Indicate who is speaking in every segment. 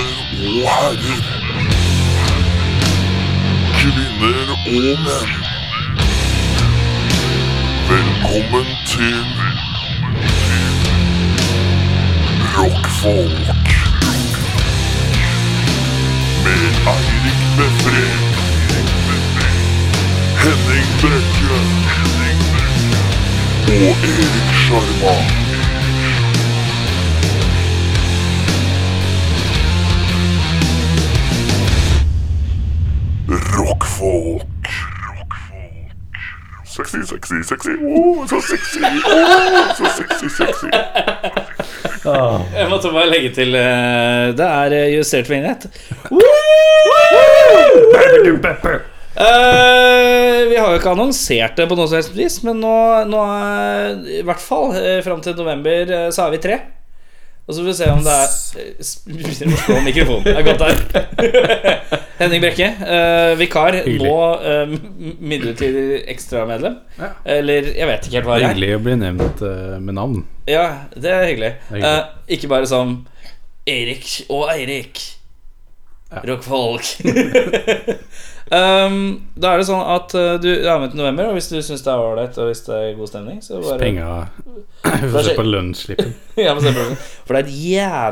Speaker 1: og herrer. Kvinner og menn. Velkommen til Rockfolk. Med Eirik Befre. Henning Brekke. Og Erik Sjarma. Rockfolk. Sexy, sexy, sexy. Oh, så sexy. Oh, så sexy, sexy.
Speaker 2: Jeg måtte bare legge til eh, Det er eh, justert vignett. Woo! Eh, vi har jo ikke annonsert det på noe som helst vis, men nå, nå er I hvert fall uh, fram til november eh, så er vi tre. Og så får vi se om det er eh, sp- Slå mikrofonen. Det er godt der. Henning Brekke, eh, vikar. Nå eh, m- midlertidig ekstramedlem.
Speaker 3: Ja.
Speaker 2: Eller jeg vet ikke helt hva
Speaker 3: Det
Speaker 2: det
Speaker 3: er
Speaker 2: er.
Speaker 3: hyggelig å bli nevnt eh, med navn.
Speaker 2: Ja, det er hyggelig.
Speaker 3: er hyggelig.
Speaker 2: Eh, ikke bare som Erik og Eirik.
Speaker 3: Ja.
Speaker 2: Rockfolk. um, da er det sånn at eh, du er med til november, og hvis du syns det er ålreit og hvis det er god stemning, så bare
Speaker 3: Penga Vi får se på lønnsslippen.
Speaker 2: ja, men selvfølgelig. For det er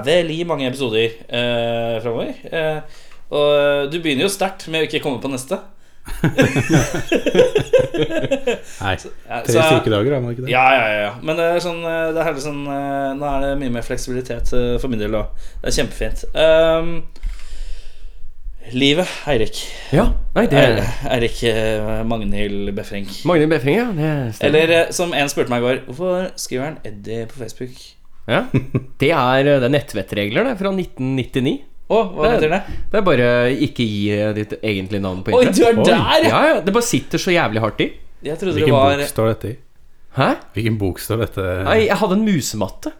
Speaker 2: et jævlig mange episoder uh, framover. Eh, og eh, du begynner jo sterkt med å ikke komme på neste.
Speaker 3: Nei,
Speaker 2: Ja,
Speaker 3: tre
Speaker 2: så-
Speaker 3: sykedager, er man ikke det?
Speaker 2: Ja, ja, ja, ja. Men det er sånn, eh, det er heller sånn eh, Nå er det mye mer fleksibilitet eh, for min del òg. Det er kjempefint. Ehm, livet, Eirik.
Speaker 4: Ja, nei, det er
Speaker 2: Eirik- Eirik eh, Magnhild Befrenk.
Speaker 4: Magne Befring, ja. Det stemmer.
Speaker 2: Eller eh, som en spurte meg i går, hvorfor skriver han Eddie på Facebook?
Speaker 4: ja. Det er, eh, det er nettvettregler, det, fra 1999.
Speaker 2: Å, hva heter det?
Speaker 4: Det er bare ikke gi eh, ditt egentlige navn på
Speaker 2: Oi, du er
Speaker 3: Oi.
Speaker 2: der, ja!
Speaker 4: Ja, ja, Det bare sitter så jævlig hardt i.
Speaker 2: Jeg trodde det
Speaker 3: Hvilken
Speaker 2: var
Speaker 3: bok står dette i?
Speaker 4: Hæ?
Speaker 3: Hvilken bok står dette
Speaker 4: Nei, jeg hadde en musematte.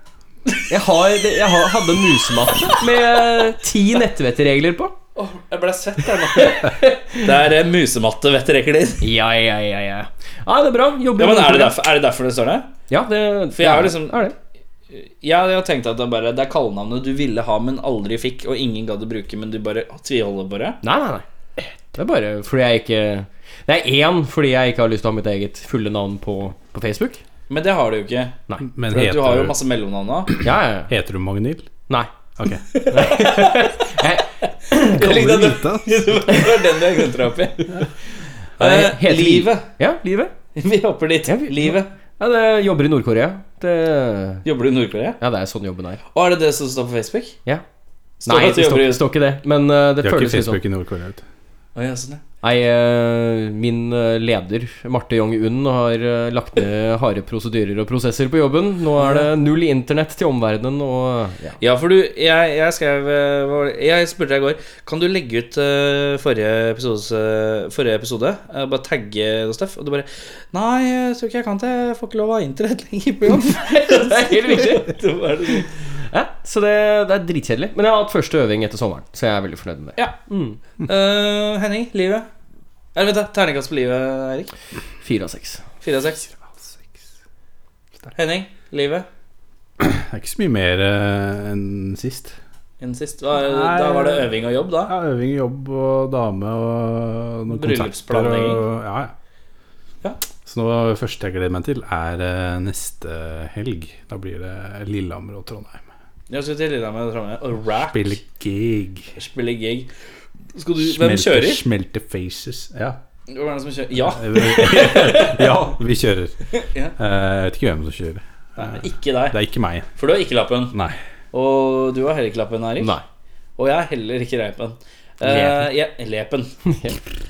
Speaker 4: Jeg, har, det- jeg har, hadde en musematte med eh, ti nettvettregler på.
Speaker 2: Åh, Jeg ble svett, jeg nå. Det er eh, musematte, vet dere ikke det?
Speaker 4: Ja, ja, ja, ja. Ja, det er bra. Jobber
Speaker 2: Ja, men
Speaker 4: med
Speaker 2: er det, derfor, er det derfor det står der?
Speaker 4: Ja, det,
Speaker 2: For jeg har
Speaker 4: ja,
Speaker 2: liksom-
Speaker 4: er det.
Speaker 2: Ja, jeg tenkte at det, er bare, det er kallenavnet du ville ha, men aldri fikk, og ingen gadd å bruke, men du bare tviholder på det.
Speaker 4: Nei, nei, nei. Det er bare fordi jeg ikke Det er én fordi jeg ikke har lyst til å ha mitt eget fulle navn på, på Facebook.
Speaker 2: Men det har du jo ikke.
Speaker 4: Nei.
Speaker 3: Men
Speaker 2: For at
Speaker 3: heter,
Speaker 2: du har jo
Speaker 3: du-
Speaker 2: masse mellomnavn nå.
Speaker 4: Ja, ja, ja.
Speaker 3: heter du Magnhild?
Speaker 4: Nei.
Speaker 3: Ok.
Speaker 4: Jeg,
Speaker 2: Jeg likte at
Speaker 3: vite, ass.
Speaker 2: Det det var den du hengte deg opp i.
Speaker 4: jeg
Speaker 2: Eh,
Speaker 4: heter-
Speaker 2: livet.
Speaker 4: Ja, livet.
Speaker 2: Vi hopper dit.
Speaker 4: Ja, vi-
Speaker 2: Livet.
Speaker 4: Ja, det jeg jobber i Nord-Korea. Det
Speaker 2: Jobber du i Nord-Korea?
Speaker 4: Ja, det er sånn jobben er.
Speaker 2: Og er det det som står på Facebook?
Speaker 4: Ja.
Speaker 2: Står
Speaker 4: Nei,
Speaker 2: det at du
Speaker 4: det står,
Speaker 2: jobber i
Speaker 4: står ikke det, men eh, det
Speaker 3: De har ikke
Speaker 4: føles litt sånn.
Speaker 3: Facebook i Nord-Korea. vet du.
Speaker 2: Å, ja, sånn, ja.
Speaker 4: Nei, eh, min eh, leder, Marte Jong-un, har eh, lagt ned harde prosedyrer og prosesser på jobben. Nå er det null internett til omverdenen og ja.
Speaker 2: Ja, for du, jeg, jeg skrev eh, hva- Jeg spurte deg i går Kan du legge ut eh, forrige, episodes, eh, forrige episode eh, Bare tagge noe stuff Og du bare Nei, jeg tror ikke jeg kan det Jeg får ikke lov å ha internett lenger på jobb
Speaker 4: Det er helt riktig.
Speaker 2: Da var det sånn.
Speaker 4: Ja, så det, det er dritkjedelig. Men jeg har hatt første øving etter sommeren, så jeg er veldig fornøyd med det. Mm.
Speaker 2: Ja Eh, Henning, livet Eller vent da, terningkast på livet, Erik
Speaker 4: Fire av seks.
Speaker 2: 4 av 6 Henning, livet
Speaker 3: Det er ikke så mye mer eh, enn sist.
Speaker 2: Innen sist Hva- Da var det øving og jobb da
Speaker 3: Ja, øving, jobb og dame og noen konserter.
Speaker 2: Bryllupsplanlegging.
Speaker 3: og- Ja,
Speaker 2: Ja.
Speaker 3: ja. Så nå, det første jeg gleder meg til, er eh, neste helg. Da blir det Lillehammer og Trondheim.
Speaker 2: Jeg skulle til Lillehammer og Trondheim Og rack
Speaker 3: Spille gig.
Speaker 2: Spille gig Skal du, hvem kjører?
Speaker 3: Smelte faces. Ja.
Speaker 2: Hvem er det som kjører? Ja
Speaker 3: ja, vi kjører.
Speaker 2: Ja.
Speaker 3: Eh, jeg vet ikke hvem som kjører.
Speaker 2: Nei, ikke deg,
Speaker 3: Det er ikke meg.
Speaker 2: for du har ikke lappen.
Speaker 3: Nei.
Speaker 2: Og du har heller ikke lappen, Erik.
Speaker 4: Nei.
Speaker 2: Og jeg har heller ikke reipen.
Speaker 4: Lepen.
Speaker 2: Eh, jeg- lepen.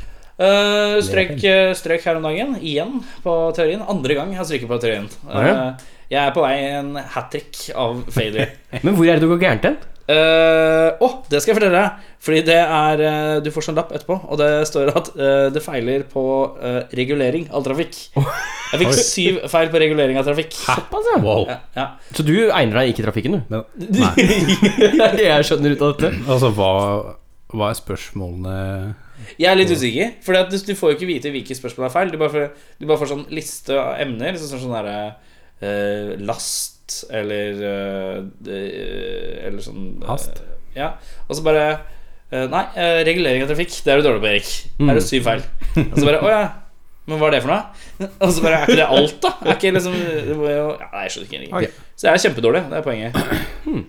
Speaker 2: Eh, strøk, eh, strøk her om dagen, igjen på teorien. Andre gang jeg stryker på teorien.
Speaker 4: Ah, ja.
Speaker 2: Eh, jeg er på vei en hat trick av failure.
Speaker 4: Men hvor er det du går gærent hen?
Speaker 2: Å, det skal jeg fortelle deg. Fordi det er eh, Du får sånn lapp etterpå, og det står at eh, det feiler på eh, regulering av trafikk. Jeg fikk syv feil på regulering av trafikk.
Speaker 4: Såpass, ja.
Speaker 3: Wow.
Speaker 2: Ja, ja.
Speaker 4: Så du egner deg ikke i trafikken, du?
Speaker 3: Men, nei.
Speaker 4: Det er det jeg skjønner ut av dette.
Speaker 3: Altså, hva, hva er spørsmålene
Speaker 2: Jeg er litt usikker, for du, du får jo ikke vite hvilke spørsmål er feil. Du bare får, du bare får sånn liste av emner. Sånn, sånn, sånn derre eh, last eller eh, det- Eller sånn eh,
Speaker 3: Hast?
Speaker 2: Ja. Og så bare Eh, nei, eh, regulering av trafikk, det er du dårlig på, Erik.
Speaker 4: Mm.
Speaker 2: Her er det syv feil. Og så bare Å ja, men hva er det for noe? Og så bare Er ikke det alt, da? Er ikke liksom det må jo, ja, Nei, jeg skjønner ikke. Erik.
Speaker 3: Ok.
Speaker 2: Så jeg er kjempedårlig. Det er poenget. Eh,
Speaker 4: Hmm.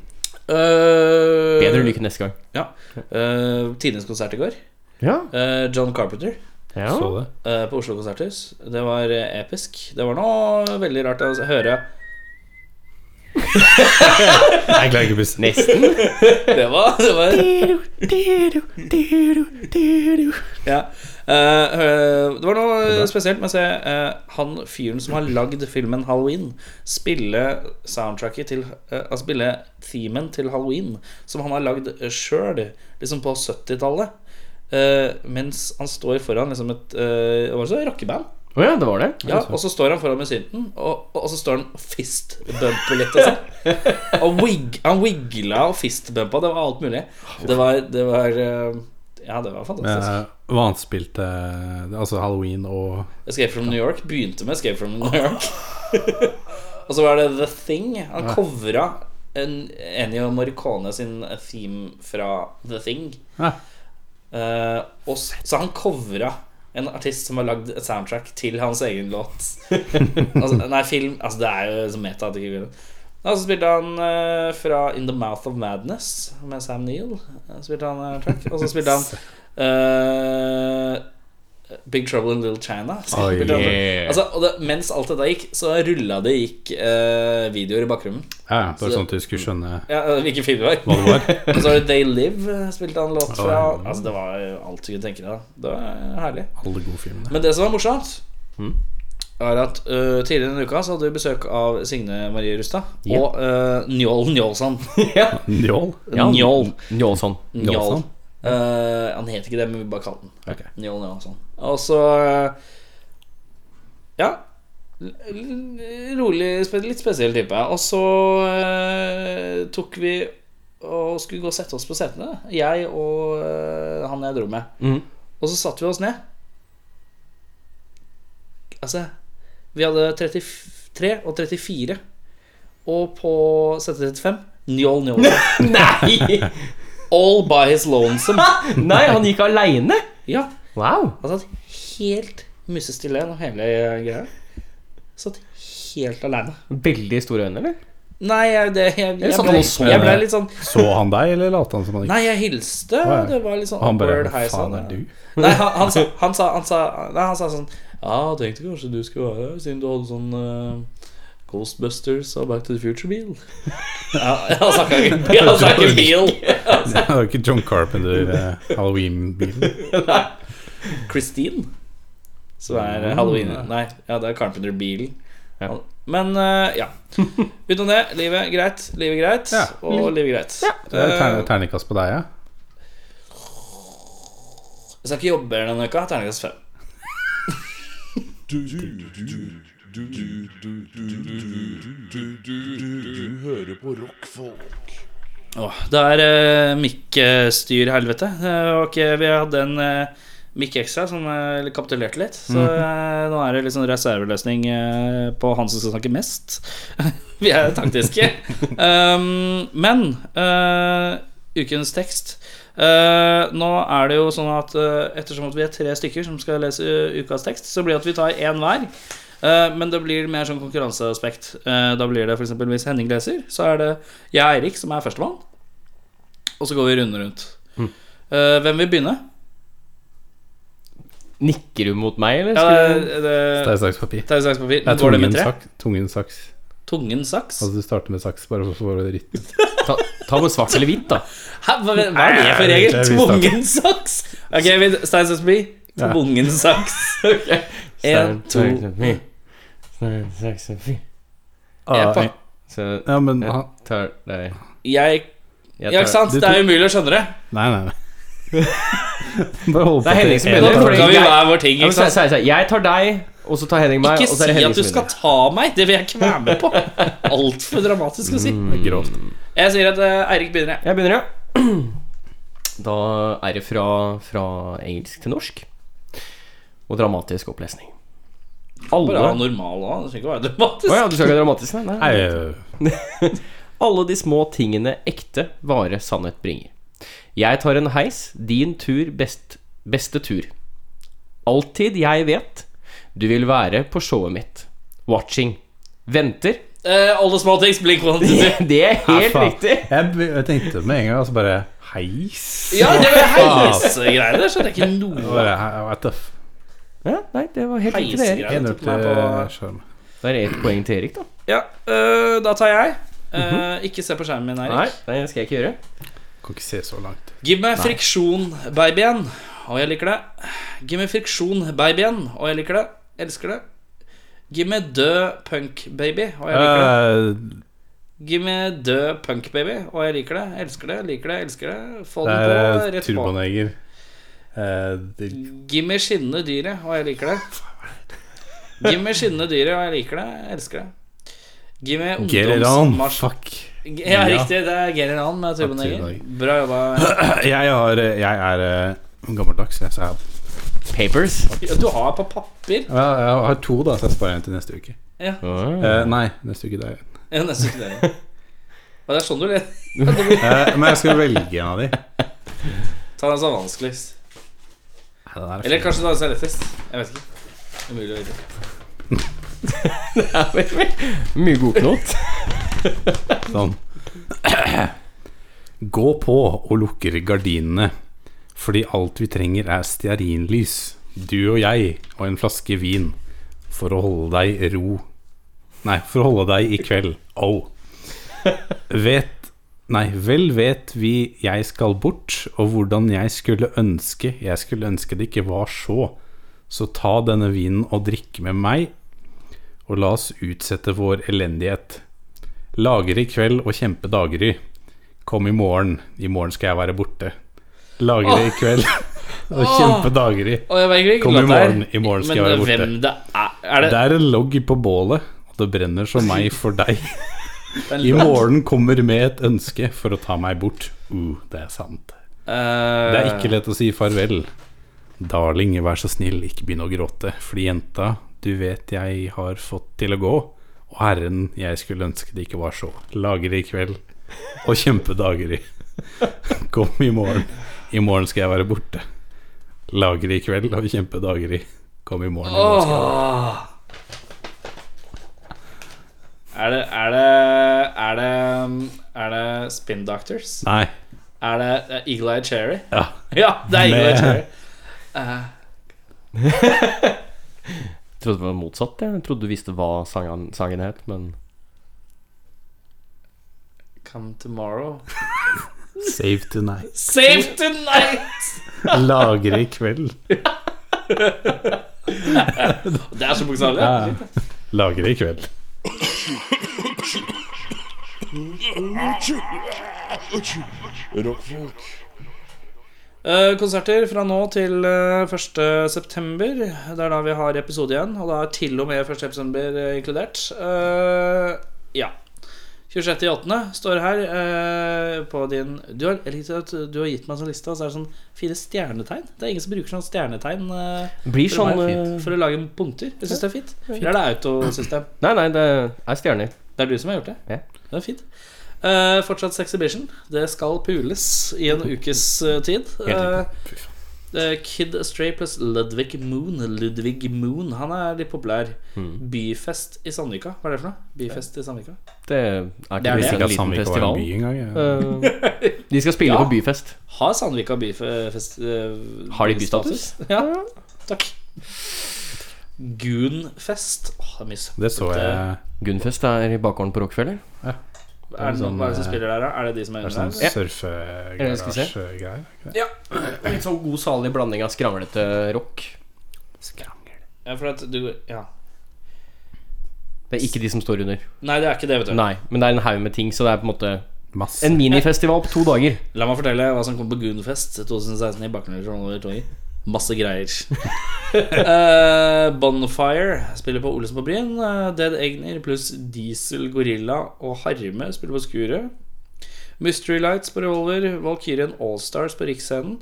Speaker 4: Bedre lykke neste gang.
Speaker 2: Ja. Eh, Tidenes konsert i går.
Speaker 4: Ja.
Speaker 2: Eh, John Carpenter
Speaker 4: ja.
Speaker 3: Så det.
Speaker 2: eh, på Oslo Konserthus. Det var eh, episk. Det var noe veldig rart å høre.
Speaker 3: Jeg klarer ikke å puste.
Speaker 4: Nesten.
Speaker 2: Det var, det var ja. Eh, eh, Det var noe spesielt med å se eh, han fyren som har lagd filmen Halloween, spille soundtracket til eh, Altså spille themen til Halloween, som han har lagd sjøl, liksom på 70-tallet. Eh, mens han står foran liksom et eh, Det var så rockeband.
Speaker 4: Å ja, det var det.
Speaker 2: Ja, og så står han foran med synten, og, og så står han og fistbumper litt. Og, sånn. og wig, han wiggla og fistbumpa. Det var alt mulig. Det var, det var eh, Ja, det var fantastisk.
Speaker 3: Eh, Vanspilte Altså Halloween og
Speaker 2: Escape from New York begynte med Escape from New York. og så var det The Thing. Han covra en- Ennio Morricone sin theme fra The Thing.
Speaker 3: Ja.
Speaker 2: Eh, og, s- så han covra en artist som har lagd et soundtrack til hans egen låt. altså, nei, film Altså, det er jo så meta at det ikke går an. Og så spilte han eh, fra In The Mouth of Madness med Sam Neill. Eh, Spilte han eh, track. Og så spilte han eh, Big Trouble in Little China.
Speaker 3: Oi.
Speaker 2: Spilte han- Altså, og det, mens alt dette gikk, så rulla det gikk eh, videoer i bakgrunnen.
Speaker 3: Ja, ja, bare sånn at du skulle skjønne
Speaker 2: Ja, eh, Hvilken film det
Speaker 3: hva
Speaker 2: var.
Speaker 3: det var.
Speaker 2: Og så var det They Live, eh, spilte han låt fra.
Speaker 3: Oi.
Speaker 2: Altså, det var jo alt du kunne tenke deg. da. Det var eh, herlig.
Speaker 3: Alle gode filmene.
Speaker 2: Men det som var morsomt, er at eh, tidligere denne uka så hadde vi besøk av Signe Marie Rustad
Speaker 4: Ja.
Speaker 2: og uh, Njål Njålsson.
Speaker 3: Njål?
Speaker 4: Ja.
Speaker 2: Njål.
Speaker 4: Njålsson.
Speaker 2: Njål.
Speaker 3: Njålsson?
Speaker 2: Eh, han het ikke det, men vi bare kalte den
Speaker 3: Ok.
Speaker 2: Njål Njålsson. Og så eh, Ja. l- l- Rolig, spe- litt spesiell type. Og så eh, tok vi og skulle gå og sette oss på setene, jeg og eh, han jeg dro med.
Speaker 4: Mhm.
Speaker 2: Og så satte vi oss ned. Altså Vi hadde 33 og 34, og på sette 35 Njål Njålsson.
Speaker 4: Nei!
Speaker 2: All by his lonesome.
Speaker 4: Nei, han gikk aleine!
Speaker 2: Ja,
Speaker 4: Wow.
Speaker 2: han satt helt musestille gjennom hele greia. Satt helt aleine.
Speaker 4: Veldig store øyne, eller?
Speaker 2: Nei, jeg, det, jeg, jeg,
Speaker 4: Eller satt
Speaker 2: ble,
Speaker 4: han og så
Speaker 2: jeg ble
Speaker 3: deg?
Speaker 2: litt sånn
Speaker 3: Så han deg, eller lot han som han ikke
Speaker 2: Nei, jeg hilste.
Speaker 3: Å, ja.
Speaker 2: Det var litt sånn
Speaker 3: Han bare
Speaker 2: awkward
Speaker 3: Hva
Speaker 2: hei,
Speaker 3: faen
Speaker 2: sånn,
Speaker 3: er du?
Speaker 2: Nei, han, han, sa, han, sa, han, sa, nei, han sa sånn Ja, tenkte kanskje du skulle være her, siden du hadde sånn eh, Ghostbusters og Back to the Future-bil. Ja, han snakka ikke, han snakka ikke bil.
Speaker 3: Det var jo ikke John Carpenter, eh, Halloween-bilen.
Speaker 2: Christine. Som er eh, halloween Nei, ja, det er Carpenter-bilen.
Speaker 4: Ja.
Speaker 2: Han- Men eh, ja. Utenom det, livet greit, livet greit
Speaker 3: Ja.
Speaker 2: og livet greit.
Speaker 3: Det er terne-
Speaker 2: Eh,
Speaker 3: Terningkast på deg, ja?
Speaker 2: jeg skal ikke jobbe denne uka. Terningkast fem.
Speaker 1: Du, du, du, du, du, du, du, du, du, du, du hører på rockfolk.
Speaker 2: Åh, det er uh, mikkstyr helvete. Eh, og ikke- vi hadde en uh, mikk ekstra som eh, kapitulerte litt. Så eh, nå er det litt sånn reserveløsning eh, på han som skal snakke mest. vi er taktiske. um, men eh, ukens tekst Eh, Nå er det jo sånn at eh, ettersom at vi er tre stykker som skal lese eh, ukas tekst, så blir det at vi tar én hver. Eh, Men det blir mer sånn konkurranseaspekt. Eh, Da blir det for eksempel hvis Henning leser, så er det jeg og Eirik som er førstemann. Og så går vi runden rundt.
Speaker 4: Mm.
Speaker 2: Eh, Hvem vil begynne?
Speaker 4: Nikker du mot meg, eller?
Speaker 2: Ja,
Speaker 4: Skulle...
Speaker 2: det, det,
Speaker 3: Stein, saks, papir.
Speaker 2: Tau, saks, papir.
Speaker 3: Nei,
Speaker 2: Går det
Speaker 3: tungen,
Speaker 2: med tre?
Speaker 3: sak, tungen saks.
Speaker 2: Tungen, saks?
Speaker 3: Altså du starter med saks bare for å få rytmen.
Speaker 4: Ta, ta med svart eller hvitt, da.
Speaker 2: Hæ, hva, hva er det for regel?
Speaker 3: Nei, det er visst, da.
Speaker 2: Tvungen saks? Ok, vi Stein saks papir.
Speaker 3: Ja.
Speaker 2: Tvungen saks. En,
Speaker 4: Stein,
Speaker 2: to
Speaker 4: saks, papir. Stein, saks, papir.
Speaker 2: Jeg
Speaker 3: Ah,
Speaker 2: pa-
Speaker 4: Så
Speaker 3: ja, men
Speaker 4: jeg
Speaker 3: han-
Speaker 4: tar deg
Speaker 2: Jeg
Speaker 4: jeg
Speaker 2: Ja, ikke sant?
Speaker 3: Du
Speaker 2: Det er umulig å skjønne det.
Speaker 3: Nei, nei, nei. Bare hold på.
Speaker 4: Det er Henning som
Speaker 3: til-
Speaker 2: Nå
Speaker 4: begynner,
Speaker 2: plukka vi hver vår ting.
Speaker 4: Ja, men
Speaker 2: Ikke
Speaker 4: se-
Speaker 2: sant?
Speaker 4: se- se, Jeg tar deg, og så tar Henning meg,
Speaker 2: Ikke
Speaker 4: og så er det
Speaker 2: si
Speaker 4: Henning
Speaker 2: at du
Speaker 4: som
Speaker 2: skal
Speaker 4: vinner.
Speaker 2: ta meg! Det vil jeg ikke være med på. Altfor dramatisk å si.
Speaker 4: Mm.
Speaker 3: Grovt.
Speaker 2: Jeg sier at eh, Eirik begynner, jeg.
Speaker 4: Jeg begynner, ja. Da er det fra, fra engelsk til norsk. Og dramatisk opplesning. Alle
Speaker 2: Bare ha
Speaker 4: Å
Speaker 2: normal òg. Det trenger ikke være dramatisk.
Speaker 4: ja, du skal ikke ha dramatisk? Nei, nei.
Speaker 3: Nei, øh,
Speaker 4: Alle de små tingene ekte, vare, sannhet bringer. Jeg tar en heis. Din tur, best, beste tur. Alltid jeg vet du vil være på showet mitt. Watching. Venter.
Speaker 2: Eh, alle små ting blink one two, three.
Speaker 4: Det er helt
Speaker 3: faen.
Speaker 4: riktig.
Speaker 3: Jeg, be- jeg tenkte med en gang altså bare Heis?
Speaker 2: Ja, det var heisegreier. Det skjønte jeg ikke noe av.
Speaker 3: Bare, he- what the f...
Speaker 4: Ja, nei, det var helt riktig, det. Erik.
Speaker 2: Heisegreier,
Speaker 3: Ender
Speaker 2: tok
Speaker 3: til
Speaker 2: meg på-
Speaker 3: eh, skjerm.
Speaker 4: Da er det ett poeng til Erik, da.
Speaker 2: Ja, øh, da tar jeg. Eh,
Speaker 3: Mhm.
Speaker 2: ikke se på skjermen min, Eirik.
Speaker 4: Nei, det skal jeg ikke gjøre.
Speaker 3: Kan ikke se så langt.
Speaker 2: Gi meg friksjon, babyen, og jeg liker det. Gi meg friksjon, babyen, og jeg liker det. Elsker det. Gi meg død punk, baby, og jeg liker det.
Speaker 3: Eh,
Speaker 2: Gi meg død punk, baby, og jeg liker det. Elsker det, liker det, elsker det. Få
Speaker 3: det
Speaker 2: den
Speaker 3: er
Speaker 2: på,
Speaker 3: eh,
Speaker 2: rett på.
Speaker 3: turboneger. Eh, det-
Speaker 2: Gi meg skinnende dyret, og jeg liker det. Gi meg skinnende dyret, og jeg liker det. Elsker det. Gi meg
Speaker 3: Get it on,
Speaker 2: ungdomsmarsj...
Speaker 3: fuck.
Speaker 2: Ja, riktig. Det er Get it on med turboneger.
Speaker 3: Turboneger.
Speaker 2: Bra jobba.
Speaker 3: Jeg, har, eh, jeg er eh, gammeldags, jeg, så jeg,
Speaker 4: Papers.
Speaker 2: Ja, Du har på papir.
Speaker 3: Ja, jeg har to, da, så jeg sparer en til neste uke.
Speaker 2: Ja.
Speaker 3: Eh, nei, neste uke det er
Speaker 2: Ja, nesten ikke det. Og det er sånn du leser.
Speaker 3: Eh, Men jeg skal velge en av de.
Speaker 2: Ta den som er vanskeligst.
Speaker 3: Nei, den er
Speaker 2: Eller kanskje ta den som er lettest. Jeg vet ikke. Umulig å vite.
Speaker 4: Mye godknot.
Speaker 3: Sånn. Gå på og lukker gardinene, fordi alt vi trenger er stearinlys. Du og jeg og en flaske vin for å holde deg i ro Nei, for å holde deg i kveld. Au. Vet Nei, vel vet vi jeg skal bort, og hvordan jeg skulle ønske Jeg skulle ønske det ikke var så. Så ta denne vinen og drikke med meg, og la oss utsette vår elendighet. Lager i kveld og kjempe daggry. Kom i morgen. I morgen skal jeg være borte. Lager i kveld og kjempe daggry.
Speaker 2: Og jeg vet ikke
Speaker 3: Kom
Speaker 2: hvilken
Speaker 3: i
Speaker 2: låt det er.
Speaker 3: morgen. I morgen skal
Speaker 2: Men
Speaker 3: jeg være borte.
Speaker 2: hvem det er? Er det,
Speaker 3: Det er en logg på bålet, og det brenner som meg for deg.
Speaker 2: det er en
Speaker 3: I
Speaker 2: låt?
Speaker 3: morgen kommer med et ønske for å ta meg bort. Uh, det er sant.
Speaker 2: Eh,
Speaker 3: Det er ikke lett å si farvel. Darling, vær så snill, ikke begynn å gråte. Fordi jenta, du vet jeg har fått til å gå. Og herren, jeg skulle ønske det ikke var så. Lager i kveld og kjempedager i. Kom i morgen. I morgen skal jeg være borte. Lager i kveld og kjempedager i. Kom i morgen. I morgen skal jeg
Speaker 2: Åh. Er det Er det Er det, er det Spin Doctors?
Speaker 3: Nei.
Speaker 2: Er det eh, Eagle Eye Cherry?
Speaker 3: Ja.
Speaker 2: Ja, det er Eagle
Speaker 3: Med-
Speaker 2: Eye Cherry.
Speaker 4: Trodde det var motsatt. Jeg trodde du visste hva sangen, sangen het, men
Speaker 2: Come tomorrow.
Speaker 3: Save tonight.
Speaker 2: Save tonight!
Speaker 3: Lager i kveld.
Speaker 2: Det er så bokstavelig.
Speaker 3: Ja. Lager i kveld.
Speaker 1: Rockfolk.
Speaker 2: Eh, Konserter fra nå til eh, 1. september Det er da vi har episode igjen Og da er til og med 1. september eh, inkludert Eh, Ja 26.8. står her eh, På din du har, Jeg likte at du har gitt meg en sånn liste Og så er det sånn fire stjernetegn Det er ingen som bruker sånn stjernetegn eh,
Speaker 4: Blir
Speaker 2: for,
Speaker 4: sånn
Speaker 2: å,
Speaker 4: eh,
Speaker 2: for å lage punkter Jeg synes det er fint Eller er det autosystem?
Speaker 4: Nei, nei, det er stjerner.
Speaker 2: Det er du som har gjort det?
Speaker 4: Ja.
Speaker 2: Det er fint. Eh, fortsatt Sexhibition. Det skal pules i en ukes eh, tid.
Speaker 3: riktig.
Speaker 2: Eh, eh, Kid Astray pluss Ludvig Moon. Ludvig Moon, han er litt populær. Byfest i Sandvika. Hva er det for noe? Byfest i Sandvika.
Speaker 4: Det er ikke
Speaker 2: Det er det.
Speaker 4: visst
Speaker 3: Ikke
Speaker 4: en
Speaker 3: at
Speaker 4: liten
Speaker 3: Sandvika var en
Speaker 4: festival.
Speaker 3: by engang. ja.
Speaker 4: Eh, de skal spille
Speaker 2: Ja.
Speaker 4: på byfest.
Speaker 2: Har Sandvika byfest eh,
Speaker 4: Har de bystatus?
Speaker 2: Ja. Takk. Goonfest. Åh, det er mye søppel.
Speaker 3: Det så jeg.
Speaker 4: Gunfest er i bakgården på Rockefeller.
Speaker 2: Er det noen, hva er det som spiller der, da? Er det de som er
Speaker 3: Det er
Speaker 2: under
Speaker 3: sånn
Speaker 2: der?
Speaker 4: Ja. Eller skal vi se?
Speaker 3: surfegarasjegreier.
Speaker 4: Litt sånn god, salig blanding av skranglete rock.
Speaker 3: Skrangel.
Speaker 2: Ja, for at du Ja.
Speaker 4: Det er ikke de som står under.
Speaker 2: Nei, det er ikke det, vet du.
Speaker 4: Nei, men det er en haug med ting, så det er på en måte
Speaker 3: Masse.
Speaker 4: en minifestival på to dager.
Speaker 2: La meg fortelle hva som kom på Goonfest 2016 i Bakgrunnen. Masse greier. Eh, Bonfire spiller på Olesen på Bryn. Eh, Dead Egner pluss Diesel Gorilla og Harme spiller på Skuret. Mystery Lights på Revolver. Valkyrien Allstars på Riksscenen.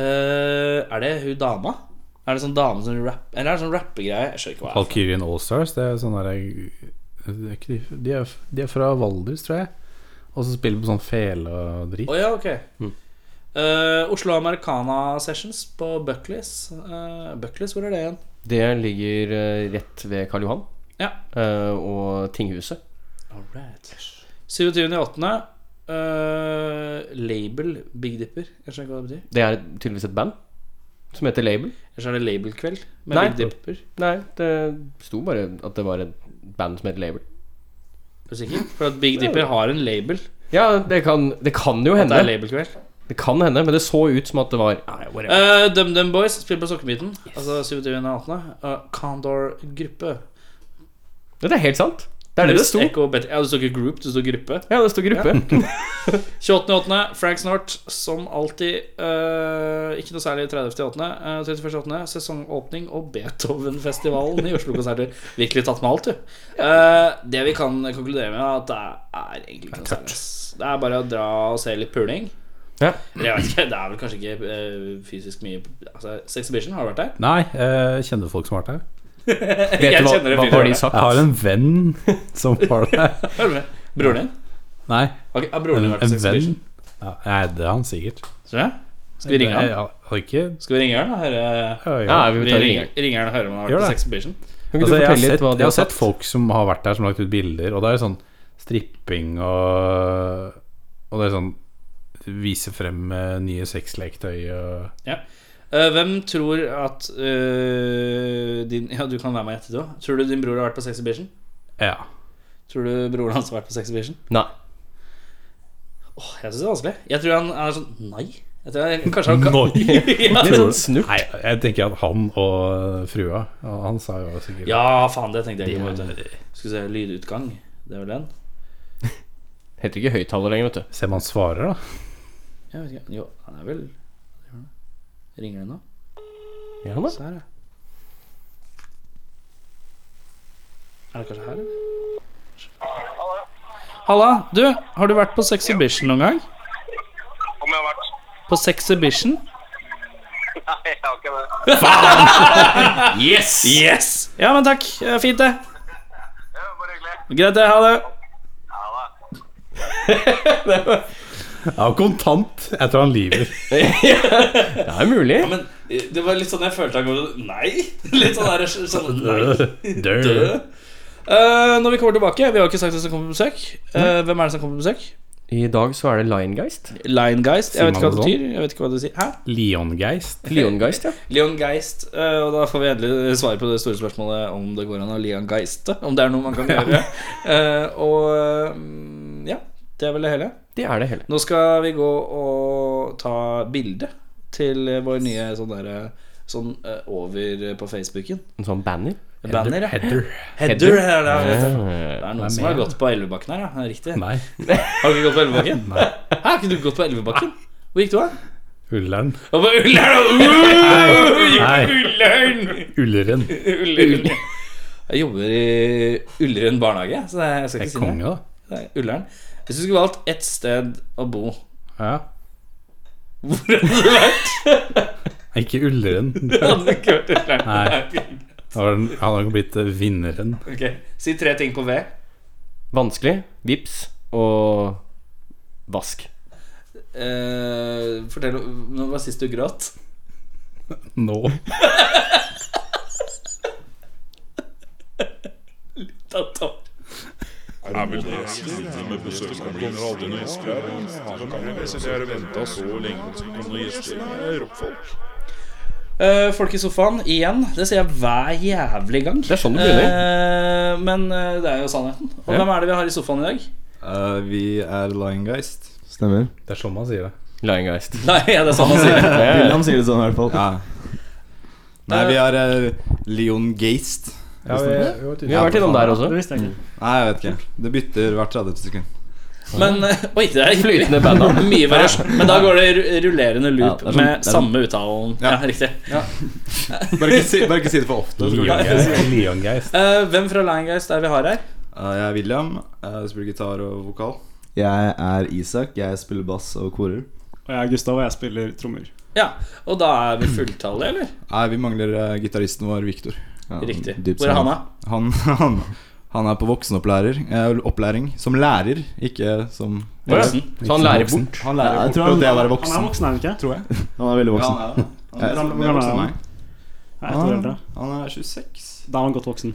Speaker 2: Eh, er det hun dama? Er det sånn dame som rapp Eller er det sånn rappegreie? Jeg skjønner ikke hva det er.
Speaker 3: Valkyrien Allstars, det er sånn der det er ikke de, de, er, de er fra Valdres, tror jeg. Og så spiller de på sånn fele og
Speaker 2: Å
Speaker 3: drit.
Speaker 2: ja, ok. Eh, Oslo Americana Sessions på Buckleys. Eh, Buckleys, hvor er det igjen?
Speaker 4: Det ligger eh, rett ved Karl Johan
Speaker 2: Ja.
Speaker 4: eh, og tinghuset.
Speaker 2: Alright. 27.8. Uh, label Big Dipper. Jeg skjønner ikke hva det betyr.
Speaker 4: Det er tydeligvis et band som heter Label.
Speaker 2: Eller så er det labelkveld med
Speaker 4: Nei.
Speaker 2: Big Dipper.
Speaker 4: Nei, det sto bare at det var et band som het Label.
Speaker 2: Er du sikker? For at Big Dipper har en label.
Speaker 4: Ja, det kan, det kan jo
Speaker 2: At det er
Speaker 4: hende.
Speaker 2: labelkveld.
Speaker 4: Det kan hende, men det så ut som at det var Nei, whatever.
Speaker 2: Eh, DumDum Boys spiller på Sokkebiten. Altså 27.18. Uh, Condor Gruppe.
Speaker 4: Det er helt sant. Det er det det sto.
Speaker 2: Echo Bet- Ja, det sto ikke group, det sto gruppe.
Speaker 4: Ja, det sto gruppe.
Speaker 2: 28.8. Frank Snort, som alltid. eh, ikke noe særlig 30.8. Uh, 31.8. Sesongåpning og Beethovenfestivalen i Oslo-konserter. Virkelig tatt med alt, du. Eh, det vi kan konkludere med, er at det er egentlig ikke noe særlig. ass. Det er bare å dra og se litt puling.
Speaker 4: Ja.
Speaker 2: Jeg vet ikke, Det er vel kanskje ikke eh, fysisk mye altså, Sexhibition, har du vært der?
Speaker 3: Nei, jeg kjenner folk som har vært her.
Speaker 4: Vet
Speaker 2: Jeg
Speaker 4: du hva,
Speaker 2: kjenner en
Speaker 4: hva
Speaker 2: fyr
Speaker 4: var
Speaker 2: der.
Speaker 4: de sagt?
Speaker 3: Jeg har en venn som var der.
Speaker 2: Hør du med? Broren din?
Speaker 3: Nei,
Speaker 2: Har ikke- har broren
Speaker 3: en,
Speaker 2: din vært på
Speaker 3: en venn.
Speaker 2: Sexhibition?
Speaker 3: Ja, nei, det er han sikkert.
Speaker 2: Tror jeg. Skal vi ringe
Speaker 3: Jeg
Speaker 2: han?
Speaker 3: har ikke
Speaker 2: Skal vi ringe han og høre
Speaker 3: ja, ja.
Speaker 4: Ja, vi tar
Speaker 2: Ringer
Speaker 4: ringeren.
Speaker 2: ringer han og hører om han har
Speaker 3: Gjør
Speaker 2: vært på
Speaker 3: det.
Speaker 2: Sexhibition?
Speaker 4: Kan ikke
Speaker 3: Altså,
Speaker 4: du
Speaker 3: jeg, har
Speaker 4: fortelle
Speaker 3: sett,
Speaker 4: litt hva de
Speaker 3: jeg har
Speaker 4: har
Speaker 3: sett
Speaker 4: sagt?
Speaker 3: folk som har vært der, som har lagt ut bilder, og det er sånn stripping og Og det er sånn Vise frem eh, nye sexleketøy og
Speaker 2: Ja. Eh, hvem tror at eh, din Ja, du kan være med og gjette, du òg. Tror du din bror har vært på Sexhibition?
Speaker 3: Ja.
Speaker 2: Tror du broren hans har vært på Sexhibition?
Speaker 4: Nei.
Speaker 2: Åh, jeg syns det er vanskelig. Jeg tror han er sånn Nei. Jeg tror jeg, kanskje han kan ja.
Speaker 4: Litt sånn snurt.
Speaker 3: Nei, jeg tenker at han og frua og Han sa jo sikkert
Speaker 2: ja, faen, det tenkte jeg ikke på. vet du. Skulle se lydutgang. Det er vel den?
Speaker 4: Heter ikke høyttaler lenger, vet du.
Speaker 3: Se om han svarer, da.
Speaker 2: Jeg vet ikke. Jo, han er vel Ringer den nå?
Speaker 4: Ja, da.
Speaker 2: Se her, ja. Er det kanskje her, eller? Halla. Du, har du vært på Sexhibition noen gang?
Speaker 5: Om jeg har vært
Speaker 2: På Sexhibition?
Speaker 5: Nei, jeg har ikke det.
Speaker 2: Yes! Ja, men takk. Eh, Fint, det.
Speaker 5: Det er bare hyggelig.
Speaker 2: Greit, det. Ha det.
Speaker 5: Ja da.
Speaker 3: Ja, kontant. Jeg tror han lyver.
Speaker 4: Det er mulig.
Speaker 2: Men det var litt sånn jeg følte han kom Nei! Litt sånn der, sånn,
Speaker 3: Død.
Speaker 2: Eh, når vi kommer tilbake Vi har jo ikke sagt hvem som kommer på besøk. Eh, hvem er det som kommer på besøk?
Speaker 4: I dag så er det Liongeist.
Speaker 2: Linegeist. Jeg vet ikke hva det
Speaker 3: Sier man det sånn?
Speaker 2: betyr. Jeg vet ikke hva det sier Hæ?
Speaker 3: Leongeist.
Speaker 4: Leongeist, ja.
Speaker 2: Leon Geist. eh, og da får vi endelig svar på det store spørsmålet om det går an å Leon Geiste. Om det er noe man kan gjøre. Eh, og eh, ja. Det er vel det hele.
Speaker 4: Det er det hele.
Speaker 2: Nå skal vi gå og ta bilde til vår nye sånn derre Sånn eh, over på Facebooken.
Speaker 4: En sånn banner.
Speaker 2: Banner, ja.
Speaker 3: Heather.
Speaker 2: Header. er det, vet du. Det
Speaker 4: Eh,
Speaker 2: er
Speaker 3: Hva er
Speaker 2: noen som
Speaker 3: mer,
Speaker 2: har
Speaker 3: da?
Speaker 2: gått på Elvebakken her, ja. Det er Riktig.
Speaker 3: Nei.
Speaker 2: Har du ikke gått på Elvebakken?
Speaker 3: Nei.
Speaker 2: Hæ, har ikke du gått på Elvebakken? Hvor gikk du, da?
Speaker 3: Ullern.
Speaker 2: Og på Ullern!
Speaker 3: Nei.
Speaker 2: og- Ullern!
Speaker 3: Ulleren.
Speaker 2: Ullern. Jeg jobber i Ullern barnehage, så jeg skal
Speaker 3: Det er
Speaker 2: ikke si noe.
Speaker 3: konge, da.
Speaker 2: Det er Ullern. Hvis du skulle valgt ett sted å bo
Speaker 3: Ja.
Speaker 2: Hvor hadde det vært?
Speaker 3: Ikke Ulleren.
Speaker 2: Det hadde ikke vært Ullern.
Speaker 3: Nei. Da var den- Han hadde blitt eh, vinneren.
Speaker 2: Ok, Si tre ting på V.
Speaker 4: Vanskelig. Vips og vask.
Speaker 2: Eh, fortell, Når var sist du gråt?
Speaker 3: Nå.
Speaker 2: Da tar
Speaker 1: Er vel det stille med besøkskomplinen og alle noen gjester her? Han kan jo lese det her og vente så lenge på noen gjester. Det er rockfolk.
Speaker 2: Eh, folk i sofaen, igjen. Det sier jeg hver jævlig gang.
Speaker 4: Det er sånn det
Speaker 2: Eh, men eh, det er jo sannheten. Og hvem er det vi har i sofaen i dag?
Speaker 6: Eh, vi er Liongeist. Stemmer.
Speaker 3: Det er sånn man sier det.
Speaker 4: Liongeist.
Speaker 2: Nei, ja, det er sånn han sier.
Speaker 6: William sier det sånn i hvert fall. Ja. Nei, vi er uh, Leon Geist.
Speaker 3: Ja, vi,
Speaker 4: Vi har vært innom der også.
Speaker 6: Nei, jeg vet ikke. Det bytter hvert 30 sekund.
Speaker 2: Men eh, Oi, det er
Speaker 4: Flytende band, da.
Speaker 2: Mye variasjon. Men da går det ru- rullerende
Speaker 6: Ja,
Speaker 2: loop
Speaker 6: det er sånn-
Speaker 2: med
Speaker 6: det er sånn.
Speaker 2: samme uttalen. Ja,
Speaker 6: Ja.
Speaker 2: riktig.
Speaker 6: Bare ikke si, bare ikke si det for ofte. så går det.
Speaker 3: Leongeist.
Speaker 2: Eh, hvem fra Liongeist er det vi har her?
Speaker 6: Eh, jeg er William. Jeg spiller gitar og vokal.
Speaker 7: Jeg er Isak, jeg spiller bass og korer.
Speaker 8: Og jeg er Gustav, og jeg spiller trommer.
Speaker 2: Ja, Og da er vi fulltallige, eller?
Speaker 6: Nei, vi mangler uh, gitaristen vår, Viktor.
Speaker 7: Ja,
Speaker 2: Riktig.
Speaker 7: dypt
Speaker 2: Hvor er han,
Speaker 7: sammen.
Speaker 2: da?
Speaker 6: Han, han, han er på voksenopplæring eh, opplæring som lærer, ikke som
Speaker 2: Voksen.
Speaker 4: Så han lærer
Speaker 3: Voksen.
Speaker 4: bort.
Speaker 6: Han lærer
Speaker 7: Jeg tror
Speaker 6: bort det
Speaker 7: han-
Speaker 6: å være
Speaker 8: Han er
Speaker 6: voksen,
Speaker 8: voksen, er han ikke?
Speaker 6: tror jeg.
Speaker 7: Han er veldig
Speaker 6: Ja,
Speaker 7: voksen.
Speaker 6: han er det. Han er
Speaker 8: Hvor
Speaker 6: mer
Speaker 8: gammel
Speaker 6: voksen
Speaker 8: er
Speaker 6: enn
Speaker 8: han?
Speaker 6: meg.
Speaker 8: Jeg er et år
Speaker 6: Ah,
Speaker 8: eldre.
Speaker 6: Han er 26.
Speaker 8: Da er han godt voksen.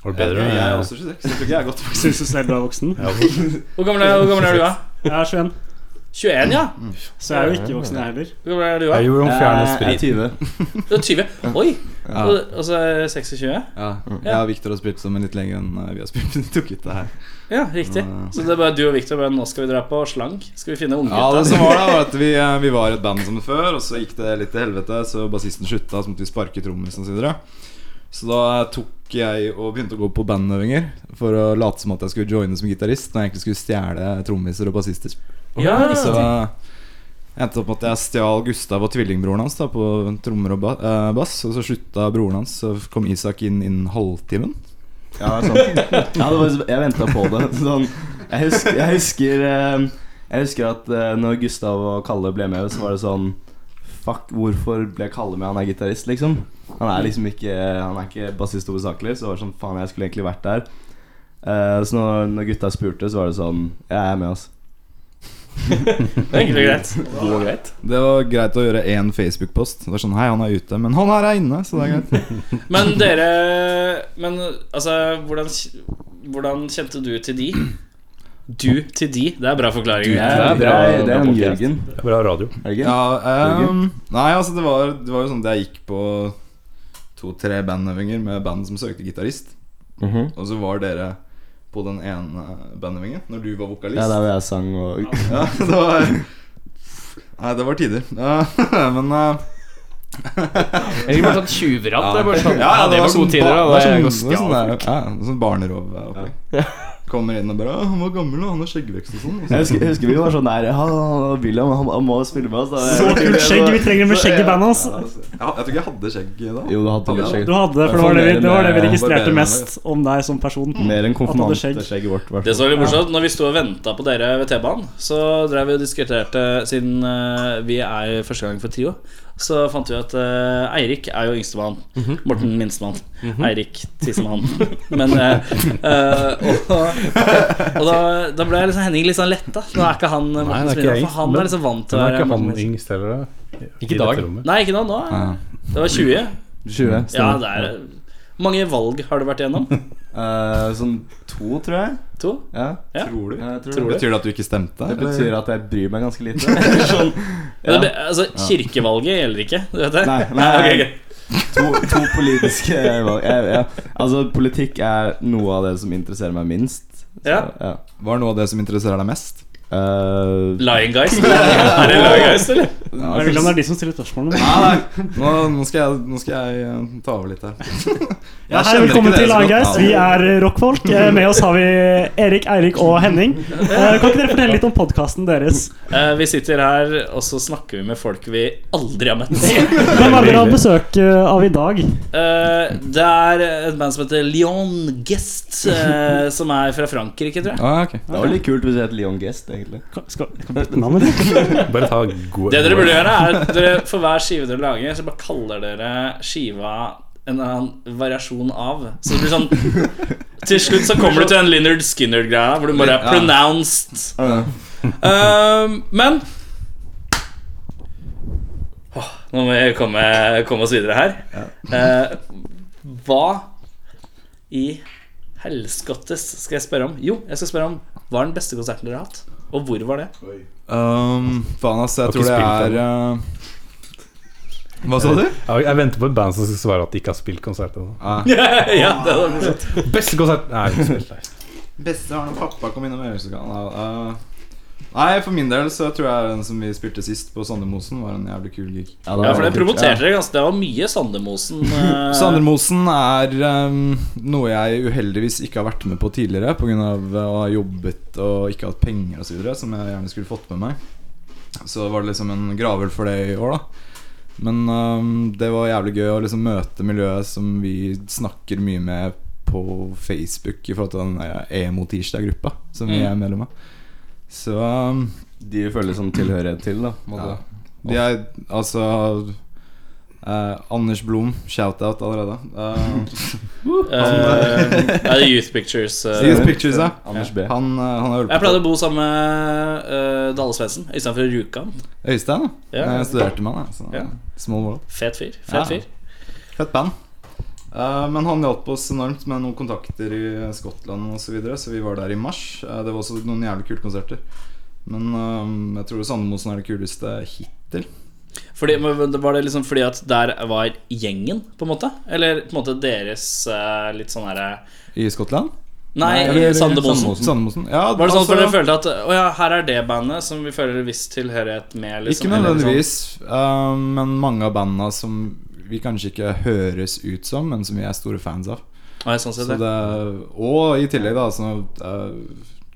Speaker 3: Var det
Speaker 6: Jeg,
Speaker 3: bedre?
Speaker 6: jeg er
Speaker 3: enn-
Speaker 6: også 26. Jeg tror ikke jeg er godt voksen.
Speaker 8: Syns du selv du er voksen?
Speaker 2: Hvor gammel er, hvor gammel er du, da?
Speaker 8: Jeg er 21,
Speaker 2: 21, ja?
Speaker 8: så jeg er jo ikke voksen, jeg heller.
Speaker 2: Hvor gammel er du, da? Eh,
Speaker 3: Jeg gjorde om fjerne
Speaker 7: Jeg er
Speaker 3: sprit.
Speaker 7: 20.
Speaker 2: Du er 20. Oi!
Speaker 6: Ja.
Speaker 2: Og og så er jeg 26?
Speaker 6: Ja. Jeg og Victor har spilt sammen litt lenger enn eh, vi har spilt tok ut det her.
Speaker 2: Ja, riktig. Så det er bare du og Victor bare Nå skal vi dra på slang. Skal vi finne
Speaker 6: Ja,
Speaker 2: unggutta?
Speaker 6: det som var da, var at vi, eh, vi var et band sammen før, og så gikk det litt til helvete, så bassisten slutta, så måtte vi sparke trommisen osv. Så, videre. så da tok jeg og begynte å gå på bandøvinger for å late som at jeg skulle joine som gitarist, når jeg egentlig skulle stjele trommiser og bassister.
Speaker 2: Ja,
Speaker 6: Så jeg endte opp med at jeg stjal Gustav og tvillingbroren hans da på trommer og ba eh, bass, og så slutta broren hans, så kom Isak inn innen halvtimen.
Speaker 7: Ja, det er sant. Ja, det var, jeg venta på det. Sånn, jeg husker, jeg husker eh, Jeg husker at eh, når Gustav og Kalle ble med, så var det sånn Fuck, hvorfor ble Kalle med? Han er gitarist, liksom. Han er liksom ikke Han er ikke bassist hovedsakelig, så det var sånn Faen, jeg skulle egentlig vært der. Eh, så når, når gutta spurte, så var det sånn Jeg er med, altså.
Speaker 2: det er egentlig greit.
Speaker 7: God og greit.
Speaker 6: Det var greit å gjøre én Facebook-post. Det var sånn, hei, han er ute, men han her er inne, så det er greit.
Speaker 2: Men dere Men altså, hvordan, hvordan kjente du til de? Du til de? Det er bra forklaring.
Speaker 7: Det er, det er, det er han Jørgen.
Speaker 3: altså, Bra radio.
Speaker 7: Er det ikke?
Speaker 6: Ja,
Speaker 7: Jørgen?
Speaker 6: ehm, nei, altså det var, det var jo sånn at jeg gikk på to-tre bandøvinger med band som søkte gitarist.
Speaker 7: Mhm.
Speaker 6: Og så var dere på den ene bandøvingen når du var vokalist.
Speaker 7: Ja, der hvor jeg sang og
Speaker 6: Ja, det var Nei, det var tider. Ja, men eh,
Speaker 4: Eller bare sånn tjuvratt. Det er bare sånn,
Speaker 6: ja,
Speaker 4: ja, det var
Speaker 6: sånn
Speaker 4: gode tider.
Speaker 6: ba-
Speaker 4: Da.
Speaker 6: det var
Speaker 4: Det er
Speaker 6: sånn, det var sånn,
Speaker 4: godt-
Speaker 6: der- ja, sånn barnerovopplegg. Kommer inn og bare «Å, 'Han var gammel, og han har skjeggvekst og sånn'. Og så-
Speaker 7: Jeg husker, jeg husker vi var sånn der Han, han, William, han, han må spille med oss. da.
Speaker 8: Så kult skjegg! Vi trenger med skjegg i bandet hans.
Speaker 6: Ja, jeg tror ikke jeg hadde skjegg da.
Speaker 7: Jo, du hadde litt skjegg.
Speaker 8: Du hadde det, for det var det vi, det var det vi registrerte
Speaker 6: Barberer meg.
Speaker 8: mest om deg som person.
Speaker 7: Mer enn
Speaker 8: At han hadde skjegg.
Speaker 7: konfirmanteskjegget vårt. hvertfall.
Speaker 2: Det som var litt morsomt, når vi sto og venta på dere ved T-banen, så drev vi og diskuterte Siden eh, vi er første gang for trio, så fant vi at eh, Eirik er jo yngstemann.
Speaker 3: Mhm.
Speaker 2: Morten minstemann. Eirik tissemann. Men eh, eh, Og, og da, da ble liksom Henning litt sånn letta. Nå er ikke han eh,
Speaker 3: Nei,
Speaker 2: Morten
Speaker 3: det er ikke
Speaker 2: Smidal,
Speaker 3: jeg.
Speaker 2: for han er liksom vant til å
Speaker 3: Men er
Speaker 2: være
Speaker 3: ikke han
Speaker 2: Morten Smidal.
Speaker 3: yngst heller, da?
Speaker 4: Ikke i dag.
Speaker 3: dette rommet.
Speaker 2: Nei, ikke nå. nå. er- Det var 20.
Speaker 7: 20, stemmer.
Speaker 2: Ja, det er Hvor mange valg har du vært igjennom?
Speaker 7: Eh, sånn to, tror jeg.
Speaker 2: To?
Speaker 7: Ja,
Speaker 6: Tror du?
Speaker 7: jeg tror
Speaker 2: Tror
Speaker 7: det.
Speaker 2: du?
Speaker 6: Betyr det at du ikke stemte?
Speaker 7: Det
Speaker 6: eller?
Speaker 7: betyr at jeg bryr meg ganske lite. sånn,
Speaker 2: Men det ble, altså, kirkevalget gjelder ikke, du vet det?
Speaker 7: Nei, nei,
Speaker 2: ok, ok.
Speaker 7: to, to politiske valg. Jeg, jeg, altså, politikk er noe av det som interesserer meg minst. Så,
Speaker 2: Ja.
Speaker 7: ja.
Speaker 6: Var det noe av det som interesserer deg mest?
Speaker 7: Eh,
Speaker 2: Liongeist? Er det Liongeist, eller?
Speaker 8: Jeg vil om det er de som stiller spørsmålene.
Speaker 6: Nei, nei. Nå, nå, skal jeg, nå skal jeg eh, ta over litt her.
Speaker 8: Ja, hei, velkommen til Laggeist. Vi er rockfolk. Eh, Med oss har vi Erik, Eirik og Henning. Eh, Kan ikke dere fortelle litt om podkasten deres?
Speaker 2: Eh, vi sitter her, og så snakker vi med folk vi aldri har møtt.
Speaker 8: Hvem er dere har besøk eh, av i dag?
Speaker 2: Eh, det er et band som heter Lion Guest, eh, som er fra Frankrike, tror jeg.
Speaker 6: Ah, ok.
Speaker 7: det var litt kult hvis jeg het Leon Guest, egentlig.
Speaker 8: Kan- Skal kan vi bytte navn, eller?
Speaker 3: Bare ta god
Speaker 2: Det dere burde gjøre, er at dere, for hver skive dere lager, så bare kaller dere skiva en eller annen variasjon av. Så det blir sånn Til slutt så kommer du til den Linnard Skinner-greia, hvor du bare er
Speaker 6: Ja.
Speaker 2: pronounced.
Speaker 7: Ja.
Speaker 2: Ehm, men Åh, Nå må vi komme, komme oss videre her. Eh, hva i helskottes skal jeg spørre om? Jo, jeg skal spørre om hva er den beste konserten dere har hatt? Og hvor var det?
Speaker 6: Um, faen, ass. Jeg
Speaker 3: Har ikke
Speaker 6: tror det
Speaker 3: spilt
Speaker 6: er eh, Hva sa du?
Speaker 3: Jeg jeg venter på et band som skal svare at de ikke har spilt konsert ennå.
Speaker 2: ja, det var morsomt.
Speaker 3: Beste konsert Nei, jeg har ikke spilt der.
Speaker 6: Beste var når pappa kom innom Øyelsesgallaen. nei, for min del så tror jeg den som vi spilte sist på Sandermosen, var en jævlig kul gig.
Speaker 7: Ja, det
Speaker 2: Ja, for
Speaker 7: var
Speaker 2: det
Speaker 7: kult.
Speaker 2: promoterte dere ganske. Det var mye Sandermosen. eh,
Speaker 6: Sandermosen er ehm, noe jeg uheldigvis ikke har vært med på tidligere pga. å ha jobbet og ikke hatt penger osv., som jeg gjerne skulle fått med meg. Så var det liksom en gravøl for det i år, da. Men ehm, det var jævlig gøy å liksom møte miljøet som vi snakker mye med på Facebook i forhold til den eh, emo-tirsdag-gruppa som vi
Speaker 2: Mm.
Speaker 6: er medlem av. Så ehm,
Speaker 7: De føler som tilhørighet til, da. på en
Speaker 6: ja.
Speaker 7: måte.
Speaker 6: De er altså Eh, Anders Blom, shout-out allerede. Eh,
Speaker 2: Eh, nei, det er Youth Pictures. eh.
Speaker 6: Serious Pictures, ja.
Speaker 7: Anders B.
Speaker 6: Han, eh, han har
Speaker 2: Jeg
Speaker 6: hjulpet
Speaker 2: pleide å bo sammen med eh, Dale Svendsen istedenfor Rjukan.
Speaker 6: Øystein. da
Speaker 2: Ja.
Speaker 6: Jeg studerte med han. da, Så,
Speaker 2: Ja.
Speaker 6: Small world.
Speaker 2: Fet fyr.
Speaker 6: Ja.
Speaker 2: Fet fyr.
Speaker 6: Fett band. Eh, men han hjalp oss enormt med noen kontakter i Skottland osv., så, videre, så vi var der i mars. Eh, det var også noen jævlig kule konserter. Men eh, jeg tror Sandemosen er det kuleste hittil.
Speaker 2: Fordi, men var det liksom fordi at der var gjengen, på en måte? Eller på en måte deres eh, litt sånn herre
Speaker 6: I Skottland?
Speaker 2: Nei,
Speaker 6: eller-
Speaker 2: Sander Monsen.
Speaker 6: Sandemosen. Ja,
Speaker 2: Var det sånn at dere
Speaker 6: altså,
Speaker 2: følte at Å ja, her er det bandet som vi føler viss tilhørighet med? Liksom,
Speaker 6: Ikke
Speaker 2: eller liksom-
Speaker 6: nødvendigvis, eh, men mange av banda som vi kanskje ikke høres ut som, men som vi er store fans av.
Speaker 2: Nei, sånn sett, ja.
Speaker 6: Så det, og i tillegg, da, sånn at, eh,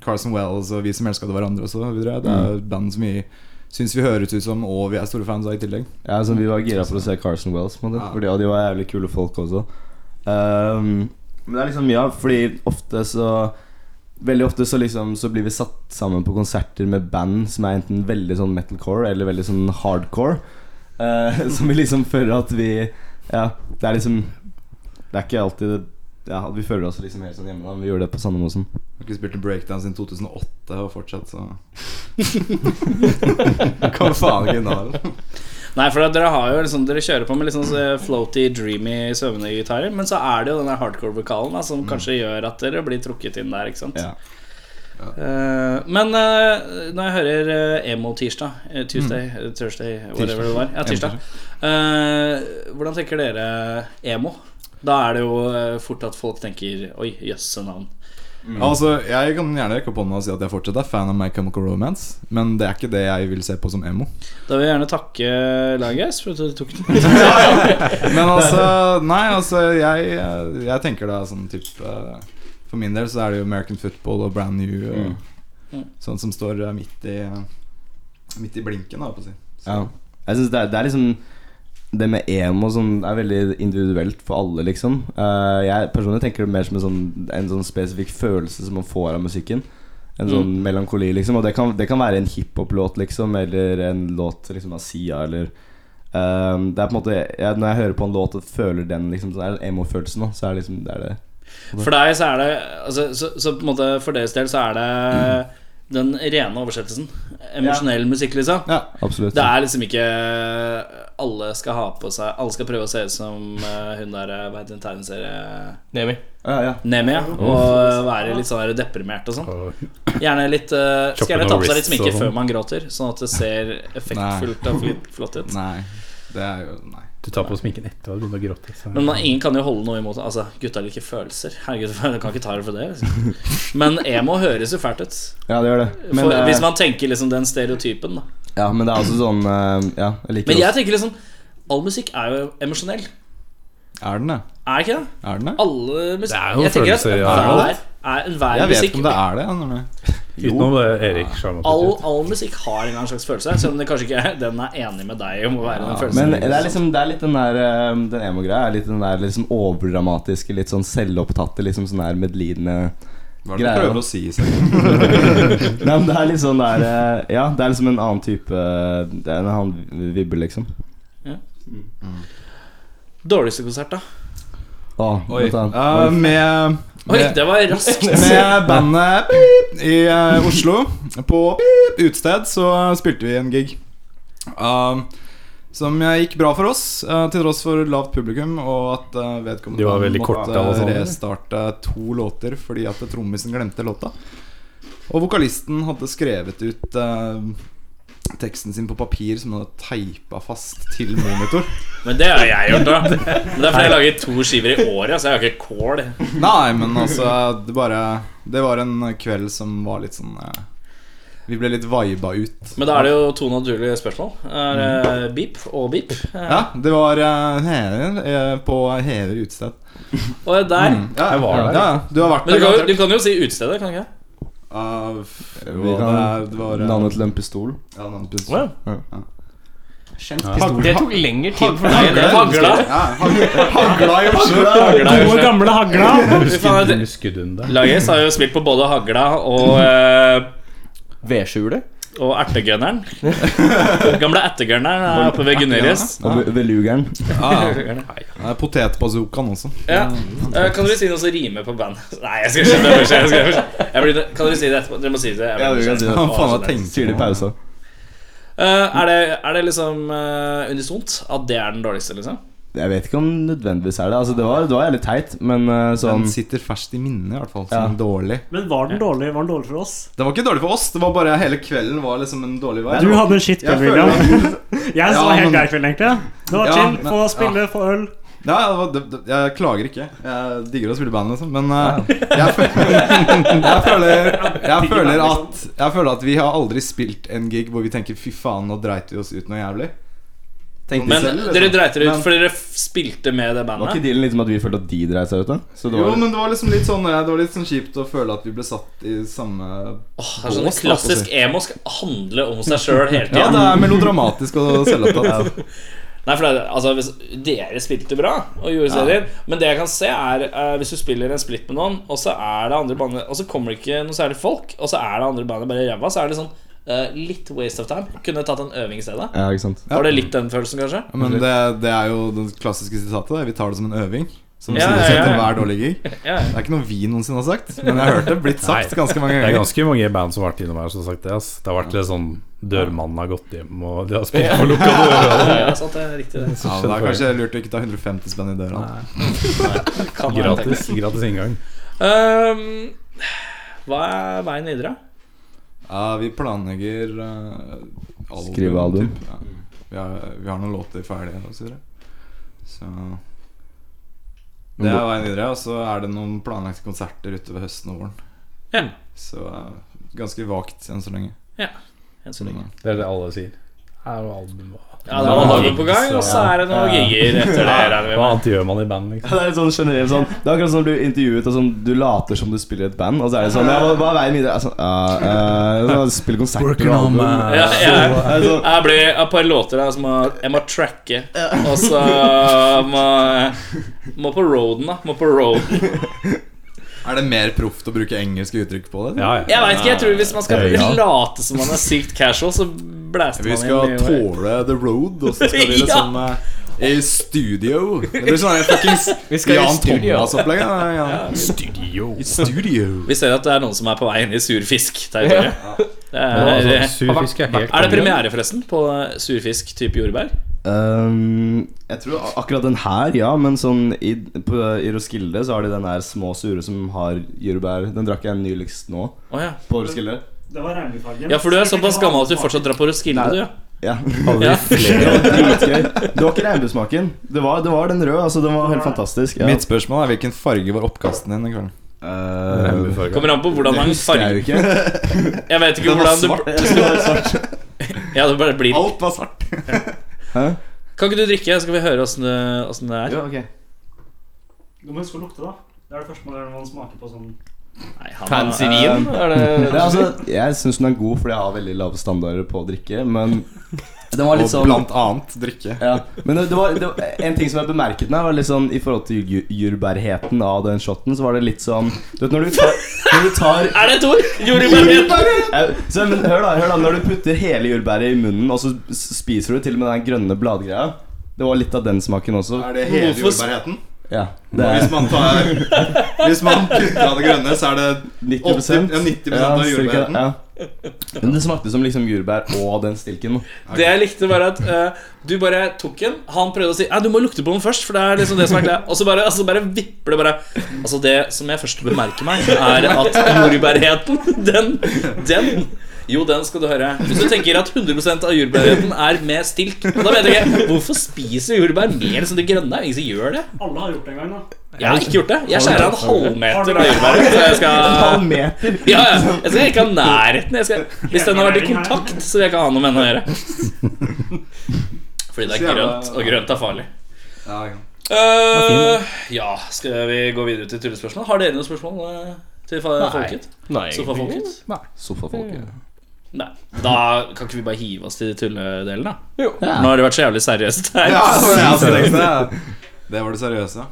Speaker 6: Carson Wells og vi som elsker hverandre også. Videre. Det er band som vi syns vi høres ut som, og vi er store fans av i tillegg.
Speaker 7: Ja, altså, vi var gira for å se Carson Wells, på en måte,
Speaker 6: Ja.
Speaker 7: fordi, og de var jævlig kule folk også. Ehm, men det er liksom mye av Fordi ofte så Veldig ofte så liksom Så blir vi satt sammen på konserter med band som er enten veldig sånn metalcore eller veldig sånn hardcore. eh, som vi liksom føler at vi Ja, det er liksom Det er ikke alltid ja, at vi føler oss liksom helt sånn hjemme. da men Vi gjorde det på Sandemosen.
Speaker 6: Har ikke spilt en breakdance siden 2008 og fortsatt, så Kan faen ikke inneholde.
Speaker 2: Nei, for dere har jo liksom Dere kjører på med litt sånn så floaty, dreamy, søvnende gitarer, men så er det jo den der hardcore-vokalen da, som kanskje gjør at dere blir trukket inn der, ikke sant?
Speaker 7: Mm. Ja.
Speaker 2: Eh, men eh, når jeg hører eh, emo-tirsdag, eh, Tuesday,
Speaker 7: Mm.
Speaker 2: eh, Thursday, whatever det var Ja, tirsdag. Eh, hvordan tenker dere emo? Da er det jo eh, fort at folk tenker Oi, jøsse navn.
Speaker 6: Altså, jeg kan gjerne rekke opp hånda og si at jeg fortsatt er fan av My Chemical Romance, men det er ikke det jeg vil se på som emo.
Speaker 2: Da vil jeg gjerne takke laget for at dere tok den.
Speaker 6: Men altså, nei, altså Jeg, jeg tenker da sånn typ eh, For min del så er det jo American football og brand new og, Sånn som står eh, midt i Midt i blinken, da, holdt på å si. Så-
Speaker 7: Ja. Jeg synes det, er, det er liksom Det med emo sånn, er veldig individuelt for alle, liksom. Eh, jeg personlig tenker det mer som en sånn, en sånn spesifikk følelse som man får av musikken. En sånn
Speaker 2: Mm.
Speaker 7: melankoli, liksom. Og det kan, det kan være en hiphop-låt, liksom, eller en låt liksom, av Sia, eller eh, Det er på en måte jeg, Når jeg hører på en låt og føler den, liksom, så er det emo-følelsen, da. Så er det liksom Det er det.
Speaker 2: For deg så er det altså, så, så på en måte for deres del så er det den rene oversettelsen. Emosjonell musikk, liksom.
Speaker 6: Ja.
Speaker 7: Absolutt.
Speaker 2: Det er liksom ikke eh, Alle skal ha på seg Alle skal prøve å se ut som eh, hun der eh, Hva heter hun tegneserie
Speaker 4: Nemi.
Speaker 7: ja, ja.
Speaker 2: Nemi, ja. Og være litt sånn der deprimert og sånn. Gjerne litt eh, Skal gjerne ta på seg litt sminke
Speaker 3: Chopping
Speaker 2: før
Speaker 3: Norris og
Speaker 2: man gråter, sånn at det ser effektfullt og fl- flott ut.
Speaker 6: Nei. Det er jo Nei.
Speaker 3: Du tar på sminken etter og begynner å gråte. Så.
Speaker 2: Men man, ingen kan jo holde noe imot Altså, gutta liker følelser. Herregud, du kan ikke ta det for det. Liksom. Men emo høres jo fælt ut.
Speaker 7: ja, det gjør det. Men,
Speaker 2: For,
Speaker 7: det er-
Speaker 2: hvis man tenker liksom den stereotypen, da.
Speaker 7: ja, men det er også sånn eh, Ja, jeg liker
Speaker 2: Men
Speaker 7: det.
Speaker 2: jeg tenker liksom All musikk er jo emosjonell.
Speaker 6: Er den det?
Speaker 2: Er ikke det?
Speaker 6: Er den det?
Speaker 2: Alle musikk
Speaker 3: Det er jo
Speaker 2: Jeg tenker
Speaker 3: følelser,
Speaker 2: at
Speaker 3: ja.
Speaker 2: enhver, er, enhver
Speaker 6: Jeg vet
Speaker 2: musikk
Speaker 6: ikke om det er det. eller noe.
Speaker 3: Utenom eh, Erik Sjarmant.
Speaker 2: all, all musikk har en eller annen slags følelse, selv om det kanskje ikke er den er enig med deg om å være den følelsen.
Speaker 7: Men det er liksom Det er litt den der eh, Den emo-greia er litt den der liksom overdramatiske, litt sånn selvopptatte, liksom sånn der medlidende
Speaker 6: Hva er det
Speaker 7: Greier,
Speaker 6: du
Speaker 7: da.
Speaker 6: prøver å si? Seg?
Speaker 7: Nei, men det er litt sånn der eh, Ja, det er liksom en annen type Det er en annen vibbe, liksom.
Speaker 2: Dårligste konsert, da?
Speaker 7: Å,
Speaker 6: Oi.
Speaker 7: vent da.
Speaker 6: Eh, med
Speaker 2: Oi,
Speaker 6: med,
Speaker 2: det var raskt!
Speaker 6: med bandet Beep i eh, Oslo. På Beep utested så spilte vi en gig. Um, som gikk bra for oss, eh, til tross for lavt publikum og at eh, vedkommende
Speaker 3: De var
Speaker 6: band
Speaker 3: veldig korte,
Speaker 6: måtte
Speaker 3: alle sammen.
Speaker 6: restarte to låter fordi at trommisen glemte låta. Og vokalisten hadde skrevet ut eh, teksten sin på papir som han hadde teipa fast til monitor.
Speaker 2: Men det har jeg gjort, da. Men det er fordi jeg lager to skiver i året, så jeg har ikke kål.
Speaker 6: Nei, men altså det, bare, det var en kveld som var litt sånn eh, Vi ble litt viba ut.
Speaker 2: Men da er det jo to naturlige spørsmål. Er eh, beep og beep. Eh,
Speaker 6: Ja, det var eh, Hever eh, på Hever utested.
Speaker 2: Og er der.
Speaker 6: Ja, jeg
Speaker 3: var der.
Speaker 6: Ja, ja, du har vært
Speaker 2: Men du
Speaker 6: der.
Speaker 2: kan, jo-
Speaker 6: garantert.
Speaker 2: du kan jo si utestedet, kan du ikke?
Speaker 6: Ja, f-
Speaker 7: Vi
Speaker 6: jo,
Speaker 7: kan
Speaker 6: det, det var eh,
Speaker 7: navnet til en pistol.
Speaker 6: ja, navnet til-
Speaker 4: Wow.
Speaker 6: Hagla-
Speaker 4: Det tok lengre tid for
Speaker 2: Nei,
Speaker 4: deg.
Speaker 2: det er Hagla.
Speaker 6: Ja, hagla- Hagla i Oslo.
Speaker 8: Gode, gamle hagla.
Speaker 2: Fy faen, det-
Speaker 3: Skuddhunde.
Speaker 2: Lages har jo spilt på både Hagla og eh,
Speaker 4: Vedskjulet?
Speaker 2: Og ertegunneren. Den Gamle ertegunneren er oppe ved Gunneris.
Speaker 7: Og ve- velugeren.
Speaker 6: Ah, ja. Det er Potetbazookaen også.
Speaker 2: Ja.
Speaker 6: Mm.
Speaker 2: Eh, Kan dere si noe som rimer på band? Nei, jeg skal ikke det først. Jeg skal det først. Jeg blir, kan dere si det etterpå? Dere må si det. Jeg blir nysgjerrig.
Speaker 6: Hva faen har jeg tenkt
Speaker 7: Sier det i pausa.
Speaker 2: Eh, er, det, er det liksom eh, unisont at det er den dårligste, liksom?
Speaker 7: Jeg vet ikke om nødvendigvis er det. Altså, det var, det var jævlig teit, men eh, sånn
Speaker 6: Den sitter ferskt i minnet, i hvert fall. Som
Speaker 7: Ja.
Speaker 6: dårlig.
Speaker 8: Men var den dårlig Var den dårlig for oss?
Speaker 6: Det var ikke dårlig for oss, det var bare hele kvelden var liksom en dårlig vei.
Speaker 8: Du hadde en shitkveld,
Speaker 6: Jeg føler
Speaker 8: William. Jeg så
Speaker 6: Ja,
Speaker 8: helt
Speaker 6: men-
Speaker 8: grei kvelden, egentlig. Det var
Speaker 6: Ja,
Speaker 8: chill.
Speaker 6: men-
Speaker 8: Få spille, få øl.
Speaker 6: Ja, ja, det var- det, det, jeg klager ikke. Jeg digger å spille band, liksom. Men eh, jeg, føler, jeg, føler, jeg, føler at, jeg føler at vi har aldri spilt en gig hvor vi tenker 'fy faen, nå dreit vi oss ut noe jævlig'. Tenkte
Speaker 2: Men
Speaker 6: selv, liksom.
Speaker 2: dere dreit dere ut
Speaker 6: Men-
Speaker 2: fordi dere f- spilte med det
Speaker 7: Var
Speaker 2: bandet.
Speaker 7: ikke dealen liksom at vi følte at de dreit seg ut, da? Så det var,
Speaker 6: Jo, men det var liksom litt sånn eh, Det var litt sånn kjipt å føle at vi ble satt i samme
Speaker 2: Åh, det er sånn
Speaker 6: Bås, da,
Speaker 2: Klassisk emo skal handle om seg sjøl hele
Speaker 6: Ja, det
Speaker 2: tida.
Speaker 6: er melodramatisk og selvopptatt.
Speaker 2: Nei, for det, er- altså, hvis- dere spilte bra og gjorde serier, men det jeg kan se, er eh, hvis du spiller en split med noen, og så er det andre bandet Og så kommer det ikke noe særlig folk, og så er det andre bandet bare ræva, så er det sånn eh, litt waste of time. Kunne tatt en øving i stedet.
Speaker 7: ja, ikke sant?
Speaker 2: Var det litt den følelsen, kanskje?
Speaker 6: Ja, Men det, det er jo det klassiske sitatet. det. Vi tar det som en øving. Som
Speaker 2: Ja, ja,
Speaker 6: sies
Speaker 2: ja, ja.
Speaker 6: etter hver dårlig gig. Det
Speaker 2: Ja, ja.
Speaker 6: er ikke noe vi noensinne har sagt, men jeg har hørt det blitt sagt
Speaker 3: Nei.
Speaker 6: ganske mange
Speaker 3: Det er
Speaker 6: ganger.
Speaker 3: ganske mange band som har vært innom her som har sagt det. Ass. Det har vært litt sånn Dørmannen har gått hjem, og de har spilt på lukka dører.
Speaker 2: Ja, ja, sant, det er riktig, det.
Speaker 6: Ja, men det er kanskje lurt å ikke ta 150 spenn i døra.
Speaker 2: Kan være en
Speaker 3: Gratis, gratis inngang.
Speaker 2: teknikk. Ehm, hva er veien videre?
Speaker 6: Ja, vi planlegger eh, album,
Speaker 7: Skrive album.
Speaker 6: typ. Ja. Vi, har, vi har noen låter ferdige og så videre. Så det er veien videre. Og så er det noen planlagte konserter utover høsten og våren.
Speaker 2: Ja.
Speaker 6: Så eh, ganske vagt enn så lenge.
Speaker 2: Enn så lenge.
Speaker 3: Det er det alle sier. Er jo album og
Speaker 2: Ja, det var dagen på gang, og så er det noen gigger etter det. regner vi
Speaker 3: Hva
Speaker 2: med.
Speaker 3: annet gjør man i band, liksom?
Speaker 7: Det er litt sånn generelt sånn Det er akkurat som du blir intervjuet, og sånn, du later som du spiller i et band, og så er det sånn ja, hva- Hva er veien videre? Altså, ja, eh, spille konsert og album.
Speaker 2: Ja, ja.
Speaker 7: Det er sånn,
Speaker 2: Jeg ble et par låter der som må- jeg må tracke. Og så må må på roaden, da. Må på roaden.
Speaker 6: Er det mer proft å bruke engelske uttrykk på det?
Speaker 3: Ja, ja.
Speaker 2: Jeg vet ikke, jeg tror hvis man skal
Speaker 7: Ja.
Speaker 2: late som man er sykt casual, så blæster man
Speaker 6: Vi skal
Speaker 2: inn i-
Speaker 6: tåle the road, og så skal
Speaker 2: Ja.
Speaker 6: vi liksom eh, i studio. Det blir sånn her fuckings
Speaker 4: skal i
Speaker 6: Jan
Speaker 4: studio.
Speaker 6: Thomas-opplegg. ja, ja.
Speaker 3: Studio.
Speaker 6: I studio.
Speaker 2: Vi ser at det er noen som er på vei inn i surfisk. territoriet. Det
Speaker 3: Altså,
Speaker 2: Er,
Speaker 3: Surfisk er helt
Speaker 2: er det premiere, forresten, på surfisk type jordbær?
Speaker 7: ehm, jeg tror ak- akkurat den her, ja, men sånn i, på, i Roskilde så har de den der små sure som har jordbær. Den drakk jeg nyligst nå,
Speaker 2: Å ja.
Speaker 7: på Roskilde.
Speaker 8: Det var regnbuefargen.
Speaker 2: ja, for du er såpass gammel at du fortsatt drar på Roskilde, du, ja. ja.
Speaker 7: Ja. Det var dritgøy. Det var ikke regnbuesmaken. Det var, det var den røde. altså Den var helt fantastisk. Ja.
Speaker 6: Mitt spørsmål er hvilken farge var oppkasten din den kvelden?
Speaker 7: Eh,
Speaker 2: Kommer an på hvordan
Speaker 7: det
Speaker 2: man
Speaker 7: husker jeg jo
Speaker 2: farger
Speaker 7: ikke.
Speaker 2: Jeg vet ikke
Speaker 6: Den var
Speaker 2: hvordan du
Speaker 6: svart.
Speaker 2: Ja, det bare blir
Speaker 6: Alt var svart.
Speaker 2: Kan ikke du drikke, så skal vi høre åssen det, åssen det er?
Speaker 7: Jo, ok.
Speaker 8: Du må huske å lukte, da. Det er det første man, man smaker på sånn
Speaker 2: Nei, han,
Speaker 4: Fancy
Speaker 7: Eh,
Speaker 4: vin? Er sånn- det
Speaker 7: Ja, altså, jeg syns den er god fordi jeg har veldig lave standarder på å drikke, men den var
Speaker 6: Og
Speaker 7: litt sånn
Speaker 6: blant annet drikke.
Speaker 7: ja. Men det, det, var, det var en ting som jeg bemerket meg, var litt sånn i forhold til ju- jordbærheten av den shoten, så var det litt sånn Du vet når du tar, når du tar
Speaker 2: Er det et ord? Jordbærhet?
Speaker 7: Eh, så, men, hør, da, hør da, når du putter hele jordbæret i munnen, og så s- spiser du til og med den grønne bladgreia Det var litt av den smaken også.
Speaker 6: Er det hele
Speaker 2: Hvorfor-
Speaker 6: jordbærheten?
Speaker 7: Ja, det
Speaker 6: Hvis
Speaker 7: er
Speaker 6: man tar Hvis man kutter av det grønne, så er det
Speaker 7: 90
Speaker 6: 80 ja, 90% av
Speaker 7: cirka,
Speaker 6: jordbærheten.
Speaker 7: Ja. Men det smakte som liksom jordbær og den stilken.
Speaker 2: Det jeg likte, var at eh, du bare tok en. Han prøvde å si Nei, du må lukte på den først, for det er liksom det som er klær. Og så bare, altså, bare vipper det bare. Altså, det som jeg først bemerker meg, er at jordbærheten, den, den jo, den skal du høre. Hvis du tenker at 100 av jordbærheten er med stilk Da vet jeg ikke Hvorfor spiser jordbær mer som det grønne? Ingen som gjør det.
Speaker 8: Alle har gjort det en gang, da.
Speaker 2: Jeg har ikke gjort det. Jeg skjærer en halvmeter av jordbæret. Så jeg skal
Speaker 7: Halv meter!
Speaker 2: Ja, ja. Jeg skal ikke ha nærheten. Jeg skal, hvis den har vært i kontakt, så vil jeg ikke ha noe med den å gjøre. Fordi det er grønt, og grønt er farlig.
Speaker 6: Ja, ja.
Speaker 2: Eh, ja, skal vi gå videre til tullespørsmål? Har dere noen spørsmål eh, til fa- folket?
Speaker 4: Nei.
Speaker 2: Sofafolket?
Speaker 7: Sofafolket.
Speaker 2: Nei. Da kan ikke vi bare hive oss til tulledelen, da?
Speaker 4: Jo.
Speaker 2: Nå har det vært så jævlig seriøst her.
Speaker 6: Ja, det var det jeg også tenkte. Det var det seriøse.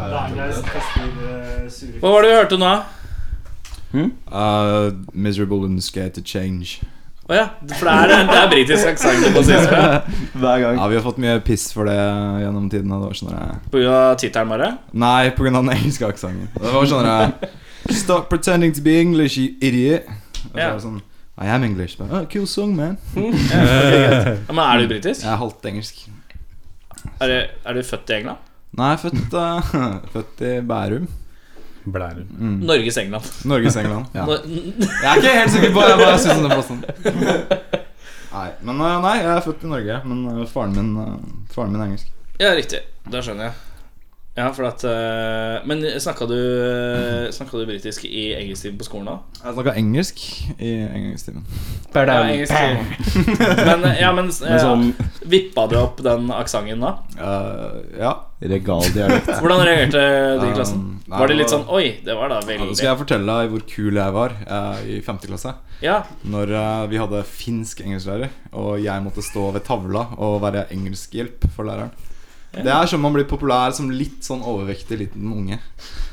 Speaker 8: eh,
Speaker 2: Hva var det vi hørte nå?
Speaker 6: Uh, miserable and scared to change.
Speaker 2: Å ja, for det er, det er britisk aksent på siste.
Speaker 7: Hver gang.
Speaker 6: Ja, Vi har fått mye piss for det gjennom tidene. Det var sånn der,
Speaker 2: På grunn av tittelen bare.
Speaker 6: Nei, pga. den engelske aksenten. Det var sånn der, Stop pretending to be English, you idiot. Og så
Speaker 2: Ja.
Speaker 6: er det sånn I am English. But, oh, cool song, man.
Speaker 2: Ja, men er du britisk?
Speaker 6: Jeg er halvt engelsk. Mm.
Speaker 2: Er du, er du født i England?
Speaker 6: Nei, født, eh, født i Bærum.
Speaker 3: Blærum.
Speaker 2: Norges England.
Speaker 6: Norges England. Mm. Ja.
Speaker 2: Nå-
Speaker 6: Jeg er ikke helt sikker på hva jeg syns om den plassen. Nei, men eh, nei, jeg er født i Norge, men eh, faren min, eh, faren min er engelsk.
Speaker 2: Ja, riktig. Da skjønner jeg. Ja, for at eh, Men snakka du, snakket du britisk i engelsktiden på skolen da?
Speaker 6: Jeg snakka engelsk i engelsktimen.
Speaker 2: Ja, engelsk. Men, eh, ja, men,
Speaker 7: Men sånn
Speaker 2: vippa du opp den aksenten da?
Speaker 6: Eh, ja.
Speaker 7: regaldialekt.
Speaker 2: Hvordan reagerte du i klassen?
Speaker 6: Um, nei,
Speaker 2: Var de
Speaker 6: det
Speaker 2: litt
Speaker 6: var-
Speaker 2: sånn Oi, det var da
Speaker 6: Ja, Nå
Speaker 2: veldig
Speaker 6: skal jeg fortelle deg hvor kul jeg var eh, i femte klasse.
Speaker 2: Ja,
Speaker 6: Når eh, vi hadde finsk engelsklærer, og jeg måtte stå ved tavla og være engelskhjelp for læreren. Det er som man blir populær som litt sånn overvektig liten unge.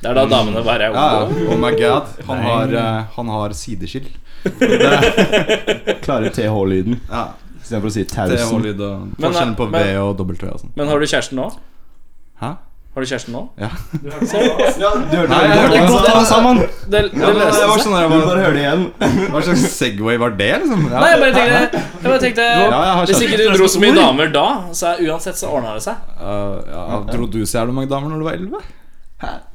Speaker 2: Det er da damene bare er
Speaker 6: Mm. Ja, ja. Oh my god, han har, eh, han har sideskill. Det-
Speaker 7: Klarer TH-lyden
Speaker 6: Ja,
Speaker 7: istedenfor å si
Speaker 6: det
Speaker 7: tausen.
Speaker 6: lyd og
Speaker 2: Men, eh,
Speaker 6: forskjellen på V
Speaker 2: men-
Speaker 6: og W og sånn.
Speaker 2: Men har du kjæresten nå?
Speaker 6: Hæ?
Speaker 2: Har du kjæresten nå?
Speaker 6: Ja.
Speaker 7: Du hørte
Speaker 6: Nei, jeg hørte ikke på det sammen!
Speaker 2: Det, det
Speaker 6: Ja, men det var
Speaker 2: løste seg.
Speaker 6: sånn der,
Speaker 7: Du bare
Speaker 6: hva,
Speaker 7: hører det igjen.
Speaker 6: hva slags Segway var det, liksom? Ja.
Speaker 2: Nei, jeg bare tenkte, jeg bare tenkte
Speaker 6: Ja, jeg har
Speaker 2: Hvis
Speaker 6: kjæresten.
Speaker 2: ikke du dro så mye damer da, så er uansett så ordna det seg.
Speaker 6: Eh, ja, dro du så jævlig mange damer når du var 11?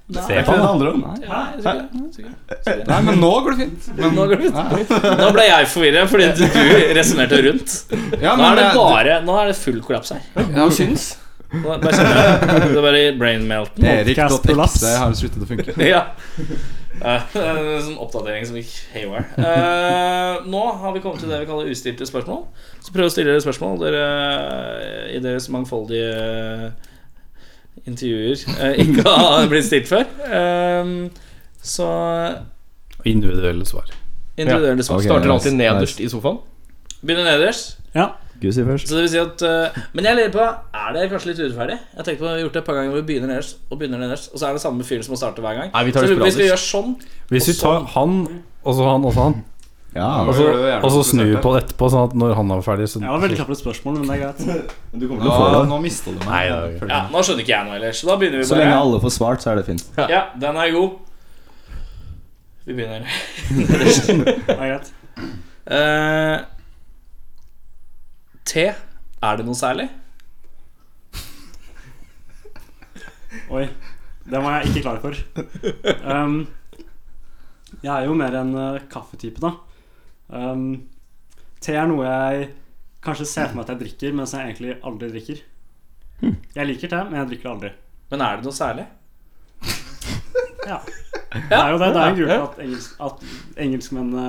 Speaker 7: Det er ikke det det handler om.
Speaker 2: Nei, jeg tror ikke det, jeg tror ikke det.
Speaker 6: Nei, men nå går det fint. Men,
Speaker 2: Nå går det Nå ble jeg forvirra fordi du resonnerte rundt.
Speaker 6: ja,
Speaker 2: Nå er det
Speaker 6: jeg-
Speaker 2: bare Nå er det full kollaps her.
Speaker 6: ja, syns.
Speaker 2: Nå er- Bare kjenner jeg Det er bare brain melten.
Speaker 8: Podcast-prolaps.
Speaker 6: Erik.exe har sluttet å funke.
Speaker 2: Ja. Eh, det er en sånn oppdatering som gikk haywire. Eh, nå har vi kommet til det vi kaller ustilte spørsmål. Så prøv å stille dere spørsmål dere, i deres mangfoldige eh, intervjuer eh, ikke har blitt stilt før. Eh, så
Speaker 3: Og individuelle svar.
Speaker 2: individuelle svar.
Speaker 7: Ok.
Speaker 4: Starter alltid
Speaker 7: nice,
Speaker 4: nederst i sofaen.
Speaker 2: Begynner nederst.
Speaker 7: Skal vi si først?
Speaker 2: Så det vil si at eh, Men jeg lurer på Er det kanskje litt urettferdig? Jeg har tenkt på Vi har gjort det et par ganger hvor vi begynner nederst og begynner nederst, og så er det samme fyren som må starte hver gang.
Speaker 4: Nei, vi
Speaker 2: så
Speaker 4: tar det
Speaker 2: jeg lurer på hvis vi gjør
Speaker 4: sporadisk.
Speaker 2: sånn
Speaker 3: Hvis vi tar han, og så han, og så han,
Speaker 7: Ja.
Speaker 3: og så, og så snur vi på det etterpå, sånn at når han er ferdig, så
Speaker 8: Det var veldig kjapt spørsmål, men det er greit.
Speaker 7: Du kommer til å få
Speaker 6: Nå,
Speaker 7: det.
Speaker 6: nå mista du meg.
Speaker 3: Nei, det
Speaker 2: Ja, nå skjønner ikke jeg noe ellers. Så da begynner vi
Speaker 7: Så
Speaker 2: bare.
Speaker 7: lenge alle får svart, så er det fint.
Speaker 2: Ja, den er god. Vi begynner.
Speaker 8: Det er greit.
Speaker 2: Eh, te. Er det noe særlig?
Speaker 8: Oi. Den var jeg ikke klar for. Um, jeg er jo mer en eh, kaffetype, da. Um, te er noe jeg kanskje ser for meg at jeg drikker, men som jeg egentlig aldri drikker. Jeg liker te, men jeg drikker det aldri.
Speaker 2: Men er det noe særlig?
Speaker 8: Ja. Det er jo det. Det er en grunn til at, engelsk, at engelskmennene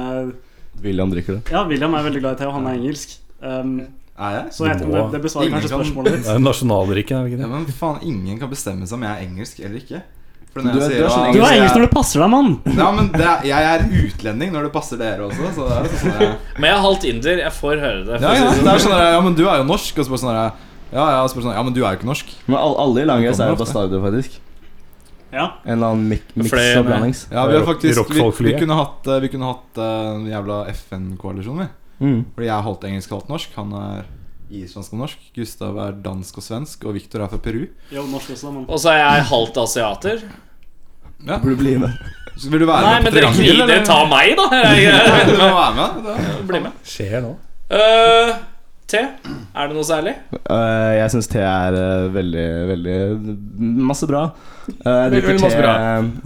Speaker 7: William drikker det.
Speaker 8: Ja, William er veldig glad i te, og han er engelsk. Um,
Speaker 6: Er jeg?
Speaker 8: så jeg vet ikke om det, det besvarer
Speaker 6: Ingen
Speaker 8: kanskje
Speaker 6: kan-
Speaker 8: spørsmålet ditt.
Speaker 3: er jo nasjonaldrikken, er det
Speaker 6: Ja,
Speaker 3: ikke det?
Speaker 6: men faen, ingen kan bestemme seg om jeg er engelsk eller ikke. For
Speaker 7: Du er- du er sånn
Speaker 8: Du er engelsk når det passer deg, mann!
Speaker 6: Ja, men det er, jeg er utlending når det passer dere også. Så det er sånn der-
Speaker 2: Men jeg er halvt inder. Jeg får høre det.
Speaker 6: ja, ja, det er sånn der, ja, men du er jo norsk. Og så bare sånn der, ja, ja, og så bare sånn, ja, men du er jo ikke norsk.
Speaker 7: Men alle, alle i Langøys er jo bastarder, faktisk.
Speaker 8: Ja.
Speaker 7: En eller annen mik miks
Speaker 2: Flere
Speaker 7: og
Speaker 2: med-
Speaker 7: blandings.
Speaker 6: Ja, Vi har faktisk, vi, vi
Speaker 3: Rockfolk-flyet.
Speaker 6: kunne hatt, eh, vi kunne hatt eh, en jævla FN-koalisjon, vi.
Speaker 7: Mm.
Speaker 6: Fordi jeg er halvt engelsk, halvt norsk. Han er islandsk og norsk. Gustav er dansk og svensk. Og Viktor er fra Peru.
Speaker 8: Jo, norsk også, mann.
Speaker 2: Og så er jeg halvt asiater.
Speaker 6: Ja.
Speaker 7: Burde bli med.
Speaker 6: Så vil du være
Speaker 2: Nei,
Speaker 6: med
Speaker 2: men
Speaker 6: på
Speaker 2: dere,
Speaker 6: triangel,
Speaker 2: dere
Speaker 6: eller?
Speaker 2: tar meg, da. Jeg,
Speaker 6: Du
Speaker 2: jeg,
Speaker 6: må være med. da.
Speaker 2: bli med.
Speaker 3: Skjer nå.
Speaker 2: Eh, te. Er det noe særlig?
Speaker 7: Øh, jeg syns te er øh, veldig, veldig masse bra. Øh, jeg,
Speaker 4: Veldig,
Speaker 7: drikker
Speaker 4: veldig
Speaker 7: te,
Speaker 4: masse bra.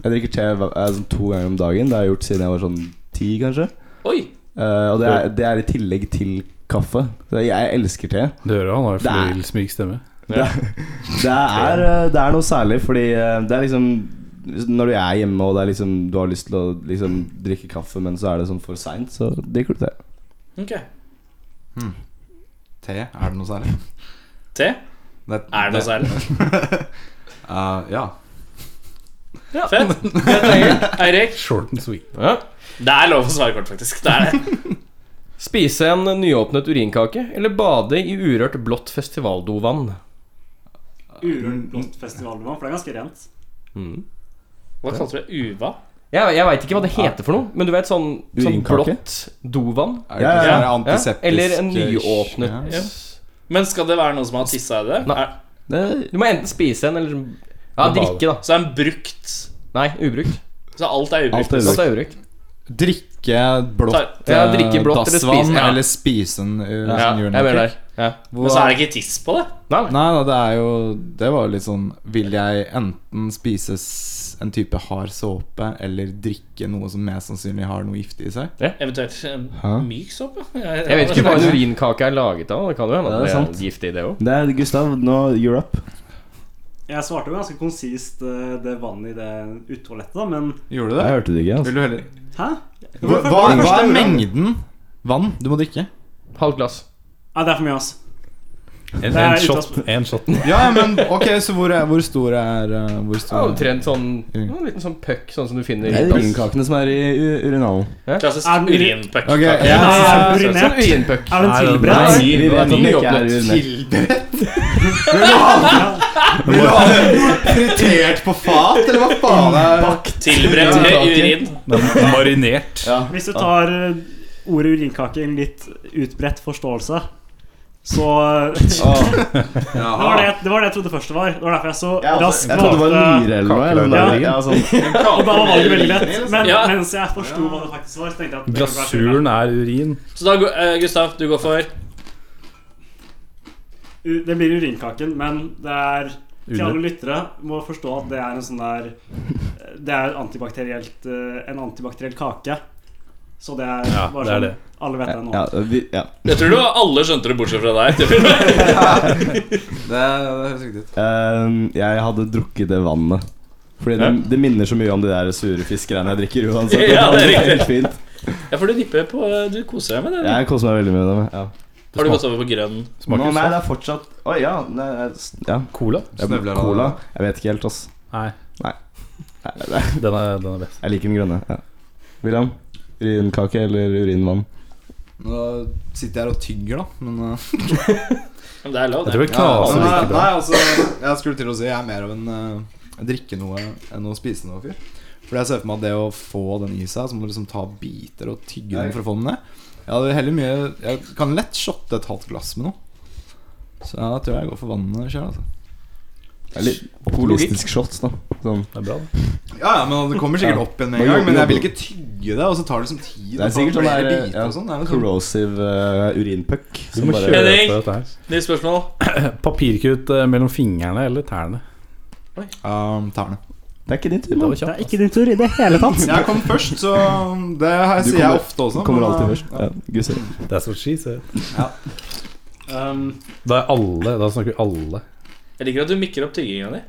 Speaker 7: jeg drikker te hver- eh, sånn to ganger om dagen. Det har jeg gjort siden jeg var sånn ti, kanskje.
Speaker 2: Oi.
Speaker 7: Eh, og det er, det er i tillegg til kaffe. Så Jeg, jeg elsker te.
Speaker 3: Du hører han har jo
Speaker 7: Det er-
Speaker 3: flygelsmyk stemme.
Speaker 7: Det er, eh, det er noe særlig, fordi eh, det er liksom Når du er hjemme og det er liksom, du har lyst til å liksom, drikke kaffe, men så er det sånn for seint, så drikker du te.
Speaker 2: Ok.
Speaker 6: Te, er det noe særlig?
Speaker 2: Te? Er det noe særlig?
Speaker 6: Eh, ja.
Speaker 2: Fett. Fett, Eirik.
Speaker 3: Short and sweet.
Speaker 4: Ja.
Speaker 2: Det er lov å svare kort, faktisk. Det er det.
Speaker 4: Spise en nyåpnet urinkake eller bade i urørt blått festivaldovann?
Speaker 8: Urørt blått festivalvann, for det er ganske rent.
Speaker 2: Hva kalte du det? Uva?
Speaker 4: Jeg, jeg veit ikke hva det heter for noe, men du vet sånn, sånn
Speaker 6: Urinkake?
Speaker 4: blått dovann?
Speaker 6: Er det ikke
Speaker 7: Ja,
Speaker 6: sånn
Speaker 4: Ja,
Speaker 6: antiseptisk eh,
Speaker 4: eller en
Speaker 6: ja.
Speaker 4: nyåpnet
Speaker 2: Men skal det være noen som har tissa i det?
Speaker 4: Nei.
Speaker 2: Er,
Speaker 4: Du må enten spise en eller Ja, drikke, da.
Speaker 2: så er den brukt?
Speaker 4: Nei, ubrukt.
Speaker 2: Så alt er ubrukt?
Speaker 7: Alt er
Speaker 4: Alt er ubrukt.
Speaker 6: Drikke blått eh,
Speaker 4: Ja, drikke blått eller
Speaker 6: dassvann,
Speaker 4: spise, ja.
Speaker 6: eller spise en uh,
Speaker 4: Ja,
Speaker 6: sånn
Speaker 4: jeg
Speaker 6: urnake.
Speaker 4: mener der. Ja.
Speaker 6: Hvor-
Speaker 2: Men så er det ikke tiss på det?
Speaker 4: Nei, nei.
Speaker 6: Nei da, det er jo Det var jo litt sånn Vil jeg enten spise s- en type hard såpe eller drikke noe som mest sannsynlig har noe giftig i seg?
Speaker 2: Eventuelt en myk såpe?
Speaker 4: Jeg vet ikke hva en urinkake er laget av. Det kan jo hende at
Speaker 7: Ja, det
Speaker 4: det
Speaker 7: er
Speaker 4: er
Speaker 7: sant.
Speaker 4: giftig, det òg.
Speaker 7: Det er Gustav, nå you're up.
Speaker 8: Jeg svarte jo ganske konsist eh, det vannet i det utoalettet, da, men
Speaker 6: Gjorde du
Speaker 7: Jeg
Speaker 6: det?
Speaker 7: hørte det ikke. altså
Speaker 6: Vil du heller
Speaker 8: Hæ?
Speaker 6: hva, hva, hva er mengden vann du må drikke?
Speaker 4: Halvt glass.
Speaker 8: Nei, det er for mye, ass.
Speaker 3: En,
Speaker 8: Nei,
Speaker 3: en
Speaker 8: uten å
Speaker 3: shot. En shot.
Speaker 6: Ja, ja, men ok, så hvor, er, hvor stor er uh, Hvor
Speaker 4: Ja,
Speaker 6: stor
Speaker 4: Omtrent sånn en liten sånn puck, sånn som du finner
Speaker 7: Det
Speaker 4: i
Speaker 7: er urinkakene som er i u- urinalen.
Speaker 2: sånn Klassisk
Speaker 8: Er den-
Speaker 2: urinpuck.
Speaker 6: Ok,
Speaker 2: kake.
Speaker 6: ja.
Speaker 8: Er det
Speaker 4: Sånn
Speaker 8: urinert?
Speaker 4: urinpuck.
Speaker 8: Er den tilberedt?
Speaker 7: Nei, vi vet
Speaker 4: sånn
Speaker 7: at det ikke er urinert.
Speaker 6: Fritert på fat, eller hva faen er
Speaker 2: Tilberedt med urin.
Speaker 3: Marinert.
Speaker 8: Hvis du tar eh, ordet urinkake i en litt utbredt forståelse, så det, var det, jeg- det var det jeg trodde først det var. Det var derfor jeg så
Speaker 7: Jeg, altså,
Speaker 8: raskt
Speaker 7: jeg trodde det var
Speaker 8: valgte-
Speaker 7: nyre eller noe. Eller den
Speaker 8: Ja.
Speaker 7: der, ja, sånn.
Speaker 8: Og da var valget veldig lett. Men
Speaker 2: Ja.
Speaker 8: mens jeg forsto hva det faktisk var, så tenkte jeg at det kan være
Speaker 3: Glasuren er urin.
Speaker 2: Så da, går- eh, Gustav, du går for
Speaker 8: u- Det blir urinkaken, men det er til alle lyttere må forstå at det er en sånn der Det er antibakterielt eh, en antibakteriell kake. Så det er
Speaker 3: Ja,
Speaker 8: bare
Speaker 3: det er
Speaker 8: sånn
Speaker 3: det.
Speaker 8: Alle vet det nå.
Speaker 7: ja, vi, ja.
Speaker 2: Jeg tror du alle skjønte det, bortsett fra deg. Tror jeg.
Speaker 6: Det, det høres riktig ut.
Speaker 7: Ehm, jeg hadde drukket det vannet. Fordi det, det minner så mye om de der sure fiskegreiene jeg drikker uansett.
Speaker 2: Ja, det er
Speaker 7: helt
Speaker 2: riktig.
Speaker 7: fint.
Speaker 2: Ja, for du nipper på eh, Du koser deg med det. eller?
Speaker 7: Jeg koser meg veldig med dem. Ja.
Speaker 2: Har du gått over på grønn?
Speaker 7: Nå,
Speaker 3: Smaker
Speaker 7: nei, det
Speaker 3: salt.
Speaker 7: er fortsatt Oi, ja. Nei, jeg- ja.
Speaker 3: Cola?
Speaker 7: Jeg-
Speaker 6: Snøvler av
Speaker 7: Cola. Jeg vet ikke helt, ass.
Speaker 3: Nei,
Speaker 7: Nei, nei,
Speaker 3: den er, den er best.
Speaker 7: Jeg liker den grønne. Ja. William? Urinkake eller urinvann?
Speaker 6: Nå sitter jeg her og tygger, da. Men uh,
Speaker 2: Men det er lov,
Speaker 3: Jeg tror
Speaker 2: det.
Speaker 3: det knaser
Speaker 6: nei,
Speaker 3: like bra.
Speaker 6: nei, altså Jeg skulle til å si jeg er mer av en eh, drikke noe enn å spise noe fyr. Fordi jeg ser for meg at det å få den i seg, så må du liksom ta biter og tygge den for å få den ned. Jeg hadde heller mye Jeg kan lett shotte et halvt glass med noe. Så ja, da tror jeg jeg går for vannet sjøl, altså.
Speaker 7: Det er Litt optimistisk shots, da. Sånn.
Speaker 3: Det er bra, det.
Speaker 6: Ja, ja, men det kommer sikkert
Speaker 7: Ja.
Speaker 6: opp igjen med en
Speaker 7: Må
Speaker 6: gang.
Speaker 7: jobbe,
Speaker 6: Men jeg vil
Speaker 7: jobbe.
Speaker 6: ikke tygge det, og så tar det liksom tid.
Speaker 7: Det er sikkert sånn
Speaker 6: der
Speaker 7: der,
Speaker 6: biter
Speaker 7: ja,
Speaker 6: og sånn. Det er jo sånn.
Speaker 7: corrosive eh, urinpuck.
Speaker 3: Du
Speaker 7: som
Speaker 3: må
Speaker 7: bare-
Speaker 3: kjøre
Speaker 2: Henning!
Speaker 3: på dette her.
Speaker 2: Nytt spørsmål.
Speaker 3: Papirkutt eh, mellom fingrene eller tærne?
Speaker 6: Um, tærne.
Speaker 7: Det er ikke din tur,
Speaker 3: Det
Speaker 7: mann.
Speaker 3: var kjapt. ass.
Speaker 8: Ikke din tur i det hele tatt.
Speaker 6: Jeg kom først, så det her
Speaker 7: Du
Speaker 6: sier jeg
Speaker 7: kommer-
Speaker 6: ofte også.
Speaker 7: Kommer
Speaker 6: men,
Speaker 7: alltid
Speaker 6: eh,
Speaker 7: først. Ja, Gusse.
Speaker 3: That's what she said.
Speaker 8: Um,
Speaker 3: Da er alle Da snakker vi alle.
Speaker 2: Jeg liker at du mikker opp tygginga di.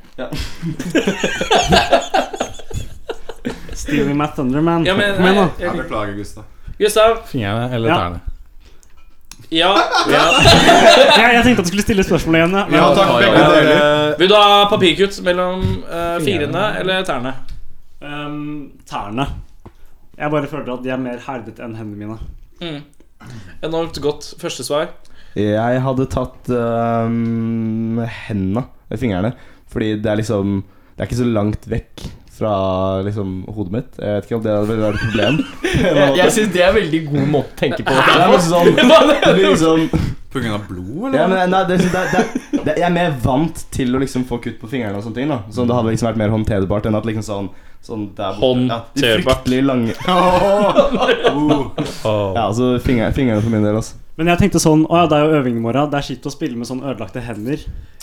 Speaker 8: Stealing my Thunderman.
Speaker 2: Ja, men,
Speaker 8: Kom igjen, da.
Speaker 2: jeg- jeg-
Speaker 6: Beklager, Gustav.
Speaker 2: Gustav.
Speaker 3: Fingrene eller
Speaker 8: Ja.
Speaker 3: tærne.
Speaker 2: Ja. ja.
Speaker 8: Jeg, jeg tenkte at du skulle stille spørsmål igjen. ja. Men,
Speaker 6: Ja, takk, begge deler.
Speaker 2: Vil du ha papirkutt mellom eh, fingrene eller tærne?
Speaker 8: um, tærne. Jeg bare føler at de er mer herdet enn hendene mine.
Speaker 2: Enormt godt første svar.
Speaker 7: Jeg hadde tatt um, henda med fingrene. Fordi det er liksom Det er ikke så langt vekk fra liksom, hodet mitt. Jeg vet ikke om det hadde vært et problem.
Speaker 4: Jeg, jeg syns det er veldig god måte å tenke på.
Speaker 7: Det er bare sånn, det blir liksom,
Speaker 6: På grunn av blod,
Speaker 7: ja, men,
Speaker 6: eller?
Speaker 7: nei, det, det, det, det, jeg er mer vant til å liksom få kutt på fingrene. og sånne ting da Så det hadde liksom vært mer håndterbart enn at liksom sånn, sånn der borte- ja, de
Speaker 2: Håndterbart.
Speaker 7: fryktelig lange
Speaker 3: Åh.
Speaker 7: Ja, altså finger, fingrene for min del, altså.
Speaker 8: Men jeg tenkte sånn Å ja, det er jo øving i morgen. Det er kjipt å spille med sånn ødelagte hender.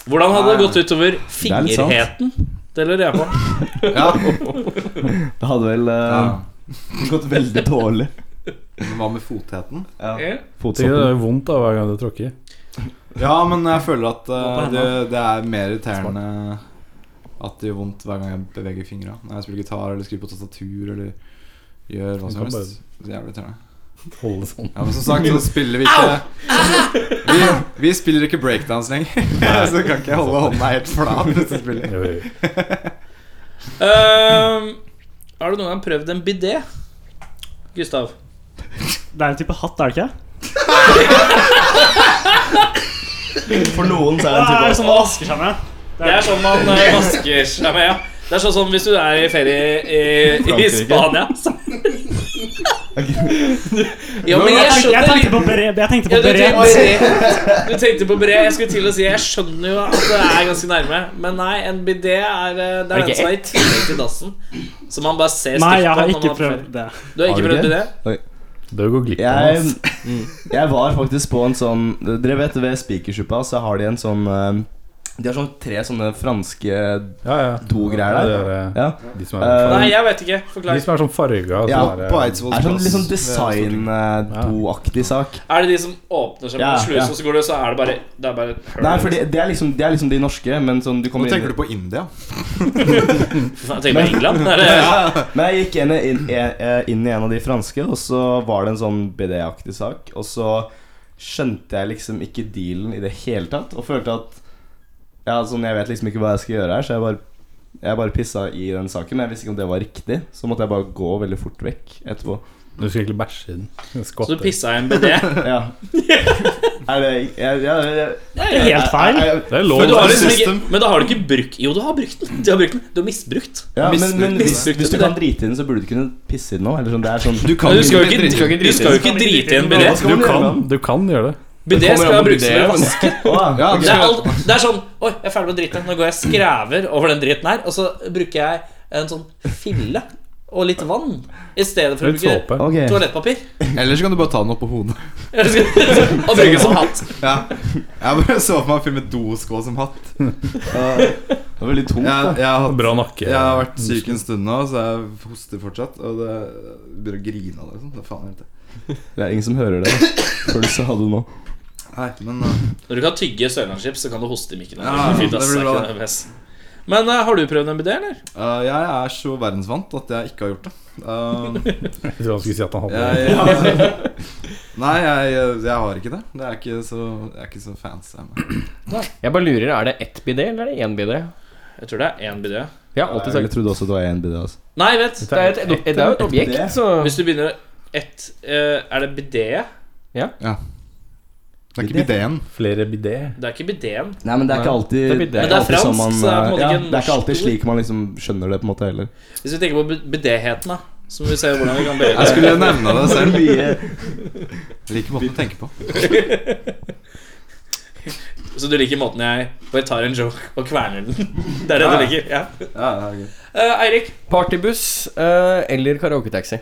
Speaker 2: Hvordan hadde det gått utover
Speaker 7: er litt sant.
Speaker 2: fingerheten? Det lurer jeg på.
Speaker 7: Det hadde vel eh, gått veldig dårlig.
Speaker 6: Hva med fotheten?
Speaker 3: Det
Speaker 7: Fotsoppen.
Speaker 3: gjør vondt da hver gang du tråkker.
Speaker 6: Ja, men jeg føler at eh,
Speaker 8: Hva på
Speaker 6: det,
Speaker 8: henda?
Speaker 6: det er mer irriterende at det gjør vondt hver gang jeg beveger fingra. Når jeg spiller gitar eller skriver på tastatur eller gjør hva som
Speaker 3: kan
Speaker 6: helst. Så jævlig irriterende.
Speaker 3: Holde sånn.
Speaker 6: Ja, men som sagt, så spiller vi ikke Vi, vi spiller ikke breakdance lenger. så kan ikke jeg holde hånda helt flat hvis jeg spiller.
Speaker 3: Jo, jo.
Speaker 2: Ehm, har du noen gang prøvd en bidé? Gustav.
Speaker 8: Det er en type hatt, er det ikke?
Speaker 7: For noen så er det
Speaker 8: Det er
Speaker 7: en type
Speaker 8: som å vaske seg med.
Speaker 2: Det er sånn man eh, vasker seg med, ja. Det er sånn som hvis du er i ferie i, i
Speaker 7: Frankrike.
Speaker 2: Spania. så- Ja, men jeg
Speaker 8: tenkte- jeg
Speaker 2: skjønner
Speaker 8: tenkte på beret. Jeg tenkte
Speaker 2: ja,
Speaker 8: på
Speaker 2: du, tenkte på
Speaker 8: beret.
Speaker 2: beret. du tenkte på beret. Jeg skulle til å si jeg skjønner jo at det er ganske nærme, men nei, en bidé er, eh, det er
Speaker 4: ikke
Speaker 2: den som er i tillegg til dassen. Som man bare ser stygt
Speaker 8: Nei, jeg
Speaker 2: på
Speaker 8: har
Speaker 2: når
Speaker 8: ikke
Speaker 2: man er på
Speaker 8: prøvd
Speaker 2: ferie.
Speaker 8: det.
Speaker 2: Du har ikke
Speaker 7: Har du
Speaker 2: prøvd
Speaker 7: det?
Speaker 2: bidé?
Speaker 3: Det går glipp av
Speaker 7: Jeg,
Speaker 3: oss.
Speaker 7: jeg var faktisk på en sånn Dere vet ved Spikersuppa så har de en sånn eh, De har sånn tre sånne franske
Speaker 3: Ja, ja.
Speaker 7: do-greier
Speaker 3: Ja,
Speaker 7: der.
Speaker 3: det er, eh,
Speaker 7: Ja.
Speaker 3: De som er,
Speaker 2: Nei, jeg vet ikke.
Speaker 3: de
Speaker 2: Forklar.
Speaker 3: som er sånn farga.
Speaker 7: Ja,
Speaker 3: sånn
Speaker 6: På
Speaker 3: der, eh,
Speaker 7: Det er sånn litt sånn
Speaker 3: Ja.
Speaker 7: design-do-aktig sak.
Speaker 2: Er det de som åpner seg med
Speaker 7: Ja,
Speaker 2: en sluse,
Speaker 7: ja.
Speaker 2: og så går det, så er det bare Det er bare et høl.
Speaker 7: Nei, for det, det, er liksom, det er liksom de norske, men sånn du
Speaker 6: Nå
Speaker 7: kommer inn
Speaker 6: tenker du på India.
Speaker 2: Jeg tenker på England. Er det,
Speaker 7: Men jeg gikk inn, inn, eh, inn i en av de franske, og så var det en sånn BD-aktig sak. Og så skjønte jeg liksom ikke dealen i det hele tatt, og følte at Ja, sånn, jeg vet liksom ikke hva jeg skal gjøre her, så jeg bare jeg bare pissa i den saken, men jeg visste ikke om det var riktig. Så måtte jeg bare gå veldig fort vekk etterpå.
Speaker 3: Du skulle egentlig bæsje i den.
Speaker 2: Så
Speaker 3: Skvatte.
Speaker 2: du pissa i en bidé?
Speaker 7: Ja. Er det jeg, jeg, jeg, jeg,
Speaker 8: Det er helt feil.
Speaker 7: jeg,
Speaker 3: Det er lov.
Speaker 2: Men, du har liksom ikke,
Speaker 6: system.
Speaker 2: men da har du ikke brukt Jo, du har brukt den. Du har brukt den. Du har misbrukt.
Speaker 7: ja, men, men hvis,
Speaker 2: Misbrukte
Speaker 7: hvis du
Speaker 2: det.
Speaker 7: kan drite i den, så burde du kunne pisse i den òg. Eller sånn, det er sånn
Speaker 6: Du kan
Speaker 2: Men du skal jo
Speaker 6: ikke
Speaker 2: ikke,
Speaker 6: drite-
Speaker 2: dri- du skal jo ikke drite i en bidé.
Speaker 7: Hva skal
Speaker 3: Du
Speaker 7: man gjøre med
Speaker 3: kan,
Speaker 7: den?
Speaker 3: du kan gjøre det.
Speaker 2: Bidé skal jo brukes til å
Speaker 4: men-
Speaker 2: vaske.
Speaker 7: Å,
Speaker 6: Ja,
Speaker 7: ok.
Speaker 2: Det er, alt, det er sånn Oi, jeg er ferdig med driten. Nå går jeg og skræver over den driten her, og så bruker jeg en sånn fille og litt vann i stedet for å
Speaker 3: Litt
Speaker 2: bruke
Speaker 3: såpe.
Speaker 7: Ok.
Speaker 2: toalettpapir.
Speaker 6: Eller så kan du bare ta den opp på hodet.
Speaker 2: Jeg skal- Og bruke den som hatt.
Speaker 6: Ja. Jeg bare så for meg en film med doskål som hatt.
Speaker 7: Det var veldig tungt.
Speaker 6: Jeg, jeg, har, hatt
Speaker 3: Bra nakke.
Speaker 6: jeg har vært syk en stund nå, så jeg hoster fortsatt. Og det jeg begynner å grine av det. og sånn. Det er faen helt det.
Speaker 7: Det er ingen som hører det. Før du sa det nå.
Speaker 6: Nei, men uh,
Speaker 2: Når du kan tygge sørlandschips, så kan du hoste i mikken.
Speaker 6: Ja,
Speaker 2: Fy, ass,
Speaker 6: det blir
Speaker 2: er ikke
Speaker 6: bra.
Speaker 2: det best? Men eh, har du prøvd en bidé, eller?
Speaker 6: uh, jeg er så verdensvant at jeg ikke har gjort det. Uh,
Speaker 3: Jeg trodde han skulle si at han hadde
Speaker 6: jeg, jeg, nei, jeg, jeg har ikke det. Det er ikke så, jeg er ikke så fancy. jeg, men-
Speaker 4: Jeg bare lurer, er det ett bidé, eller er det én bidé?
Speaker 2: Jeg tror det er én bidé.
Speaker 4: Jeg har alltid
Speaker 7: Jeg
Speaker 4: sagt
Speaker 7: trodde også det var én bidé. Altså.
Speaker 2: Nei, vent.
Speaker 4: Det er, et, det er jo et objekt, så
Speaker 2: Hvis du begynner ett eh, Er det bidéet?
Speaker 6: Det er ikke bideen.
Speaker 3: flere bidé.
Speaker 2: Det er ikke bidéen.
Speaker 7: Nei, men det er ikke
Speaker 4: Nei.
Speaker 7: alltid
Speaker 4: Det er bidé. Men det
Speaker 7: ikke
Speaker 4: er
Speaker 7: alltid
Speaker 2: fransk,
Speaker 7: sånn
Speaker 2: så det er på en måte
Speaker 7: ja,
Speaker 2: ikke en
Speaker 7: Det er ikke alltid
Speaker 2: norsk ord.
Speaker 7: slik man liksom skjønner det på en måte heller.
Speaker 2: Hvis vi tenker på bid- bidéheten, da. Så må vi se hvordan vi kan bedre
Speaker 6: Jeg skulle nevne det selv.
Speaker 7: Mye
Speaker 6: Jeg liker måten å tenke på.
Speaker 2: Så du liker måten jeg bare tar en joke og kverner den? Det er det du liker? Ja.
Speaker 6: Ja, det er gøy.
Speaker 2: Eh, Eirik,
Speaker 4: Partybuss eh, eller karaoketaxi?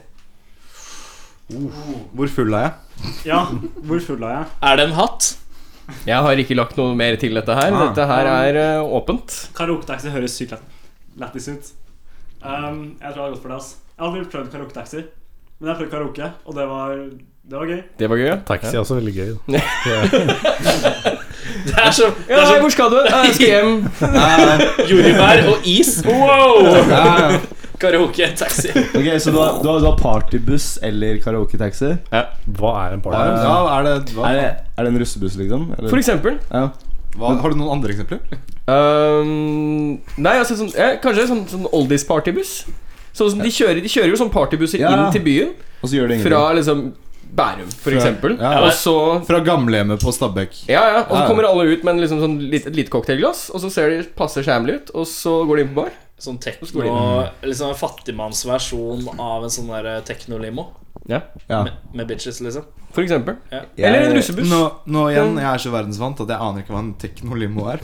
Speaker 6: Hvor full er jeg?
Speaker 8: Ja, hvor full er jeg?
Speaker 2: er det en hatt?
Speaker 4: Jeg har ikke lagt noe mer til dette her.
Speaker 6: Ah.
Speaker 4: Dette her er eh, åpent.
Speaker 8: Karaoketaxi høres sykt lett- lættis ut. Um, jeg tror jeg har gått for det. ass Jeg har aldri prøvd karaoketaxi, men jeg har prøvd karaoke, og det var, det var gøy.
Speaker 4: Det var gøy.
Speaker 3: Taxi er også veldig gøy. da.
Speaker 2: Det er som, det
Speaker 4: Ja,
Speaker 2: er som
Speaker 4: hvor skal du? Eh, Jeg skal hjem.
Speaker 2: jordbær og is. Wow!
Speaker 6: Ja, ja.
Speaker 2: Karaoke, taxi.
Speaker 7: Ok, Så du har, du har, du har partybuss eller karaoketaxi?
Speaker 3: Hva er en
Speaker 6: Hva er det-
Speaker 3: party?
Speaker 6: ja, er det, hva,
Speaker 7: Er, det- er det en russebuss, liksom? Eller?
Speaker 4: For eksempel.
Speaker 7: ja.
Speaker 6: hva, har du noen andre eksempler?
Speaker 4: Ehm, nei, altså sånn, eh, kanskje sånn, sånn oldies-partybuss. Sånn som de, kjører, de kjører jo sånn partybusser
Speaker 7: Ja.
Speaker 4: inn til byen
Speaker 7: Og så gjør det
Speaker 4: fra
Speaker 7: ingenting.
Speaker 4: liksom Bærum, for eksempel.
Speaker 6: Mhm. Ja,
Speaker 2: ja.
Speaker 4: Og så
Speaker 6: Fra gamlehjemmet på Stabekk.
Speaker 4: ja, ja, og så
Speaker 6: Ja.
Speaker 4: kommer alle ut med en liksom sånn lit, et lite cocktailglass, og så ser de passer skjemmelig ut, og så går de inn på bar.
Speaker 2: Sånn tekno Liksom en fattigmannsversjon av en sånn der teknolimo.
Speaker 4: Ja,
Speaker 7: Ja.
Speaker 2: Med, med bitches, liksom.
Speaker 4: For eksempel.
Speaker 2: Ja.
Speaker 4: Eller en
Speaker 7: Jeg-
Speaker 4: russebuss.
Speaker 6: Nå, nå igjen, jeg er så verdensvant at jeg aner ikke hva en teknolimo er.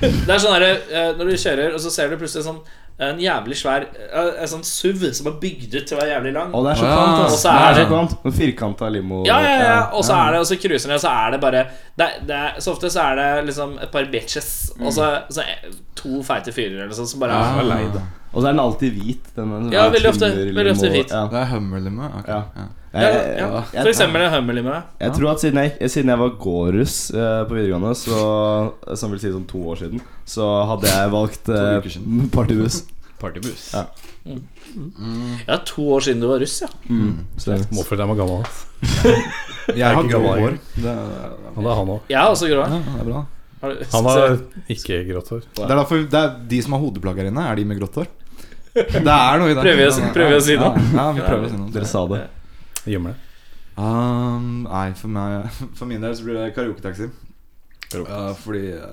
Speaker 2: Det er sånn der, eh, Når du kjører, og så ser du plutselig sånn en jævlig svær eh, En sånn SUV som er bygd ut til å være jævlig lang.
Speaker 7: Å, det er så
Speaker 6: Ja.
Speaker 7: kvant,
Speaker 2: Ah.
Speaker 7: ass.
Speaker 2: Og så er
Speaker 7: det
Speaker 2: det-
Speaker 7: er så kvant. Noen firkanta limo.
Speaker 2: Ja, ja, ja. Og så er det Og så cruiser den, og så er det bare det, er- det, er- Så ofte så er det liksom et par bitches, og så, så er to feite fyrer eller sånn som bare
Speaker 6: Ah,
Speaker 2: er
Speaker 6: det
Speaker 2: lei.
Speaker 7: Og så er den alltid hvit. Den, den,
Speaker 2: Ja, veldig ofte.
Speaker 7: tynner
Speaker 2: Veldig ofte
Speaker 7: limo.
Speaker 2: hvit.
Speaker 7: Ja.
Speaker 6: er hummerlimo? ok,
Speaker 7: Ja.
Speaker 6: ja.
Speaker 2: Ja,
Speaker 7: Jeg, jeg,
Speaker 2: ja.
Speaker 7: jeg,
Speaker 2: For eksempel en hummerlime.
Speaker 7: Jeg tror at siden jeg, gikk- siden jeg var gårdruss eh, på videregående, så, som vil si sånn to år siden, så hadde jeg valgt eh,
Speaker 6: uker siden.
Speaker 7: partybuss.
Speaker 4: Partybuss.
Speaker 7: Ja.
Speaker 2: Ja, to år siden du var russ, ja.
Speaker 7: Så det-
Speaker 3: Må føle deg med gammel. ass.
Speaker 6: Jeg har
Speaker 3: ikke
Speaker 6: grå
Speaker 3: gammel
Speaker 6: hår.
Speaker 3: Ja, det er han òg.
Speaker 2: Jeg er også grå.
Speaker 6: Ja, det er bra.
Speaker 2: Har du-
Speaker 3: Han har ikke grått hår.
Speaker 6: Det er derfor det er de som har hodeplagg her inne, er de med grått hår. Det er noe i det.
Speaker 2: Prøver vi å- prøver vi å si noe?
Speaker 6: Ja, ja, vi prøver å si noe.
Speaker 7: Dere sa det.
Speaker 3: Gjemmer det.
Speaker 6: Um, nei, for, meg, for min del så blir det karaoketaxi. Eh, fordi eh,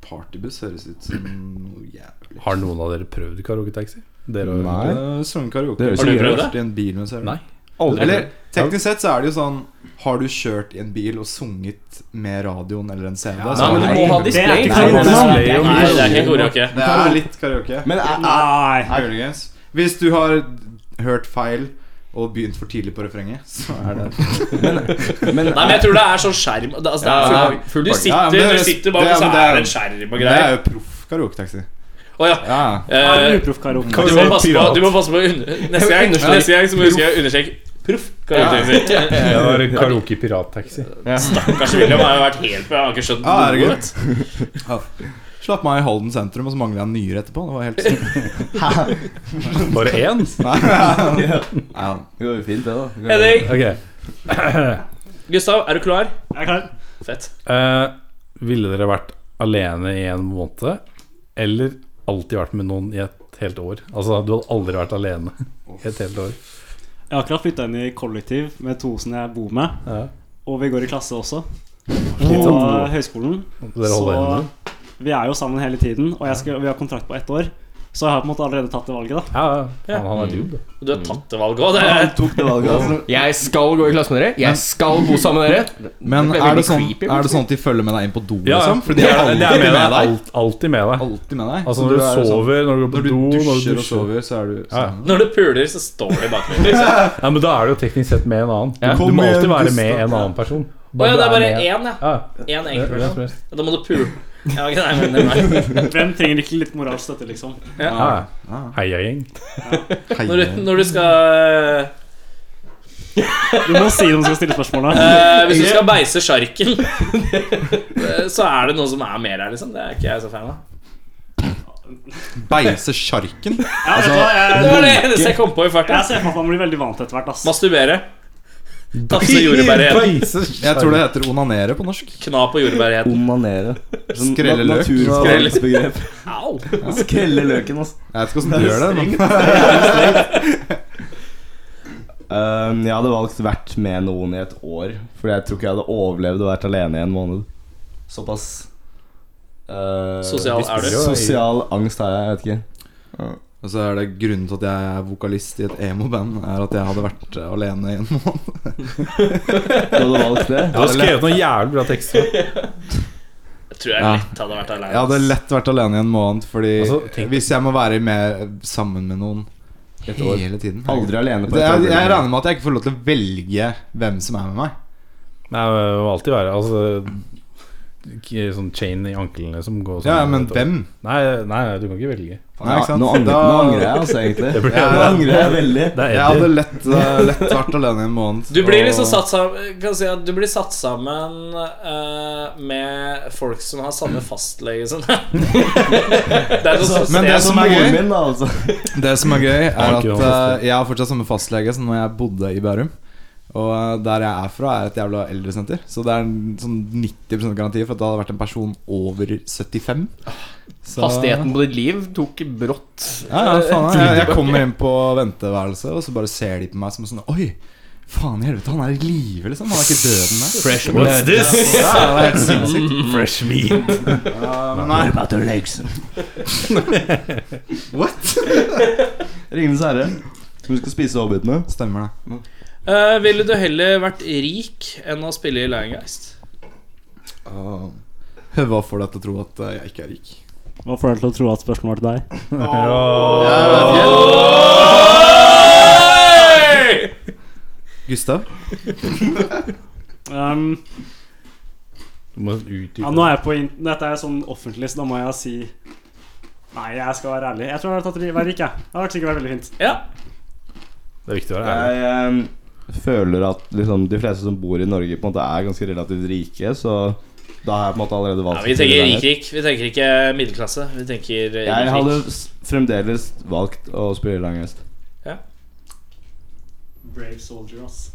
Speaker 6: partybuss høres ut som noe jævlig.
Speaker 3: Har noen av dere prøvd karaoketaxi? Dere har-
Speaker 6: Nei. Uh, Sunget karaoke.
Speaker 7: Det høres
Speaker 2: Har du prøvd
Speaker 6: vært i en bil mens jeg
Speaker 3: Nei.
Speaker 6: Aldri. Eller teknisk sett så er det jo sånn Har du kjørt i en bil og sunget med radioen eller en CD?
Speaker 3: Ja,
Speaker 6: så-
Speaker 4: Nei, men du må ha
Speaker 8: Det er
Speaker 4: display.
Speaker 8: ikke
Speaker 4: Nei,
Speaker 8: sant.
Speaker 4: display.
Speaker 2: Nei,
Speaker 8: Det er
Speaker 2: det
Speaker 8: ikke-
Speaker 2: er ikke karaoke.
Speaker 6: Det er litt karaoke.
Speaker 7: Men eh, er, er,
Speaker 8: Nei.
Speaker 6: Nei, muligens. Hvis du har hørt feil og begynt for tidlig på refrenget, så er det
Speaker 7: men
Speaker 2: Nei, men jeg tror det er sånn skjerm det- altså, det er,
Speaker 6: Ja,
Speaker 2: full-
Speaker 6: full-
Speaker 2: Du
Speaker 6: Ja,
Speaker 2: sitter,
Speaker 6: men det
Speaker 2: du
Speaker 6: høres-
Speaker 2: sitter bak,
Speaker 6: det-
Speaker 2: og så
Speaker 6: men det
Speaker 2: er
Speaker 6: er-
Speaker 2: det en skjerm og
Speaker 6: Det er
Speaker 2: greier.
Speaker 6: jo proff karaoketaxi.
Speaker 2: Å ja.
Speaker 6: Ja.
Speaker 2: eh,
Speaker 8: Uproff karaoke.
Speaker 2: du, må passe på, du må passe på å under- Neste gang, neste gang så må du huske å understreke proff. karakteren sin.
Speaker 3: Det var karaoke pirattaxi.
Speaker 2: Kanskje William har jo vært helt på, jeg har ikke skjønt
Speaker 6: Ja,
Speaker 2: noe.
Speaker 6: herregud. Ja. Slapp meg i Halden sentrum, og så mangler jeg en nyre etterpå. Det var helt
Speaker 3: Bare én?
Speaker 6: ja.
Speaker 7: Det går jo fint, det, da.
Speaker 2: Henning,
Speaker 3: Ok.
Speaker 2: Gustav, er du klar?
Speaker 8: Jeg er klar.
Speaker 2: Fett.
Speaker 3: Eh, ville dere vært alene i en måned, eller alltid vært med noen i et helt år? Altså, du hadde aldri vært alene i et helt år.
Speaker 8: Jeg har akkurat flytta inn i kollektiv med to som jeg bor med.
Speaker 3: Ja.
Speaker 8: Og vi går i klasse også. På eh, høyskolen.
Speaker 3: Dere holder
Speaker 8: Så
Speaker 3: hendene?
Speaker 8: vi er jo sammen hele tiden, og jeg skal, vi har kontrakt på ett år. Så jeg har på en måte allerede tatt det valget, da.
Speaker 3: Ja, ja. Han, han er dude.
Speaker 2: Du har tatt det valget òg.
Speaker 7: Tok det valget, altså.
Speaker 4: Jeg skal gå i klasse med dere. Jeg skal bo sammen med dere.
Speaker 6: Men
Speaker 4: Det ble
Speaker 6: er det,
Speaker 4: veldig
Speaker 6: sånn,
Speaker 4: creepy,
Speaker 6: er det sånn at de følger med deg inn på do, liksom? For
Speaker 3: det
Speaker 6: de er
Speaker 3: er, det
Speaker 6: alltid
Speaker 3: er med deg.
Speaker 6: deg.
Speaker 3: Alt, alltid med deg.
Speaker 6: Alltid med deg.
Speaker 3: Altså når
Speaker 6: Så
Speaker 3: du
Speaker 6: er sånn-
Speaker 3: sover, når du går på
Speaker 6: Når du
Speaker 3: do, når du
Speaker 6: dusjer og
Speaker 3: dusjer
Speaker 6: sover, så er du
Speaker 3: Ja, ja.
Speaker 6: sånn.
Speaker 2: Når du puler, så står de bak deg. Liksom.
Speaker 3: Ja, Men da er du jo teknisk sett med en annen.
Speaker 4: Ja.
Speaker 3: Du,
Speaker 6: Kom
Speaker 3: du må alltid
Speaker 6: igjen,
Speaker 3: være med
Speaker 6: Gustav.
Speaker 3: en annen person.
Speaker 2: Å ja, det er
Speaker 3: du
Speaker 2: bare
Speaker 3: med-
Speaker 2: én, ja.
Speaker 3: Ja,
Speaker 2: Én
Speaker 3: hvem
Speaker 2: enkeltperson.
Speaker 3: som helst.
Speaker 2: Ja, Da må du pule. Ja, ok, nei, men, nei, nei.
Speaker 8: Hvem trenger ikke litt moralsk støtte, liksom?
Speaker 3: Ja, ja. Heiagjeng.
Speaker 2: Når, du, når du skal eh,
Speaker 8: Du må si når du skal stille spørsmålet.
Speaker 2: eh, Hvis du skal beise sjarken, eh, så er det noen som er mer her, liksom. Det er ikke jeg så fan av.
Speaker 6: Beise sjarken?
Speaker 8: Ja, vet du hva, jeg,
Speaker 2: Det var det eneste jeg kom på i farta.
Speaker 8: jeg ser for meg at man blir veldig vant etter hvert, ass.
Speaker 2: Masturbere. Tafse jordbærhet.
Speaker 6: Jeg tror det heter onanere på norsk.
Speaker 2: Kna på jordbærhet.
Speaker 7: eh, Onanere. Sånn
Speaker 6: Skrelle løk.
Speaker 7: nat- Naturfagsbegrep.
Speaker 2: Au!
Speaker 7: Skrelle løken, altså.
Speaker 6: Jeg vet ikke hvordan du gjør det. Men
Speaker 7: Um, jeg hadde valgt vært med noen i et år, Fordi jeg tror ikke jeg hadde overlevd å vært alene i en måned. Såpass uh,
Speaker 6: Eh,
Speaker 2: Sosial er du.
Speaker 7: Sosial angst har jeg, jeg vet ikke.
Speaker 6: og så er det grunnen til at jeg er vokalist i et emo-band, er at jeg hadde vært eh, alene i en måned.
Speaker 7: Du hadde valgt det?
Speaker 3: Du har skrevet noen jævlig bra tekster.
Speaker 2: Jeg tror jeg lett hadde vært
Speaker 6: Jeg hadde
Speaker 2: aleine.
Speaker 6: lett vært alene i en måned, fordi
Speaker 3: Altså, tenk-
Speaker 6: hvis jeg må være med, sammen med noen
Speaker 7: Et år.
Speaker 6: hele tiden
Speaker 7: Aldri alene på
Speaker 6: det,
Speaker 7: et
Speaker 6: jeg,
Speaker 7: år.
Speaker 6: jeg regner med at jeg ikke får lov til å velge hvem som er med meg.
Speaker 3: Nei, men det må alltid være Altså k- Sånn chain i anklene som går sånn
Speaker 6: Ja, men
Speaker 3: vet du.
Speaker 6: hvem?
Speaker 3: Nei, nei, du kan ikke velge.
Speaker 6: Nei, ikke sant?
Speaker 7: Nå angrer,
Speaker 6: Da-
Speaker 7: nå angrer jeg altså, egentlig.
Speaker 3: Det blir-
Speaker 7: Nå angrer jeg veldig.
Speaker 3: Det er
Speaker 6: Jeg
Speaker 3: Eddie.
Speaker 6: hadde lett, eh, lett vært alene i en måned.
Speaker 2: Du blir liksom
Speaker 6: og-
Speaker 2: satt sammen Kan si at du blir satt sammen eh, med folk som har samme fastlege som deg. Det er sånn noe sånt-
Speaker 6: Men det
Speaker 7: Jeg
Speaker 6: som er
Speaker 7: moren
Speaker 6: gøy,
Speaker 7: min, da, altså.
Speaker 6: det som er gøy er
Speaker 3: Har
Speaker 6: at
Speaker 3: ikke noen
Speaker 6: eh,
Speaker 3: fastlege.
Speaker 6: jeg har fortsatt samme fastlege som når jeg bodde i Bærum. Og eh, der jeg er fra, er et jævla eldresenter. Så det er en sånn 90 garanti for at det hadde vært en person over 75. Så,
Speaker 4: Hastigheten på ditt liv tok brått
Speaker 6: Ja, ja, faen, jeg, jeg kommer inn på venteværelset, og så bare ser de på meg som sånn Oi! Faen i helvete, han er i live, liksom. Han er ikke død ennå.
Speaker 4: fresh
Speaker 3: What's this?
Speaker 6: Ja, det er helt sinnssykt.
Speaker 3: Fresh meat.
Speaker 6: Ja, men nei.
Speaker 7: Ringenes herre. Du skal spise hobbitene.
Speaker 6: Stemmer det.
Speaker 2: Eh, ville du heller vært rik enn å spille i Liongeist?
Speaker 6: Uh, hva får deg til å tro at eh, jeg ikke er rik?
Speaker 8: Hva får deg til å tro at spørsmålet var til deg?
Speaker 6: Gustav?
Speaker 8: Um,
Speaker 3: Du må utdype.
Speaker 8: ja, nå er jeg på in Dette er sånn offentlig, så da må jeg si Nei, jeg skal være ærlig. Jeg tror jeg hadde tatt ri- vært rik, jeg. Det hadde sikkert vært veldig fint.
Speaker 2: Ja.
Speaker 3: Det er viktig å være ærlig.
Speaker 7: Jeg eh, føler at liksom, de fleste som bor i Norge, på en måte er ganske relativt rike, så da har jeg på en måte allerede
Speaker 2: ja
Speaker 7: valgt
Speaker 2: vi
Speaker 7: å
Speaker 2: tenker
Speaker 7: spille der.
Speaker 2: rik-rik. Vi tenker ikke middelklasse. Vi tenker eh,
Speaker 7: Jeg hadde
Speaker 2: rik-rik.
Speaker 7: s- fremdeles valgt å spille langhest.
Speaker 8: Brave soldier, ass.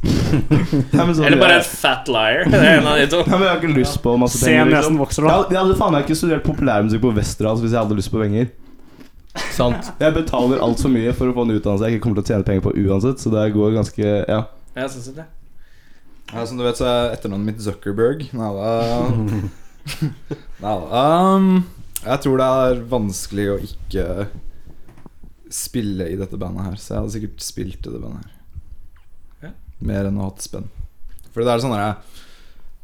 Speaker 2: Eller bare en fat liar. Det er en av de to.
Speaker 7: Nei, men Jeg har ikke lyst på masse
Speaker 8: Se
Speaker 7: penger.
Speaker 8: nesen
Speaker 7: Liksom.
Speaker 8: vokser,
Speaker 7: Jeg
Speaker 8: da.
Speaker 7: hadde, jeg hadde faen meg ikke studert populærmusikk på Westerdals hvis jeg hadde lyst på penger.
Speaker 4: Sant.
Speaker 7: Jeg betaler altfor mye for å få en utdannelse jeg ikke kommer til å tjene penger på uansett, så det går ganske Ja.
Speaker 2: Ja, sånn sett, ja.
Speaker 6: Ja, som du vet, så er etternavnet mitt Zuckerberg. Neida. Neida. Um, jeg tror det er vanskelig å ikke spille i dette bandet her, så jeg hadde sikkert spilt i det bandet her.
Speaker 2: Ja.
Speaker 6: Mer enn å ha hatt spenn. For det er sånn der,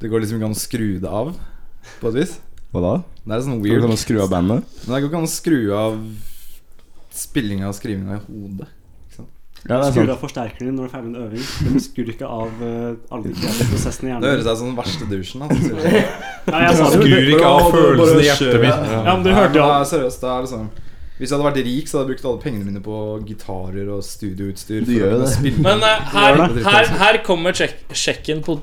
Speaker 6: Det går liksom ikke an å skru det av, på et vis.
Speaker 7: Hva da?
Speaker 6: Det er sånn
Speaker 7: Weird.
Speaker 6: weird.
Speaker 7: Kan du skru av bandet?
Speaker 6: Men det går ikke an å skru av spillinga og skrivinga i hodet.
Speaker 7: Ja, det er
Speaker 8: Skru
Speaker 7: sant.
Speaker 8: av forsterkeren din når du er ferdig med en øving. Men skrur ikke av eh, alle de kreative prosessene i
Speaker 6: Det
Speaker 8: hjernen.
Speaker 6: høres ut som den verste douchen. Altså.
Speaker 8: Ja, jeg sa det.
Speaker 3: Skrur ikke av følelsene i hjertet mitt.
Speaker 8: Ja, men du hørte jo
Speaker 6: Nei, men det
Speaker 8: alt.
Speaker 6: er seriøst, det er liksom Hvis jeg hadde vært rik, så hadde jeg brukt alle pengene mine på gitarer og studioutstyr.
Speaker 7: Du gjør jo det.
Speaker 2: Men eh, her,
Speaker 6: det.
Speaker 2: her, her kommer sjek sjekken på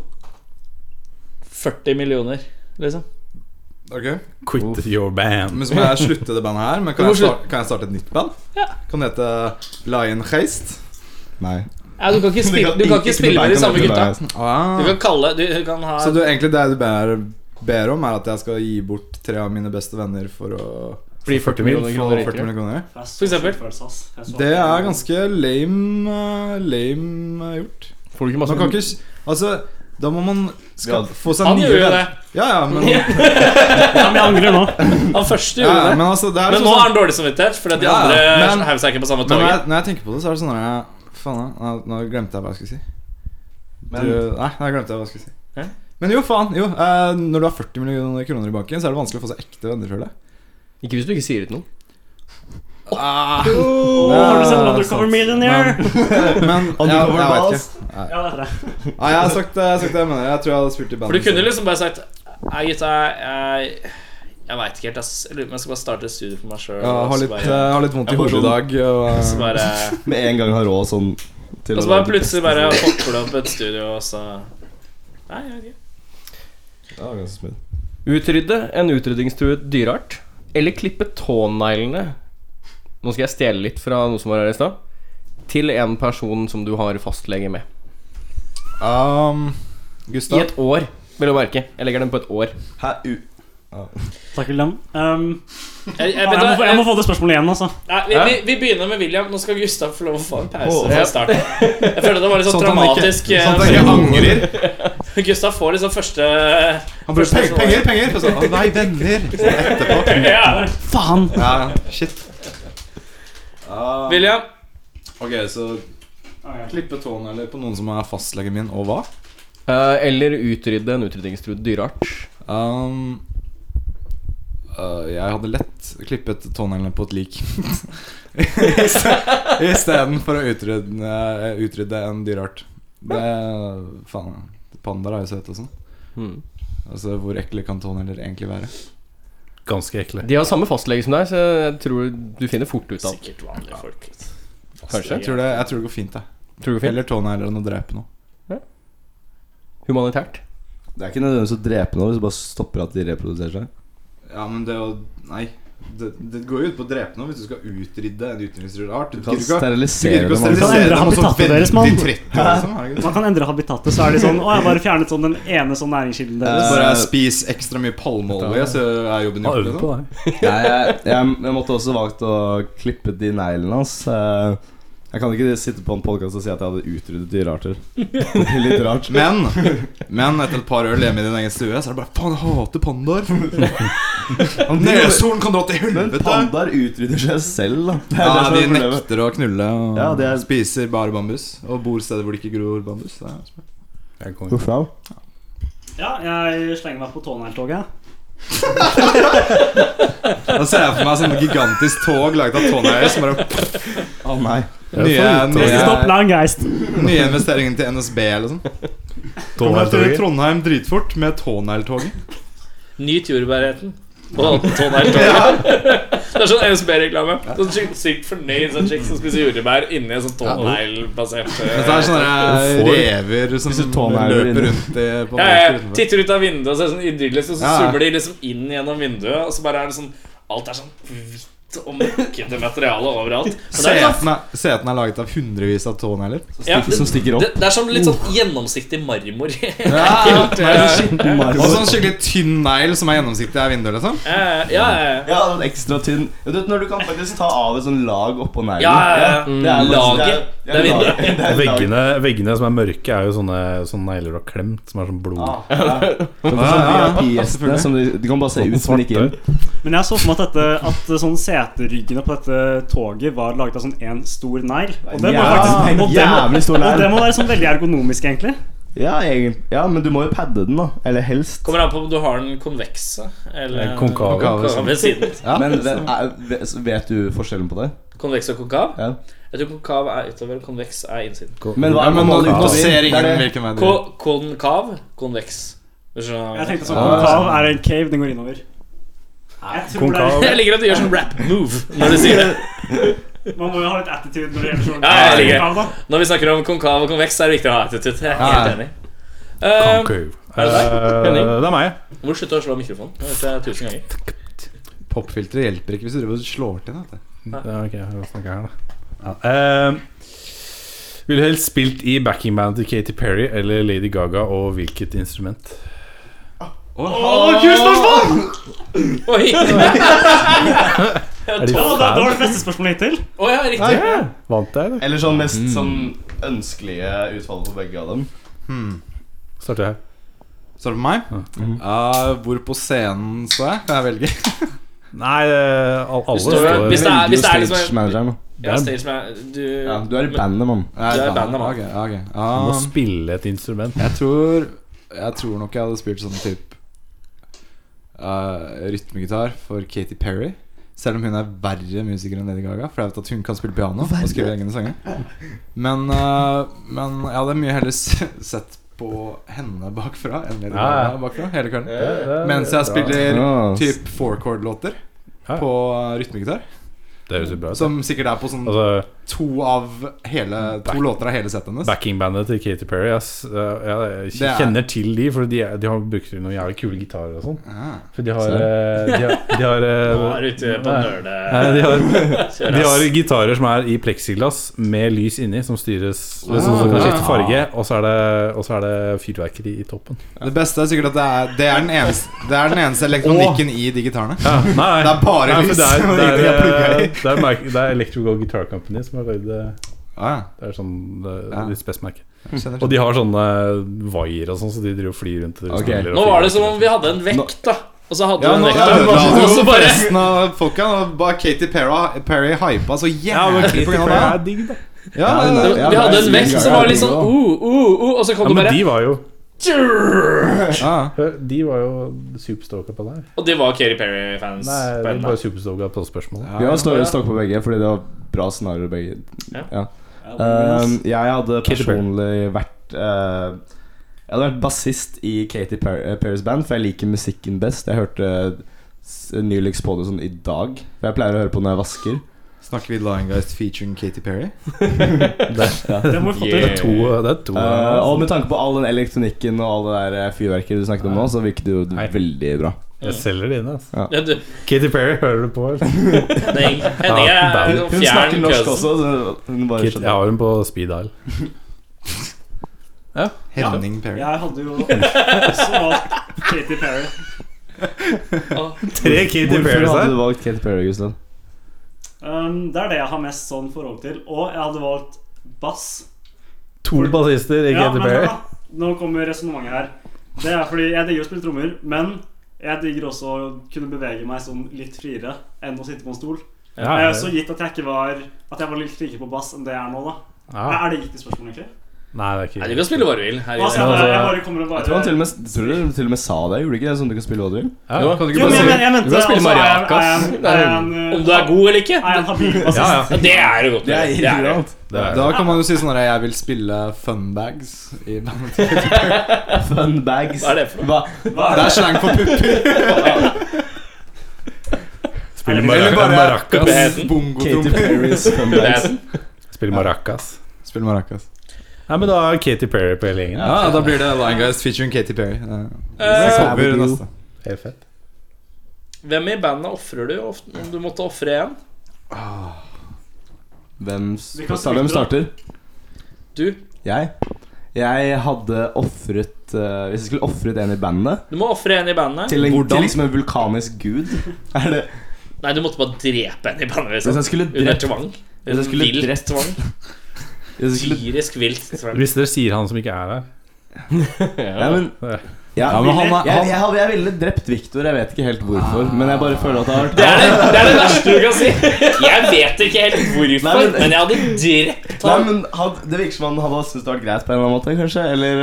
Speaker 2: 40 millioner, liksom.
Speaker 6: Ok,
Speaker 3: Quit your band.
Speaker 6: Men så må jeg slutte det bandet her. Men kan
Speaker 2: Du må
Speaker 6: jeg, starte, kan jeg starte et nytt band?
Speaker 2: Ja.
Speaker 6: Kan det hete Lion Heist?
Speaker 7: Nei.
Speaker 2: Ja, du kan ikke spille, du kan ikke spille med de samme gutta. Du
Speaker 6: Ah.
Speaker 2: kan kalle du, du kan ha
Speaker 6: Så du, egentlig det du ber, ber om, er at jeg skal gi bort tre av mine beste venner for å
Speaker 4: Blir 40 millioner
Speaker 6: få
Speaker 4: kroner
Speaker 6: 40
Speaker 4: rikere.
Speaker 6: millioner kroner?
Speaker 8: For
Speaker 2: eksempel.
Speaker 6: Det er ganske lame, eh, lame eh, gjort.
Speaker 4: Får du ikke
Speaker 6: Man
Speaker 4: masse
Speaker 6: kan ikke s- Altså, da må man ska, få seg
Speaker 2: Han
Speaker 6: nye
Speaker 2: gjør jo det.
Speaker 6: venner. Ja, ja, men, ja,
Speaker 8: Ja, men jeg angrer nå.
Speaker 2: Han første gjorde
Speaker 6: ja,
Speaker 2: det.
Speaker 6: men altså, det er
Speaker 2: Men
Speaker 6: liksom
Speaker 2: nå
Speaker 6: sånn-
Speaker 2: har han dårlig samvittighet, fordi at de
Speaker 6: Ja,
Speaker 2: andre
Speaker 6: men-
Speaker 2: hev seg ikke på samme
Speaker 6: Men når jeg,
Speaker 2: toget.
Speaker 6: når jeg tenker på det, så er det sånn at jeg, Faen, nå, nå glemte jeg hva jeg skulle si.
Speaker 7: Men-
Speaker 6: du, nei, nå glemte jeg hva jeg skulle si.
Speaker 2: Hæ?
Speaker 6: Men jo, faen. Jo, eh, når du har 40 millioner kroner i banken, så er det vanskelig å få seg ekte venner, føler jeg.
Speaker 4: Ikke hvis du ikke sier det til noen.
Speaker 8: Åh, har du sett Undercover Millionaire?
Speaker 6: Um, Men jeg, jeg,
Speaker 7: Undercover
Speaker 6: vet
Speaker 7: Balls.
Speaker 6: ikke.
Speaker 8: Ja, det er det.
Speaker 6: Nei, jeg har sagt, jeg har sagt det jeg mener. Jeg tror jeg hadde spilt i
Speaker 2: For
Speaker 6: bandet.
Speaker 2: du kunne liksom bare sagt Nei, gutta, jeg Jeg veit ikke helt, ass. Jeg lurer på om jeg skal bare starte et studio for meg sjøl.
Speaker 6: ja, har, litt, eh, har litt vondt i
Speaker 7: Jeg bare
Speaker 6: hodet i dag. Og, eh,
Speaker 2: så bare,
Speaker 7: Med en gang har råd sånn til
Speaker 2: og så
Speaker 7: være
Speaker 2: bare plutselig bare popper det opp et studio, og så Nei, jeg vet ikke.
Speaker 7: Ja, ganske smidt.
Speaker 4: Utrydde en utrydningstruet dyreart. Eller klippe tåneglene Nå skal jeg stjele litt fra noe som var her i stad. Til en person som du har fastlege med.
Speaker 6: um,
Speaker 4: I
Speaker 6: Gustav.
Speaker 4: et år, vil du merke. Jeg legger den på et år.
Speaker 7: Hæ? U
Speaker 8: Takk, William. Um,
Speaker 2: Jeg, jeg,
Speaker 8: jeg,
Speaker 2: vet
Speaker 8: må,
Speaker 2: du
Speaker 8: få-
Speaker 2: hva,
Speaker 8: jeg må
Speaker 2: jeg,
Speaker 8: få det spørsmålet igjen, altså.
Speaker 2: nei, vi, vi, vi begynner med William. Nå skal Gustav få lov å få en pause
Speaker 4: Åh.
Speaker 2: fra starten. Jeg føler det var litt sånn
Speaker 6: Sånn at han ikke-
Speaker 2: dramatisk.
Speaker 6: sånn at han ikke angrer.
Speaker 2: Gustav får liksom første
Speaker 6: Han bruker penger, penger! penger og så, «Å, nei, venner! Så Etterpå.
Speaker 2: Ja.
Speaker 8: Faen!
Speaker 6: Ja, shit.
Speaker 2: William,
Speaker 6: Ok, så klippe tånegler på noen som er fastlegen min, og hva?
Speaker 4: Eh, eller utrydde en utrydningstruet dyreart.
Speaker 6: Um, øh, jeg hadde lett klippet tåneglene på et lik. Istedenfor å utrydde, øh, utrydde en dyreart. Det Faen. Pandaer er jo søte og sånn.
Speaker 4: Hmm.
Speaker 6: Altså, Hvor ekle kan tånegler egentlig være?
Speaker 3: Ganske ekle.
Speaker 4: De har samme fastlege som deg, så jeg tror du finner fort ut av det.
Speaker 2: Sikkert vanlige folk.
Speaker 4: Kanskje.
Speaker 6: Jeg tror det, jeg tror det går fint. jeg
Speaker 4: Tror du det går fint?
Speaker 6: Heller tånegler enn å drepe noe.
Speaker 4: Humanitært.
Speaker 7: Det er ikke nødvendigvis å drepe noe hvis du bare stopper at de reproduserer seg.
Speaker 6: Ja, men det å Nei. Det, det går jo ut på å drepe noe hvis du skal utrydde en utenriksrull art.
Speaker 7: Du kan sterilisere
Speaker 6: gidder ikke å
Speaker 7: dem. altså.
Speaker 6: dem,
Speaker 8: sterilisere-
Speaker 6: og så
Speaker 8: habitatet deres, mann.
Speaker 6: veldig trett, liksom, herregud.
Speaker 8: Man kan endre habitatet, så er de sånn Å, jeg bare fjernet sånn den ene sånn næringskilden
Speaker 6: Så
Speaker 8: deres.
Speaker 6: bare
Speaker 7: Eh,
Speaker 6: spis ekstra mye palmeolje, så er jobben
Speaker 3: Hva øver
Speaker 6: gjort.
Speaker 3: du
Speaker 6: liksom.
Speaker 3: på deg?
Speaker 7: Nei, jeg, jeg, jeg måtte også valgt å klippe de neglene hans. Eh, Jeg kan ikke sitte på en podkast og si at jeg hadde utryddet dyrearter. Det blir litt rart.
Speaker 6: Men, men etter et par øl hjemme i din egen stue, så er det bare Faen, jeg hater pandaer. Neshorn kan dra til
Speaker 7: Men
Speaker 6: helvete.
Speaker 7: pandaer utrydder seg selv, da. Det
Speaker 6: Ja,
Speaker 7: er det
Speaker 6: de
Speaker 7: som er problemet.
Speaker 6: nekter å knulle og
Speaker 7: Ja, det er-
Speaker 6: spiser bare bambus. Og bor steder hvor det ikke gror bambus. Det er smart.
Speaker 3: Jeg kommer.
Speaker 7: Hvorfor da?
Speaker 8: Ja, jeg slenger meg på tånegltoget.
Speaker 6: Da ser jeg for meg sånn gigantisk tog laget av tånegler som bare
Speaker 7: Å nei.
Speaker 6: Nye,
Speaker 8: Stopp,
Speaker 6: nye,
Speaker 8: lang geist.
Speaker 6: nye investeringen til NSB eller sånn. Kommer deg til Trondheim dritfort med tånegltoget.
Speaker 2: Nyt jordbærheten. Og tånegltoget. Det er sånn NSB-reklame. Sånn sykt, sykt fornøyd sånn chick som spiser jordbær inni en sånn tåneglbasert
Speaker 6: Dette er sånn
Speaker 2: eh,
Speaker 6: sånne der rever som
Speaker 7: Hvis du tånegler
Speaker 6: løper
Speaker 7: inne.
Speaker 6: rundt i på
Speaker 2: ja,
Speaker 6: norsk
Speaker 2: ja,
Speaker 6: utenfor.
Speaker 2: Titter ut av vinduet og ser sånn idyllisk, og så
Speaker 6: Ja, ja.
Speaker 2: zoomer de liksom inn gjennom vinduet, og så bare er det sånn Alt er sånn hvitt og møkkete materiale overalt. Men det er litt sånn-
Speaker 6: Seten er, seten er laget av hundrevis av tånegler.
Speaker 2: ja, det,
Speaker 7: Som stikker opp.
Speaker 2: det, det er som litt sånn gjennomsiktig marmor. ja,
Speaker 6: Ja,
Speaker 7: Marmor.
Speaker 6: og sånn skikkelig tynn negl som er gjennomsiktig av vinduet. liksom
Speaker 2: ja, ja, ja.
Speaker 7: Ja, den ekstra tynn Du vet når du kan faktisk ta av et sånn lag oppå neglen.
Speaker 2: Ja, ja, Mm. ja.
Speaker 7: Det er faktisk-
Speaker 2: Laget.
Speaker 7: det
Speaker 2: Det er
Speaker 7: lag-
Speaker 2: vinduet.
Speaker 7: det er
Speaker 3: Og
Speaker 7: lag.
Speaker 3: veggene, veggene som er mørke, er jo sånne, sånne negler du har klemt, som er sånn blod.
Speaker 7: Ah, ja.
Speaker 6: Ja, ja, ja.
Speaker 7: Gjestene som de, de kan bare se ut som ikke inn.
Speaker 8: Men jeg så for meg at, dette, at sånn seteryggene på dette toget var laget av sånn én stor negl. Og det må,
Speaker 7: Ja, en
Speaker 8: faktisk, og det må,
Speaker 7: jævlig stor negl.
Speaker 8: og det må være sånn veldig ergonomisk, egentlig.
Speaker 7: Ja, egentlig. ja, men du må jo padde den, da. Eller helst.
Speaker 2: Kommer an på om du har den konvekse eller
Speaker 3: Eh, konkave.
Speaker 2: konkave siden.
Speaker 6: Ja.
Speaker 7: Men vet, er, vet- vet du forskjellen på det?
Speaker 2: Konveks og konkav?
Speaker 7: Ja.
Speaker 2: Jeg tror konkav er utover, konveks er innsiden.
Speaker 7: Men hva
Speaker 6: Ja,
Speaker 7: er
Speaker 6: men nå,
Speaker 7: man
Speaker 6: nå
Speaker 7: utover?
Speaker 6: ser
Speaker 7: Det er
Speaker 6: ingen
Speaker 7: det-
Speaker 6: hvilken vei det
Speaker 2: Ko
Speaker 6: går.
Speaker 2: konkav, konveks. Du skjønner
Speaker 8: Jeg
Speaker 2: hva jeg
Speaker 8: tenkte sånn Konkav er en cave, den går innover. Jeg tror det
Speaker 2: mener.
Speaker 8: er,
Speaker 2: Jeg liker at du gjør sånn rap move når du sier det.
Speaker 8: Man må jo ha litt attitude når det gjelder sånn.
Speaker 2: Ja, jeg liker det.
Speaker 8: konkav, da.
Speaker 2: Når vi snakker om konkav og konveks, er det viktig å ha attitude. Jeg er helt
Speaker 6: Ja.
Speaker 2: enig. Eh,
Speaker 3: Concave.
Speaker 2: er det deg,
Speaker 3: Eh,
Speaker 2: Henning?
Speaker 3: det er meg.
Speaker 2: må du slutte å slå mikrofonen? Det vet jeg tusen ganger.
Speaker 6: Popfilteret hjelper ikke hvis du driver og slår til. Vet du.
Speaker 3: Ja, ok, jeg snakker her, da. Ja. eh, ville helst spilt i backingband til Katy Perry eller Lady Gaga, og hvilket instrument?
Speaker 2: Oi!
Speaker 3: Er de
Speaker 8: Å, det, det
Speaker 3: fan?
Speaker 8: var det beste spørsmålet hittil.
Speaker 2: Å ja, riktig.
Speaker 3: Vant jeg, eller?
Speaker 7: Eller sånn
Speaker 3: Mm.
Speaker 7: mest sånn ønskelige utfall på begge av dem.
Speaker 3: Starter jeg.
Speaker 6: Så er det på meg?
Speaker 7: Mhm.
Speaker 6: Ja, hvor på scenen står jeg? Kan jeg velge?
Speaker 3: Nei, eh, al- alle
Speaker 2: Du står jo-
Speaker 3: står
Speaker 2: Hvis det er- hvis det er liksom-
Speaker 7: Stagemanageren, da.
Speaker 2: Ja, stage man, du,
Speaker 7: Ja, du er i bandet, mann.
Speaker 2: Du er i bandet, da.
Speaker 6: Ok, ja, ok.
Speaker 3: Du må
Speaker 6: Ja,
Speaker 3: spille et instrument.
Speaker 6: jeg tror Jeg tror nok jeg hadde spilt sånn type eh, rytmegitar for Katy Perry. Selv om hun er verre musiker enn Lady Gaga, for jeg vet at hun kan spille piano og skrive egne sanger. Men, eh, men jeg hadde mye heller s- sett på henne bakfra enn Lady
Speaker 3: Ja, ja.
Speaker 6: Gaga bakfra. Hele kvelden.
Speaker 3: Mens
Speaker 6: Mens jeg spiller
Speaker 7: Ja.
Speaker 6: typ four chord-låter
Speaker 3: Ja.
Speaker 6: på rytmegitar.
Speaker 3: Det høres jo bra ut.
Speaker 6: Som sikkert er på sånn
Speaker 3: Altså,
Speaker 6: to av hele To låter av hele settet hennes.
Speaker 3: Backingbandet til Katy Perry. Jeg, s- jeg,
Speaker 6: Det
Speaker 3: jeg
Speaker 6: er-
Speaker 3: kjenner til de, for de, er- de har brukt noen jævlig kule gitarer og sånn.
Speaker 6: Ah.
Speaker 3: For de har eh, De har, de har, eh,
Speaker 2: Nå er du ute på nerde...
Speaker 3: Nei, de har,
Speaker 2: Kjør,
Speaker 3: de har
Speaker 2: ass.
Speaker 3: gitarer som er i pleksiglass med lys inni, som styres
Speaker 6: Ah,
Speaker 3: Som som kan
Speaker 6: ja.
Speaker 3: skifte farge, og så er det, og så er det fyrverkeri i toppen.
Speaker 6: Det beste er sikkert at det er, det er, den, eneste, det er den eneste elektronikken i de gitarene.
Speaker 3: Ja, nei, nei.
Speaker 6: Det er bare
Speaker 3: Nei, for
Speaker 6: lys,
Speaker 3: Det er,
Speaker 6: og
Speaker 3: det er,
Speaker 6: de er plugga i.
Speaker 3: eh, det er, merke- det er Electrical Guitar Company som har lagd det.
Speaker 6: Ah,
Speaker 3: Det er sånn eh,
Speaker 6: Ja.
Speaker 3: litt spesimerke.
Speaker 6: ja. Skjønner.
Speaker 3: Og de har sånne vaier og sånn, så de driver og flyr rundt. og
Speaker 7: Ok.
Speaker 3: spiller og
Speaker 2: Nå var det som
Speaker 3: flyr.
Speaker 2: om vi hadde en vekt, da. Og så hadde
Speaker 6: ja,
Speaker 2: vi en
Speaker 6: nå
Speaker 2: vekt, da. Og så
Speaker 6: ødela
Speaker 2: bare
Speaker 6: resten av folka. Og bare Katy Perry, Perry hypa så
Speaker 3: ja, men
Speaker 6: jævlig
Speaker 3: Katy
Speaker 6: på grunn
Speaker 3: Perry
Speaker 6: av
Speaker 3: er
Speaker 6: det.
Speaker 3: digg, da.
Speaker 6: Ja, ja,
Speaker 7: det-
Speaker 6: ja.
Speaker 2: Vi hadde en vekt
Speaker 7: Nei, Lady
Speaker 2: som
Speaker 7: Gaga
Speaker 2: var
Speaker 7: er
Speaker 2: litt sånn uh,
Speaker 7: digg også.
Speaker 2: uh, uh, og så
Speaker 3: Ja,
Speaker 2: kom det
Speaker 3: men
Speaker 2: bare
Speaker 3: de var jo
Speaker 2: Tjurr!
Speaker 6: Ah,
Speaker 3: hør, De var jo superstoka på det her.
Speaker 2: Og det var Katy Perry-fans.
Speaker 3: Nei,
Speaker 2: på
Speaker 3: det er
Speaker 2: en
Speaker 3: bare
Speaker 2: dag.
Speaker 3: superstoka på spørsmålet.
Speaker 7: Vi har stå-
Speaker 2: Ja.
Speaker 7: stokk på begge, fordi det var bra scenarioer begge.
Speaker 2: Ja.
Speaker 7: Um, jeg hadde
Speaker 3: Katy Perry.
Speaker 7: personlig vært eh, Jeg hadde vært bassist i Katy Per- Perrys band, for jeg liker musikken best. Jeg hørte s- nyligst på det sånn i dag. For jeg pleier å høre på når jeg vasker.
Speaker 6: snakker vi Linegeist featuring Katy Perry?
Speaker 8: Det må vi få til.
Speaker 3: Det er to, det er to altså.
Speaker 7: Eh, og med tanke på all den elektronikken og alle det der fyrverkeriet du snakket om nå, så virket det jo
Speaker 3: Nei.
Speaker 7: veldig bra.
Speaker 3: Jeg selger det inn, altså.
Speaker 2: Ja, du,
Speaker 3: Katy Perry, hører du på? eller?
Speaker 2: Henning, Henning
Speaker 3: Ja,
Speaker 2: er
Speaker 3: band.
Speaker 7: Hun
Speaker 2: fjern
Speaker 7: snakker norsk
Speaker 2: køs.
Speaker 7: også, så hun bare
Speaker 3: Kit, jeg
Speaker 7: skjønner.
Speaker 3: har hun på speed dial.
Speaker 6: Henning Perry.
Speaker 8: Jeg hadde jo også valgt Katy Perry.
Speaker 3: Tre Katy
Speaker 7: Hvorfor hadde du valgt Katy Perry, Gustav?
Speaker 8: Um, det er det jeg har mest sånn forhold til. Og jeg hadde valgt bass.
Speaker 3: To bassister i
Speaker 8: Ja,
Speaker 3: Katy
Speaker 8: men hør
Speaker 3: Perry.
Speaker 8: da, Nå kommer resonnementet her. Det er fordi jeg digger å spille trommer, men jeg digger også å kunne bevege meg sånn litt friere enn å sitte på en stol.
Speaker 3: Ja,
Speaker 8: Eh,
Speaker 3: ja.
Speaker 8: Så gitt at jeg ikke var At jeg var litt flinkere på bass enn det jeg er nå, da.
Speaker 3: Ja.
Speaker 8: Er det riktig spørsmål, egentlig?
Speaker 3: Nei, det er ikke
Speaker 2: Nei, du kan spille hva du vil.
Speaker 8: Hva
Speaker 2: Herregud.
Speaker 8: skal jeg,
Speaker 3: altså-
Speaker 8: jeg bare kommer og
Speaker 7: Jeg tror han
Speaker 8: bare
Speaker 7: til og med, tror du til og med sa det, gjorde du ikke det? Sånn at du kan spille hva du vil?
Speaker 3: Ja. Kan du ikke
Speaker 4: Jo,
Speaker 8: Jo, men
Speaker 3: bare
Speaker 8: jeg,
Speaker 3: si
Speaker 8: men jeg mente
Speaker 4: Du kan spille
Speaker 8: altså, er jeg-
Speaker 4: mariacas.
Speaker 8: er jeg en- er jeg en,
Speaker 2: Om du er god eller ikke?
Speaker 8: Er jeg en habil bassist?
Speaker 3: Ja,
Speaker 2: Ja, det er du godt.
Speaker 7: Det er
Speaker 2: Det er du.
Speaker 7: irrelevant.
Speaker 3: det er,
Speaker 6: Da kan man jo si sånn at jeg vil spille funbags i bandet.
Speaker 7: Fun bags.
Speaker 2: Hva er det for noe?
Speaker 7: Hva?
Speaker 8: Hva er
Speaker 6: Det
Speaker 8: det?
Speaker 6: er slang for pupper.
Speaker 3: Spille
Speaker 6: Eller
Speaker 3: maraca-
Speaker 6: bare
Speaker 3: maracas.
Speaker 7: Katy
Speaker 6: bongotrommer.
Speaker 7: Perrys fun bags.
Speaker 2: Puppeten.
Speaker 3: Spille maracas.
Speaker 6: Spill maracas.
Speaker 3: Nei, men da er Katy Perry på hele gjengen.
Speaker 6: Ja, da Eh, blir det Linegeist featuring Katy Perry. Det
Speaker 2: Eh,
Speaker 6: kommer neste.
Speaker 3: Helt fett.
Speaker 2: Hvem i bandet ofrer du ofte, om du måtte ofre en?
Speaker 7: Hvem, s-
Speaker 8: Vi kan
Speaker 7: sta- hvem
Speaker 8: starte,
Speaker 7: starter?
Speaker 2: Du.
Speaker 7: Jeg? Jeg hadde ofret eh, Hvis jeg skulle ofret en i bandet
Speaker 2: Du må ofre en i bandet.
Speaker 7: Til en,
Speaker 6: Hvordan?
Speaker 7: til liksom en vulkanisk gud Er det
Speaker 2: Nei, du måtte bare drepe en i bandet.
Speaker 7: Hvis
Speaker 2: Liksom.
Speaker 7: jeg skulle
Speaker 2: Under
Speaker 7: drept
Speaker 2: tvang.
Speaker 7: Hvis jeg skulle
Speaker 2: Vilt
Speaker 7: drept-
Speaker 2: tvang.
Speaker 7: hvis jeg skulle,
Speaker 2: Syrisk vilt tvang.
Speaker 3: Hvis dere sier han som ikke er her
Speaker 7: ja, men,
Speaker 3: Ja.
Speaker 7: ja,
Speaker 6: Ja, men han er-
Speaker 7: jeg,
Speaker 6: han-
Speaker 7: jeg, hadde- jeg ville drept Victor, jeg vet ikke helt hvorfor Men jeg bare føler at det har vært
Speaker 2: Det er det, det er det verste du kan si. Jeg vet ikke helt hvorfor,
Speaker 7: Nei, men-
Speaker 2: men jeg hadde drept
Speaker 7: Nei,
Speaker 2: ham.
Speaker 7: men had, Det virker som han hadde syntes det hadde vært greit på en eller annen måte, kanskje. Eller,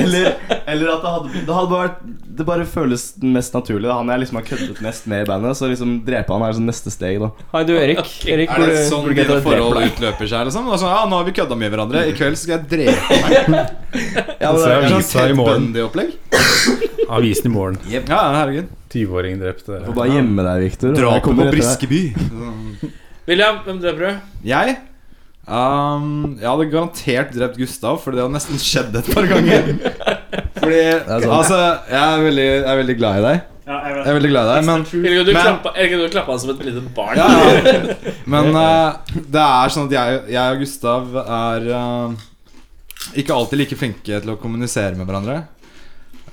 Speaker 7: eller, eller at det hadde, det hadde bare vært Det bare føles mest naturlig. Da. Han jeg liksom har køddet mest med i bandet, så liksom drepe han er sånn neste steg, da.
Speaker 4: Hei, du, Erik.
Speaker 2: Ok.
Speaker 4: Erik
Speaker 6: Er det
Speaker 4: burde-
Speaker 6: sånn
Speaker 4: burde ikke
Speaker 6: dine
Speaker 4: drepe
Speaker 6: forhold
Speaker 4: deg.
Speaker 6: utløper seg? Liksom? Det er sånn, ja, nå har vi kødda mye hverandre. I kveld skal jeg drepe deg.
Speaker 7: Ja,
Speaker 3: Så
Speaker 7: det,
Speaker 3: jeg viser
Speaker 7: er sånn-
Speaker 3: Avisa i
Speaker 6: Ted
Speaker 3: morgen.
Speaker 6: Bundy-opplegg.
Speaker 3: Avisen i morgen.
Speaker 6: Ja, ja, herregud.
Speaker 3: 20-åring drept.
Speaker 7: Får bare gjemme deg, Victor. Jeg
Speaker 6: Drapet
Speaker 7: kommer
Speaker 6: på
Speaker 7: etter deg.
Speaker 6: Briskeby.
Speaker 2: William, hvem dreper du?
Speaker 6: Jeg Ehm, Jeg hadde garantert drept Gustav, Fordi det har nesten skjedd et par ganger. Fordi
Speaker 7: er sant.
Speaker 6: Altså, jeg er, veldig, jeg er veldig glad i deg.
Speaker 8: Ja, jeg
Speaker 6: Jeg
Speaker 8: vet.
Speaker 6: er veldig glad i deg, men
Speaker 2: Erik, du
Speaker 6: Men-
Speaker 2: klappa- Erik, du klappa han som et lite barn.
Speaker 6: Ja, ja. Men eh, det er sånn at jeg, jeg og Gustav er eh, ikke alltid like flinke til å kommunisere med hverandre.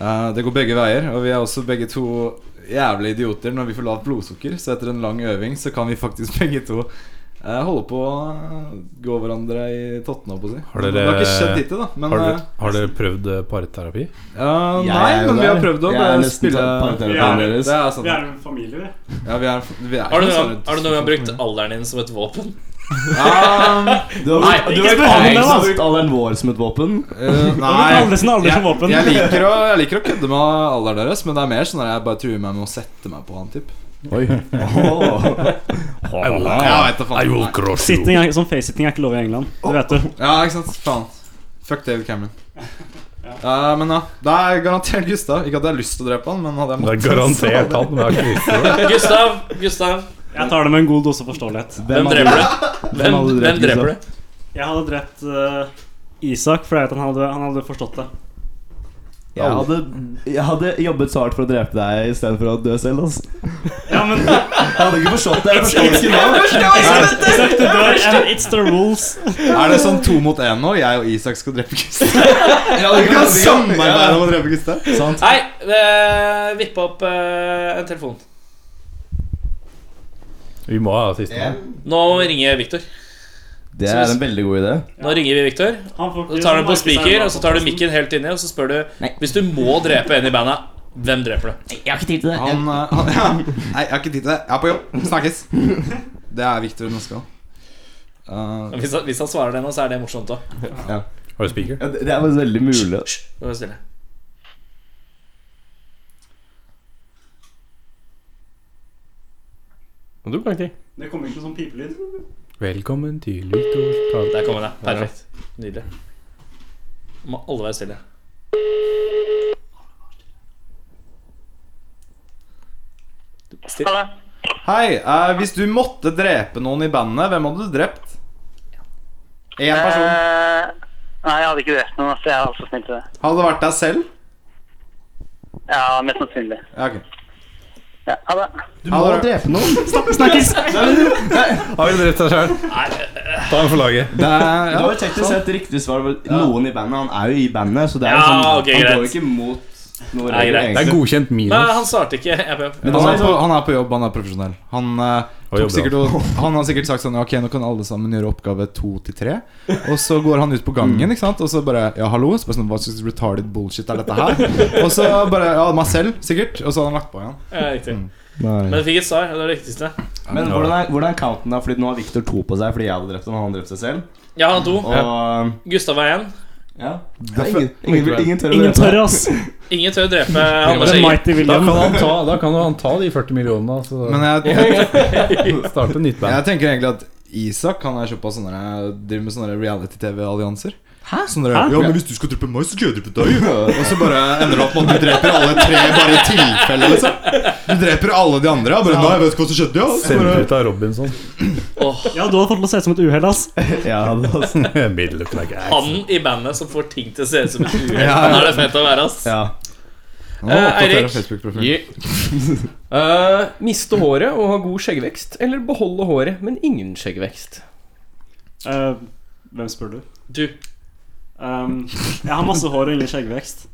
Speaker 6: Eh, det går begge veier, og vi er også begge to jævlig idioter når vi får lavt blodsukker. Så etter en lang øving så kan vi faktisk begge to eh, holde på å gå hverandre i tottene, holdt på å si.
Speaker 3: Har dere-
Speaker 6: det har ikke skjedd hittil, da. Men
Speaker 3: Har dere,
Speaker 6: eh,
Speaker 3: har dere prøvd eh, parterapi?
Speaker 6: ja,
Speaker 7: Jeg
Speaker 6: Nei,
Speaker 7: er jo
Speaker 6: men vi
Speaker 7: der.
Speaker 6: har prøvd å
Speaker 7: Jeg er
Speaker 6: bare
Speaker 7: nesten
Speaker 6: spille
Speaker 7: parterapeuten
Speaker 6: Ja,
Speaker 7: deres.
Speaker 6: Det er sant.
Speaker 8: Vi er en familie, vi.
Speaker 6: Ja, vi er, vi er
Speaker 2: Har du
Speaker 6: ikke
Speaker 2: noen
Speaker 6: sånn-
Speaker 2: har du noen gang brukt alderen din som et våpen?
Speaker 6: Ja,
Speaker 7: Du har
Speaker 2: Nei,
Speaker 7: du
Speaker 8: ikke
Speaker 7: har
Speaker 8: spør om det,
Speaker 7: ikke
Speaker 8: da.
Speaker 7: brukt alderen vår som et våpen.
Speaker 6: Eh,
Speaker 8: bruker
Speaker 6: nei,
Speaker 8: alle sine aldre som
Speaker 6: Jeg-
Speaker 8: våpen.
Speaker 6: Jeg liker, å, jeg liker å kødde med alderen deres, men det er mer sånn at jeg bare truer meg med å sette meg på han, typ.
Speaker 7: Oi.
Speaker 3: I will,
Speaker 6: Jeg vet da
Speaker 3: I
Speaker 6: faen.
Speaker 3: will cross you.
Speaker 8: Sitting er, sånn face-sitting er ikke lov i England. Det vet du.
Speaker 6: Ja, ikke sant. Faen. Fuck David Cameron. Eh, men ja, det er garantert Gustav. Ikke at jeg har lyst til å drepe han, men hadde jeg
Speaker 3: Det er
Speaker 6: måttet
Speaker 3: garantert
Speaker 6: så hadde
Speaker 3: han. Det er ikke visst.
Speaker 2: Gustav, Gustav
Speaker 8: Jeg tar det med en god dose forståelighet.
Speaker 2: hvem
Speaker 7: hadde-
Speaker 2: dreper du? Hvem,
Speaker 7: hadde drept
Speaker 2: hvem dreper du?
Speaker 8: Jeg hadde drept eh, Isak, for jeg vet han hadde, han hadde forstått det.
Speaker 7: Jeg hadde, jeg hadde jobbet så hardt for å drepe deg istedenfor å dø selv. Altså.
Speaker 8: Ja, men
Speaker 7: Jeg hadde ikke forstått det. Jeg forstår ikke nå.
Speaker 8: Isak, du dør, and it's the rules.
Speaker 6: jeg- Er det sånn to mot én nå? Jeg og Isak skal drepe Gustav? ja, vi kan samarbeide om å drepe Gustav.
Speaker 7: Sant?
Speaker 2: Hei, eh, vipp opp eh, en telefon.
Speaker 3: Vi må ha siste mann.
Speaker 2: Nå ringer Victor.
Speaker 7: Det er en veldig god idé.
Speaker 2: Nå ringer vi Victor.
Speaker 8: Han får
Speaker 2: Så
Speaker 8: ikke
Speaker 2: tar du den på
Speaker 8: merke seg
Speaker 2: speaker,
Speaker 8: hva
Speaker 2: og så tar du
Speaker 8: podcasten-
Speaker 2: mikken helt inni, og så spør du
Speaker 7: Nei.
Speaker 2: Hvis du må drepe en i bandet, hvem dreper du?
Speaker 7: Jeg har ikke tid til det.
Speaker 6: Han, eh, han ja. Nei, jeg har ikke tid til det. Jeg er på jobb. Snakkes. Det er Victor Norskal. Uh,
Speaker 2: Hvis han, hvis han svarer det nå, så er det morsomt òg.
Speaker 3: Har du speaker?
Speaker 7: Ja, det det er faktisk veldig mulig.
Speaker 2: Hei,
Speaker 4: Det tok lang tid.
Speaker 8: Det kommer ikke noen sånn pipelyd.
Speaker 3: Velkommen til Victor.
Speaker 2: Der kom den, ja. Perfekt. Nydelig. Må alle være stille. Stille.
Speaker 5: Hallo.
Speaker 6: Hei, eh, hvis du måtte drepe noen i bandet, hvem hadde du drept? Én person.
Speaker 5: nei, jeg hadde ikke drept noen. Så jeg er altfor snill til det.
Speaker 6: Hadde det vært deg selv?
Speaker 5: Ja, mest sannsynlig.
Speaker 6: Ja, ok.
Speaker 5: Ja, ha det.
Speaker 7: Du må
Speaker 6: Hadde-
Speaker 7: drepe noen.
Speaker 8: Snakkes!
Speaker 3: Har du drept deg sjøl? Ta en for laget.
Speaker 6: Det er,
Speaker 7: Det
Speaker 6: Eh, ja.
Speaker 7: var jo teknisk sett riktig svar. var Noen i bandet. Han er jo i bandet, så det er jo
Speaker 2: Ja,
Speaker 7: sånn
Speaker 2: ok,
Speaker 7: Han går
Speaker 2: greit.
Speaker 7: jo ikke mot noe
Speaker 2: Nei,
Speaker 7: regler,
Speaker 2: greit.
Speaker 3: Det er
Speaker 7: egentlig.
Speaker 3: godkjent
Speaker 2: Nei,
Speaker 3: minus.
Speaker 2: han svarte ikke. Jeg prøver.
Speaker 7: Men
Speaker 6: Han
Speaker 7: han
Speaker 6: er, på, han er på jobb, han er profesjonell. Han, eh,
Speaker 3: Og
Speaker 6: tok
Speaker 3: jobber
Speaker 6: sikkert, og, han har sikkert sagt sånn Ok, nå kan alle sammen gjøre oppgave to til tre. Og så går han ut på gangen, ikke sant? og så bare Ja, hallo? Så bare sånn, Hva slags retarded bullshit er dette her? Og så bare Ja, meg selv, sikkert. Og så hadde han lagt på igjen.
Speaker 2: Ja, mm. riktig.
Speaker 7: Nei.
Speaker 2: Men jeg fikk et svar. Det var det viktigste.
Speaker 7: Men hvordan er, hvordan er counten da? Fordi nå har Victor to på seg fordi jeg hadde drept ham. Han hadde drept seg selv.
Speaker 2: Jeg har to.
Speaker 7: Og
Speaker 2: Gustav er én.
Speaker 7: ja. Det er ingen, ingen, ingen tør å
Speaker 8: Ingen
Speaker 7: drepe
Speaker 8: tør,
Speaker 7: deg.
Speaker 8: ass.
Speaker 2: Ingen tør å drepe Anders
Speaker 8: The
Speaker 2: Egil.
Speaker 8: mighty
Speaker 3: Da
Speaker 8: William.
Speaker 3: kan han ta, da kan han ta de 40 millionene, så
Speaker 6: Men jeg, jeg,
Speaker 3: starte nytt band.
Speaker 6: Jeg tenker egentlig at Isak han er såpass sånne, driver med sånne reality-TV-allianser. Hæ? Sånne,
Speaker 8: Hæ?
Speaker 6: Ja, men hvis du skal drepe meg, så skal jeg drepe deg. Og så bare ender det opp med at du dreper alle tre bare i tilfelle. Liksom. Du dreper alle de andre. og Bare, nei, jeg vet ikke hva som skjedde, ja. Så
Speaker 3: Sendt
Speaker 6: bare,
Speaker 3: ut av Robinson.
Speaker 8: Ja, du hadde fått til å se ut som et uhell, ass.
Speaker 7: Ja, det var sånn.
Speaker 3: Middle look like ass.
Speaker 2: Han i bandet som får ting til å Eh, se ut som et uhell.
Speaker 6: Ja, ja.
Speaker 2: Han er det fett å være, ass.
Speaker 7: ja.
Speaker 6: Nå oppdaterer
Speaker 4: Eirik.
Speaker 6: jeg Facebook-profilen.
Speaker 4: Yeah. Eh, miste håret og ha god skjeggvekst, eller beholde håret, men ingen skjeggvekst?
Speaker 8: Eh, hvem spør du?
Speaker 2: Du.
Speaker 8: Um, jeg har masse hår og ingen skjeggvekst.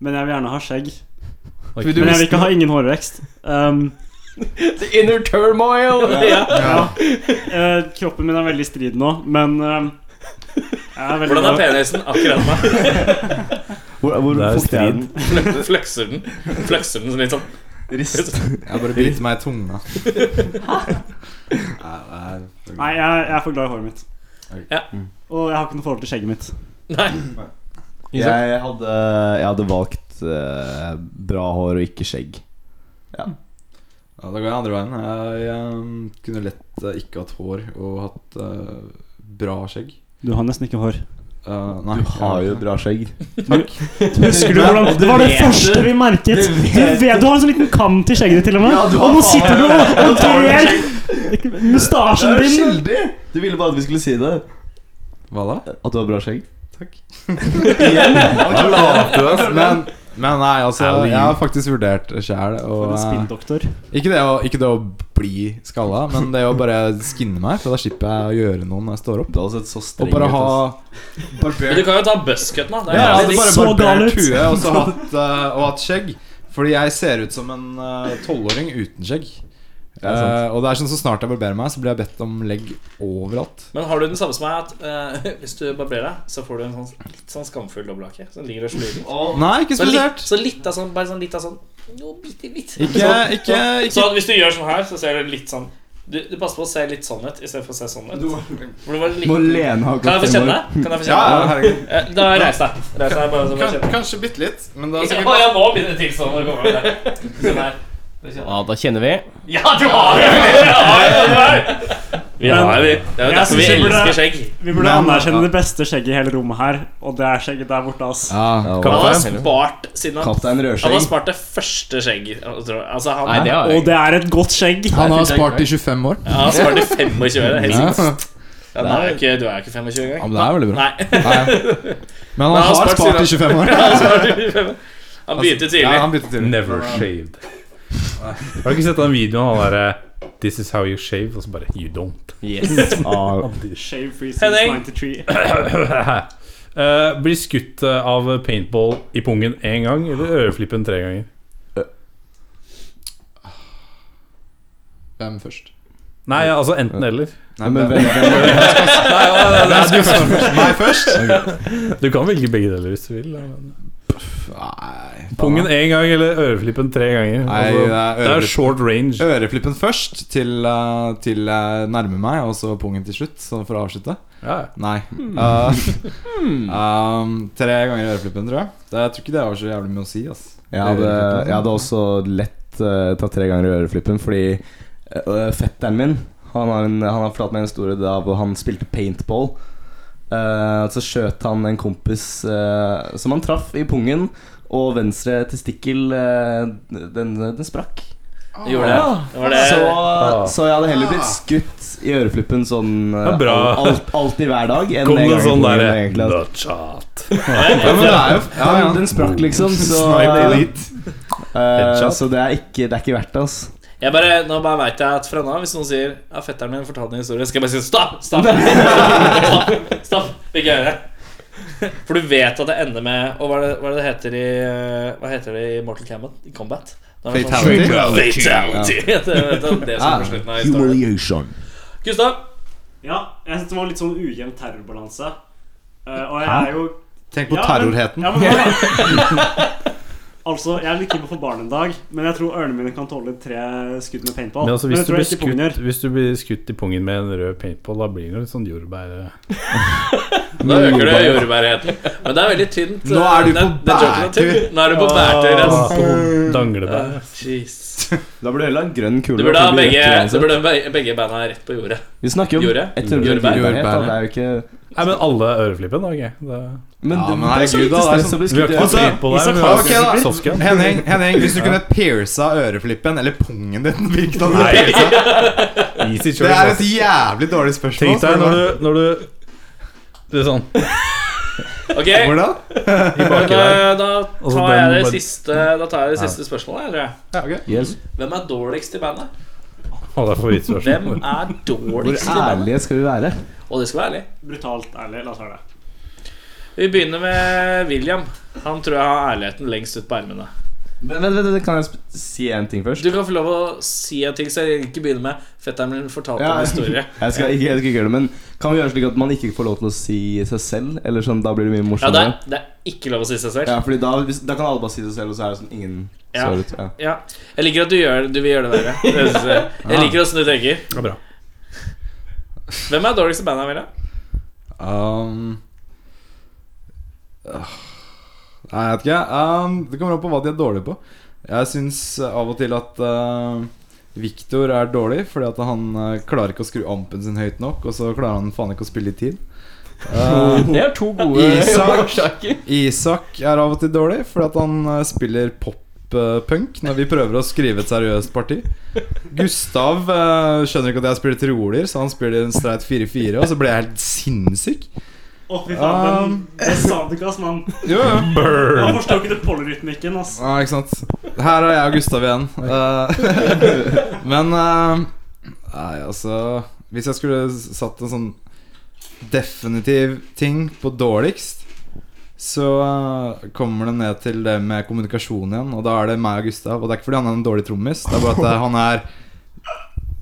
Speaker 8: Men jeg vil gjerne ha skjegg.
Speaker 3: Oi.
Speaker 8: Men jeg vil ikke ha ingen hårvekst. Um,
Speaker 4: The inner turmoil!
Speaker 8: ja. Eh, kroppen min er veldig i strid nå, men um, jeg er veldig
Speaker 2: Hvordan er penisen akkurat nå?
Speaker 7: Hvor, hvor
Speaker 3: Det er
Speaker 7: fuktig er den?
Speaker 2: Fløkser den Fløkser den litt sånn?
Speaker 7: Rist.
Speaker 6: Jeg bare biter meg i tunga. Nei, det er-
Speaker 8: Nei, jeg, jeg er for glad i håret mitt.
Speaker 2: Ja.
Speaker 8: Og jeg har ikke noe forhold til skjegget mitt.
Speaker 2: Nei.
Speaker 7: Jeg hadde, jeg hadde valgt eh, bra hår og ikke skjegg.
Speaker 6: Ja, da går jeg andre veien. Jeg, ehm, kunne lett eh, ikke hatt hår og hatt eh, bra skjegg.
Speaker 8: Du har nesten ikke hår.
Speaker 6: Eh, nei,
Speaker 7: Du har jo
Speaker 6: jeg-
Speaker 7: bra skjegg.
Speaker 8: Husker du hvordan Det var det
Speaker 2: vet
Speaker 8: første vi merket. Du, vet, du har en sånn liten kam til skjegget ditt, til og med.
Speaker 7: Ja, du
Speaker 8: og nå
Speaker 7: har
Speaker 8: sitter du og og trer mustasjen
Speaker 7: Det er
Speaker 8: din.
Speaker 7: skyldig! Du ville bare at vi skulle si det.
Speaker 6: Hva da?
Speaker 7: At du har bra skjegg.
Speaker 6: Jeg later oss, men, men nei, altså
Speaker 3: Ally.
Speaker 6: Jeg har faktisk vurdert det sjæl.
Speaker 8: For
Speaker 6: og,
Speaker 8: en
Speaker 6: eh,
Speaker 8: spinndoktor.
Speaker 6: Ikke, det å- ikke det å bli skalla, men det å bare skinne meg, for da slipper jeg å gjøre noe når jeg står opp.
Speaker 7: Du hadde sett så
Speaker 6: Og
Speaker 7: streng
Speaker 6: bare
Speaker 7: ut, ass.
Speaker 6: ha
Speaker 2: Men du kan jo ta buzzcutten, da. Det er
Speaker 6: Ja, jeg
Speaker 2: jævlig
Speaker 6: hadde
Speaker 2: digg.
Speaker 6: bare
Speaker 8: så gal
Speaker 6: barbert
Speaker 8: ut.
Speaker 6: huet og, så hatt, eh, og hatt skjegg. Fordi jeg ser ut som en eh, tolvåring uten skjegg.
Speaker 7: er sant.
Speaker 6: Eh, og det er sånn så snart jeg barberer meg, så blir jeg bedt om legg overalt.
Speaker 2: Men har du den samme som meg, at eh, hvis du barberer deg, så får du en sånn, litt sånn skamfull dobbelthake som ligger og slurer?
Speaker 6: Nei, ikke
Speaker 2: Så litt,
Speaker 6: spesielt.
Speaker 2: så litt av sånn, bare sånn litt av sånn jo, bitte litt.
Speaker 6: Ikke, ikke,
Speaker 2: Så
Speaker 6: ikke
Speaker 2: at hvis du gjør sånn her, så ser du litt sånn Du, du passer på å se litt sånn ut istedenfor å se sånn ut. For det var litt...
Speaker 7: Må Lene ha
Speaker 2: Kan jeg få
Speaker 7: fem
Speaker 2: kjenne?
Speaker 7: år.
Speaker 2: Kan jeg få
Speaker 6: ja,
Speaker 2: kjenne?
Speaker 6: ja, herregud.
Speaker 2: Eh, Da reis deg. Reis deg bare så bare
Speaker 6: Kan,
Speaker 2: kjenne.
Speaker 6: kanskje bitte litt, men da
Speaker 2: Ikke, å, ja, nå begynner tilstanden å komme. over deg. Sånn her.
Speaker 4: Ja, da kjenner vi.
Speaker 2: Ja, du har jo det! Du har jo det der! Vi har jo det. Det er jo
Speaker 8: Jeg
Speaker 2: derfor vi
Speaker 8: synes jeg burde-
Speaker 2: elsker skjegg.
Speaker 8: Vi burde
Speaker 6: Men-
Speaker 8: anerkjenne det beste skjegget i hele rommet her, og det er skjegget der borte, ass.
Speaker 6: Ja,
Speaker 7: Ja,
Speaker 2: Han har
Speaker 4: Kaptein.
Speaker 2: spart siden han Han
Speaker 7: Kaptein
Speaker 2: har
Speaker 7: Rødskjegg.
Speaker 2: spart det første skjegget. Altså, han,
Speaker 4: Nei, det har jeg
Speaker 8: Og
Speaker 4: ikke.
Speaker 8: det er et godt skjegg.
Speaker 6: Han har spart i 25 år.
Speaker 2: Ja, han sparte 25 år. det er Helt
Speaker 6: Ja,
Speaker 2: sikkert. Ja, nei, jeg er ikke, du er ikke 25
Speaker 6: Ja,
Speaker 2: engang.
Speaker 6: men det er veldig bra.
Speaker 2: Nei.
Speaker 6: Nei. Men han
Speaker 2: Men han
Speaker 6: har
Speaker 2: har spart
Speaker 6: spart i 25 år.
Speaker 2: Han sparte 25. Han begynte
Speaker 6: Ja,
Speaker 2: tidlig.
Speaker 6: han bytter til.
Speaker 3: Never shaved. Har du ikke sett den videoen han derre This is how you shave, og så bare You don't.
Speaker 4: Yes.
Speaker 7: Ah,
Speaker 8: Shave free
Speaker 2: Henning.
Speaker 8: since 93.
Speaker 3: Eh, blir skutt eh, av paintball i pungen én gang, eller øreflippen tre ganger?
Speaker 6: Hvem først?
Speaker 3: Nei, altså enten eller.
Speaker 6: Nei, men
Speaker 7: men hvem, hvem,
Speaker 6: Nei, du står først. Meg først?
Speaker 3: Du kan velge begge deler hvis du vil. da, men-
Speaker 6: Nei,
Speaker 3: Pungen én gang eller øreflippen tre ganger.
Speaker 6: Nei,
Speaker 3: Altså,
Speaker 6: det er
Speaker 3: det er
Speaker 6: øreflippen.
Speaker 3: short range.
Speaker 6: Øreflippen først til, eh, til jeg nærmer meg, og så pungen til slutt, sånn for å avslutte.
Speaker 3: Ja.
Speaker 6: Nei. Eh, um, tre ganger øreflippen, tror jeg. Det, jeg tror ikke det har så jævlig mye å si. Ass.
Speaker 7: Jeg hadde,
Speaker 6: Øreflippen.
Speaker 7: jeg hadde også lett eh, tatt tre ganger i øreflippen, fordi eh, fetteren min Han har, en, han har fortalt meg en historie da hvor han spilte paintball. Eh, så skjøt han en kompis eh, som han traff i pungen, og venstre testikkel eh, den, den sprakk.
Speaker 2: Gjorde det. det var det.
Speaker 7: Så, så jeg hadde heller blitt skutt i øreflippen sånn eh,
Speaker 3: Ah. Ja, bra.
Speaker 7: al- alt, alltid hver dag. enn
Speaker 3: Kom
Speaker 7: en
Speaker 3: det
Speaker 7: gang i
Speaker 3: sånn
Speaker 7: pungen,
Speaker 3: derre
Speaker 7: egentlig, altså.
Speaker 3: Nutshot.
Speaker 6: Ja, men det er jo ja, ja.
Speaker 7: Den, den sprakk, liksom. Så,
Speaker 6: Snipe elite.
Speaker 7: eh,
Speaker 3: Headshot.
Speaker 7: så det er ikke, det er ikke verdt det, altså.
Speaker 2: Jeg bare, nå bare vet jeg at fra nå av, hvis noen sier Ja, fetteren min fortalte en historie, skal jeg bare si stopp! Stopp! Stopp! stopp. Vil ikke høre. For du vet at det ender med Og hva er det, hva er det det heter i eh, Hva heter det i Mortal Kombat? I Combat? Da er det sånn-
Speaker 6: Fatality.
Speaker 2: Fatality. Det er det som er slutten av historien.
Speaker 7: Humiliation.
Speaker 2: Gustav,
Speaker 8: Ja, jeg synes det var litt sånn ujevn terrorbalanse. Eh, og jeg er jo
Speaker 6: Tenk på
Speaker 8: Ja, men-
Speaker 6: terrorheten.
Speaker 8: Ja, men hva- Altså, Jeg er litt keen på å få barn en dag, men jeg tror ørene mine kan tåle tre skudd med paintball.
Speaker 3: Men altså,
Speaker 8: Men
Speaker 3: hvis,
Speaker 8: det
Speaker 3: du
Speaker 8: tror
Speaker 3: blir
Speaker 8: jeg ikke pungen
Speaker 3: skutt,
Speaker 8: gjør.
Speaker 3: hvis du blir skutt i pungen med en rød paintball, da blir det litt sånn jordbær...
Speaker 2: da øker du jordbærheten. Men det er veldig tynt. eh,
Speaker 6: Nå er du
Speaker 2: Den-
Speaker 6: på
Speaker 2: den joken er tynn. Nå er du på bærtur. ass.
Speaker 3: På danglebær.
Speaker 2: Ah, jeez.
Speaker 7: Da burde du heller ha en grønn kule.
Speaker 2: Du burde ha
Speaker 7: for det blir altså?
Speaker 2: begge,
Speaker 7: rett
Speaker 2: du
Speaker 7: uansett.
Speaker 2: burde ha be- begge beina rett på jordet.
Speaker 7: Vi snakker jo om
Speaker 2: Jordet?
Speaker 7: etterbruk.
Speaker 2: Jordbær.
Speaker 7: Det er jo ikke
Speaker 3: Nei, men alle øreflippen, da. ok. Det,
Speaker 7: Men,
Speaker 6: Ja,
Speaker 7: det-
Speaker 6: men
Speaker 7: det er så
Speaker 6: herregud,
Speaker 7: lite
Speaker 6: da, det er
Speaker 7: stress
Speaker 6: sånn-
Speaker 7: å bli
Speaker 3: vi har
Speaker 7: skutt
Speaker 3: ikke
Speaker 7: i øyet.
Speaker 3: noe paintball her,
Speaker 8: Isak,
Speaker 3: men altså, vi har
Speaker 6: ok, da.
Speaker 3: softgun.
Speaker 6: Henning, Henning, hvis du kunne pierca øreflippen, eller pungen din hvilken hadde du
Speaker 3: Nei.
Speaker 6: piercet?
Speaker 3: Easy
Speaker 6: Det er et
Speaker 3: choice.
Speaker 6: jævlig dårlig spørsmål.
Speaker 3: Tenk deg
Speaker 6: spør du
Speaker 3: når
Speaker 6: meg.
Speaker 3: du, når du Det er sånn
Speaker 2: Ok,
Speaker 6: Hvordan?
Speaker 2: men, eh, da
Speaker 9: Og så
Speaker 2: tar jeg
Speaker 9: den
Speaker 2: det
Speaker 9: bare-
Speaker 2: siste, da tar jeg det siste spørsmålet. jeg, Tror jeg.
Speaker 7: Yes.
Speaker 2: Hvem er dårligst i bandet?
Speaker 3: Å, det er favorittspørsmål.
Speaker 2: Hvem er
Speaker 7: Hvor
Speaker 2: dårligst i bandet?
Speaker 7: ærlige skal vi være?
Speaker 2: Og det skal være ærlig.
Speaker 8: Brutalt ærlig. La oss høre det.
Speaker 2: Vi begynner med William. Han tror jeg har ærligheten lengst ut på ermene.
Speaker 7: Men, vent, vent, vent, kan jeg sp- si en ting først?
Speaker 2: Du kan få lov å si en ting, så jeg ikke begynner med fetteren min fortalte
Speaker 7: Ja.
Speaker 2: en historie.
Speaker 7: Jeg skal ikke, jeg skal ikke gjøre det, men Kan vi gjøre det slik at man ikke får lov til å si seg selv? Eller sånn, Da blir det mye
Speaker 2: Ja, det er,
Speaker 7: morsommere.
Speaker 2: det er ikke lov å si seg selv.
Speaker 7: Ja, fordi da, hvis, da kan alle bare si seg selv, og så er det sånn ingen
Speaker 2: Ja.
Speaker 7: sår ut. Ja.
Speaker 2: Ja. Jeg liker at du, gjør, du vil gjøre det verre. Det synes Jeg Jeg liker åssen du tenker.
Speaker 3: Ja, bra.
Speaker 2: Hvem er dårligst i bandet, William?
Speaker 6: Um, øh, Nei, jeg vet ikke. Um, det kommer an på hva de er dårlige på. Jeg syns av og til at uh, Victor er dårlig fordi at han eh, klarer ikke å skru ampen sin høyt nok, og så klarer han faen ikke å spille i tid. Eh,
Speaker 4: Det er to gode
Speaker 6: Isak.
Speaker 4: årsaker.
Speaker 6: Isak er av og til dårlig fordi at han eh, spiller pop-punk når vi prøver å skrive et seriøst parti. Gustav eh, skjønner ikke at jeg spiller trioler, så han spiller en streit 4-4, og så blir jeg helt sinnssyk.
Speaker 8: Å, fy faen. men
Speaker 6: Um.
Speaker 8: Det sa du ikke, ass, mann.
Speaker 6: Jo, jo.
Speaker 8: Man forstår ikke det polyrytmikken, ass.
Speaker 6: Ja, ikke sant. Her er jeg og Gustav igjen. Eh, men eh, Nei, altså Hvis jeg skulle satt en sånn definitiv ting på dårligst, så eh, kommer det ned til det med kommunikasjon igjen. Og da er det meg og Gustav. Og det er ikke fordi han er en dårlig trommis, det er bare at eh, han er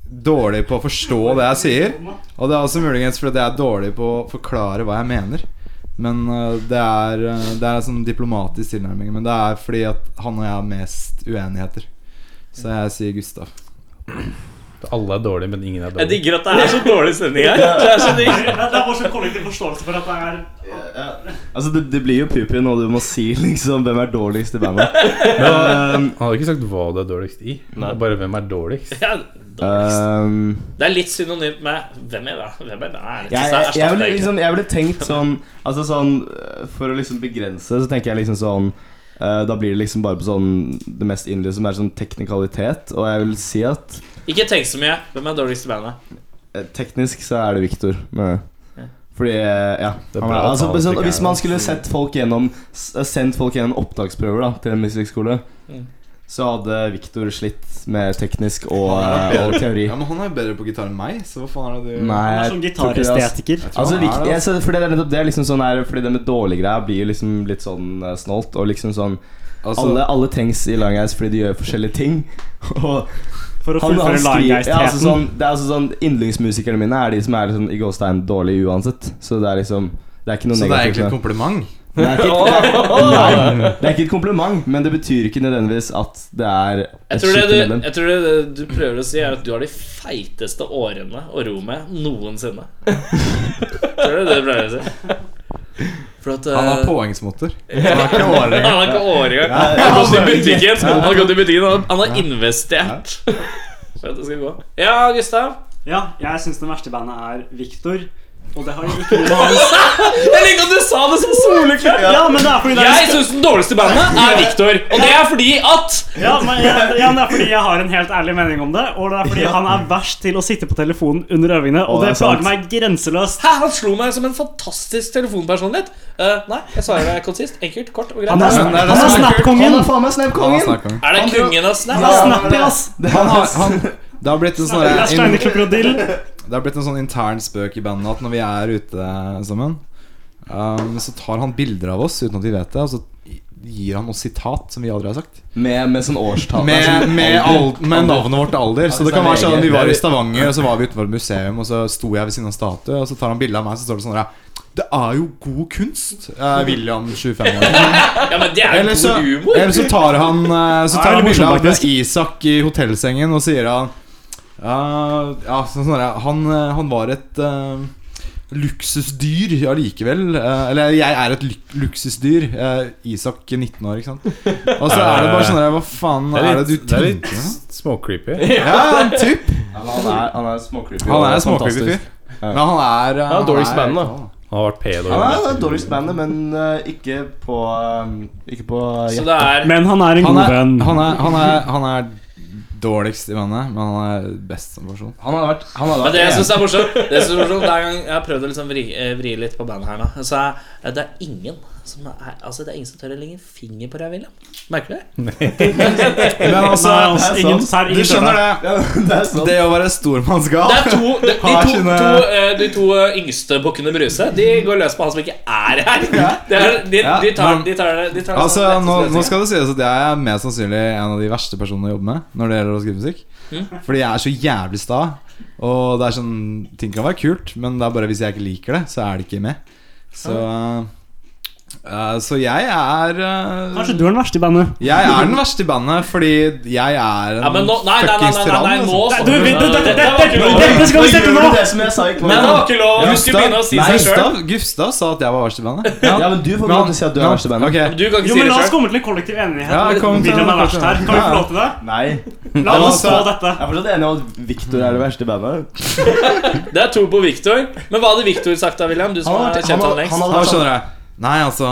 Speaker 6: dårlig på å forstå det jeg sier. Og det er også muligens fordi jeg er dårlig på å forklare hva jeg mener. Men øh, det er, øh, det er en sånn diplomatisk tilnærming. Men det er fordi at han og jeg har mest uenigheter. Så jeg sier Gustav.
Speaker 3: Alle er dårlige, men ingen er
Speaker 2: Jeg
Speaker 3: dårlige.
Speaker 2: digger at det er så dårlig stemning her. Det er så digg.
Speaker 8: Det det er vår kollektiv forståelse for at det er
Speaker 7: Altså, det, det blir jo pupi når du må si liksom hvem er dårligst i bandet.
Speaker 3: Men, han hadde ikke sagt hva du er dårligst i,
Speaker 7: Nei.
Speaker 3: bare hvem er dårligst.
Speaker 2: Ja, dårligst.
Speaker 7: Ehm,
Speaker 2: Det er litt synonymt med Hvem er det? Hvem er det? Erlig,
Speaker 7: jeg,
Speaker 2: så
Speaker 7: jeg,
Speaker 2: erstatt
Speaker 7: jeg, ville
Speaker 2: det, ikke?
Speaker 7: liksom, jeg ville tenkt sånn Altså sånn øh, For å liksom begrense Så tenker jeg liksom sånn øh, Da blir det liksom bare på sånn Det mest inderlige som er sånn teknikalitet Og jeg vil si at
Speaker 2: Ikke tenk så mye. Hvem er dårligst i bandet?
Speaker 7: eh, Teknisk så er det Victor men- Fordi eh, ja
Speaker 3: Det er
Speaker 7: han
Speaker 3: bra
Speaker 7: er,
Speaker 3: at
Speaker 7: altså,
Speaker 3: han
Speaker 7: sånn,
Speaker 3: ikke er
Speaker 7: Hvis man skulle sett folk gjennom s- eh, Sendt folk gjennom opptaksprøver da Til en musikkskole
Speaker 2: Mm.
Speaker 7: Så hadde Victor slitt med teknisk og, eh, og teori
Speaker 6: Ja, Men han er jo bedre på gitar enn meg, så hva faen er det du
Speaker 8: Han
Speaker 7: Nei,
Speaker 8: er sånn som
Speaker 7: jeg tror ikke det, ass.
Speaker 6: Jeg
Speaker 8: gitarestetiker.
Speaker 6: tror
Speaker 7: Altså,
Speaker 6: han er
Speaker 7: viktig,
Speaker 6: det,
Speaker 7: jeg, så, fordi det er nettopp det liksom sånn her, Fordi det med dårlige greier blir jo liksom litt sånn eh, snålt. Og liksom sånn
Speaker 6: altså.
Speaker 7: alle, alle trengs i Langheis fordi de gjør forskjellige ting. Og
Speaker 8: For å
Speaker 7: han, han
Speaker 8: fullføre
Speaker 7: skriver ja, altså,
Speaker 8: laggeistheten.
Speaker 7: sånn, Det er altså sånn Yndlingsmusikerne mine er de som er liksom, i gåstein dårlige uansett. Så det er liksom Det er ikke noe
Speaker 6: Så det er egentlig
Speaker 7: negativt.
Speaker 6: et
Speaker 7: med det.
Speaker 6: kompliment?
Speaker 7: Det er ikke- det er- Nei, det er ikke et kompliment, men det betyr ikke nødvendigvis at det er
Speaker 2: Jeg
Speaker 7: et
Speaker 2: tror, det
Speaker 7: skikkelig
Speaker 2: du,
Speaker 7: medlem.
Speaker 2: jeg tror det du- du prøver å si, er at du har de feiteste årene å ro med noensinne. tror du det du prøver å si? For at
Speaker 6: Han har
Speaker 2: eh,
Speaker 6: påhengsmotor. Han har ikke åre.
Speaker 2: Han har ikke år engang. Han har gått i butikken, han har, gått i butikken, han har- han har investert. For at det skal gå. Ja, Gustav.
Speaker 8: Ja, jeg syns den verste i bandet er Victor. Og det har jo ikke noe med hans
Speaker 2: Jeg liker at du sa det så soleklart.
Speaker 8: Ja, men det er fordi det er
Speaker 2: Jeg syns den dårligste bandet er Victor, og det er fordi at
Speaker 8: Ja, men jeg, ja, men det er fordi jeg har en helt ærlig mening om det. Og det er fordi han er verst til å sitte på telefonen under øvingene. Og
Speaker 7: Å, det
Speaker 8: det
Speaker 7: er sant.
Speaker 8: plager meg grenseløst.
Speaker 2: Hæ, han slo meg som en fantastisk telefonpersonlighet. Eh, nei, jeg svarer deg konsist. Enkelt, kort og greit.
Speaker 8: Han er,
Speaker 6: Men det er det
Speaker 8: han er
Speaker 6: som er
Speaker 7: Han
Speaker 8: Snap-kongen.
Speaker 7: er faen meg
Speaker 6: Han har
Speaker 7: Snap-kongen!
Speaker 6: snakket om.
Speaker 2: Er det kongen av snap?
Speaker 8: Han er snappy, ass.
Speaker 6: Han har, han, det har blitt en sånn
Speaker 8: Det er
Speaker 6: der-
Speaker 8: Steiner Krokodille.
Speaker 6: Det har blitt en sånn intern spøk i bandet at når vi er ute sammen, um, så tar han bilder av oss uten at vi vet det, og så gir han oss sitat som vi aldri har sagt.
Speaker 7: Med, med sånn årstall.
Speaker 6: Med,
Speaker 7: sånn
Speaker 6: med,
Speaker 7: alder.
Speaker 6: al- med navnet vårt og alder. Så det kan være sånn at Vi var i Stavanger, og så var vi utenfor et museum, og så sto jeg ved siden av en statue, og så tar han bilde av meg, så står det sånn her Det er jo god kunst! Eh, William 25 år.
Speaker 2: Ja, men det er
Speaker 6: Eller
Speaker 2: jo
Speaker 6: så,
Speaker 2: god humor.
Speaker 6: eller så tar han eh, Så
Speaker 8: Det er
Speaker 6: tar han
Speaker 8: veldig
Speaker 6: bilde
Speaker 8: morsomt,
Speaker 6: av
Speaker 8: faktisk.
Speaker 6: Isak i hotellsengen, og sier han eh, Ja, sånn sånn her han, eh, han var et eh, Luksusdyr allikevel. eh, eller jeg er et luk luksusdyr. eh, Isak 19 år, ikke sant. Og så er det bare sånn her Hva faen
Speaker 3: Det
Speaker 6: er,
Speaker 3: er
Speaker 6: det
Speaker 3: litt,
Speaker 6: du
Speaker 3: det er
Speaker 6: tenker?
Speaker 3: litt
Speaker 6: nå?
Speaker 3: småcreepy.
Speaker 6: Ja, en typ.
Speaker 7: Ja, men Han er, han er småkrypig.
Speaker 6: Han
Speaker 7: og
Speaker 6: er en småcreepy fyr.
Speaker 7: Ja.
Speaker 6: Men han er
Speaker 4: er dårligst band, da.
Speaker 3: Han har vært pedo.
Speaker 7: Han er det dårligste bandet, men eh, ikke på eh, Ikke på
Speaker 2: Så det er
Speaker 8: Men han er en
Speaker 6: Han
Speaker 8: god
Speaker 6: er,
Speaker 8: venn.
Speaker 6: han, er, han, er, han er dårligst i bandet, men han er best som person. Han hadde vært, han hadde
Speaker 2: Men
Speaker 6: vært
Speaker 2: det jeg
Speaker 6: en-
Speaker 2: syns er morsomt, det jeg synes er morsomt hver gang jeg har prøvd å liksom vri, eh, vri litt på bandet her nå, så er eh, det er ingen som er, altså det er ingen som tør å legge en finger på deg, William. Merker du det?
Speaker 6: Men altså,
Speaker 8: Nei, altså,
Speaker 7: det er
Speaker 8: ingen,
Speaker 7: sant.
Speaker 8: her,
Speaker 6: du
Speaker 8: ingen
Speaker 6: skjønner
Speaker 8: dør der.
Speaker 6: det.
Speaker 7: Ja, det er sånn. sant.
Speaker 6: Det å være stormannsgal
Speaker 2: Det er to, de, de,
Speaker 6: Har
Speaker 2: to,
Speaker 6: sine-
Speaker 2: to, eh, de to eh, yngste bukkene Bruse De går løs på han som ikke er her. Det er, de,
Speaker 6: Ja,
Speaker 2: de tar
Speaker 6: men-
Speaker 2: de tar det de tar det
Speaker 6: Altså,
Speaker 2: som letteste
Speaker 6: nå, nå
Speaker 2: løsning.
Speaker 6: skal det sies at jeg er mest sannsynlig en av de verste personene å jobbe med når det gjelder å skrive musikk.
Speaker 2: Mm.
Speaker 6: Fordi jeg er så jævlig sta. Og det er sånn ting kan være kult, men det er bare hvis jeg ikke liker det, så er det ikke med. Så eh, Så jeg er eh,
Speaker 8: Kanskje du er den verste i bandet.
Speaker 6: Jeg er den verste i bandet fordi jeg er en altså.
Speaker 2: ja, men nå, nei, nei, nei, nei, nei, nei, nå
Speaker 8: Nei,
Speaker 2: stopper
Speaker 8: du, vi-
Speaker 2: det.
Speaker 8: det- det- det-
Speaker 2: var ikke lov.
Speaker 8: det- det skal vi
Speaker 7: Nå
Speaker 8: sette
Speaker 7: gjør
Speaker 8: nå!
Speaker 7: du Det som jeg sa ikke var
Speaker 2: Men det
Speaker 7: lov.
Speaker 2: var ikke lov. Du skulle begynne å si
Speaker 6: Nei,
Speaker 2: seg sjøl.
Speaker 6: Gustav, Gustav sa at jeg var verst i bandet.
Speaker 7: Ja, men du får ikke lov til å si at du er verst i bandet.
Speaker 2: Du
Speaker 6: Ok.
Speaker 2: kan
Speaker 8: Jo,
Speaker 2: ikke si
Speaker 8: men
Speaker 2: det
Speaker 8: La oss
Speaker 2: sjøl.
Speaker 8: komme til en kollektiv enighet.
Speaker 6: Ja, kom til
Speaker 8: William
Speaker 6: en
Speaker 8: er verst her. Kan vi få lov til det?
Speaker 7: Nei.
Speaker 8: La
Speaker 6: Ja,
Speaker 8: oss få
Speaker 6: altså,
Speaker 8: dette.
Speaker 7: Jeg er fortsatt enig om at Victor er det verste i bandet.
Speaker 2: Det er to på Victor. Men hva hadde Victor sagt da, William? Du som
Speaker 7: Han har
Speaker 2: har kjent
Speaker 7: vært- han
Speaker 2: han
Speaker 7: har-
Speaker 2: lengst.
Speaker 7: han
Speaker 6: Da skjønner jeg. Nei, altså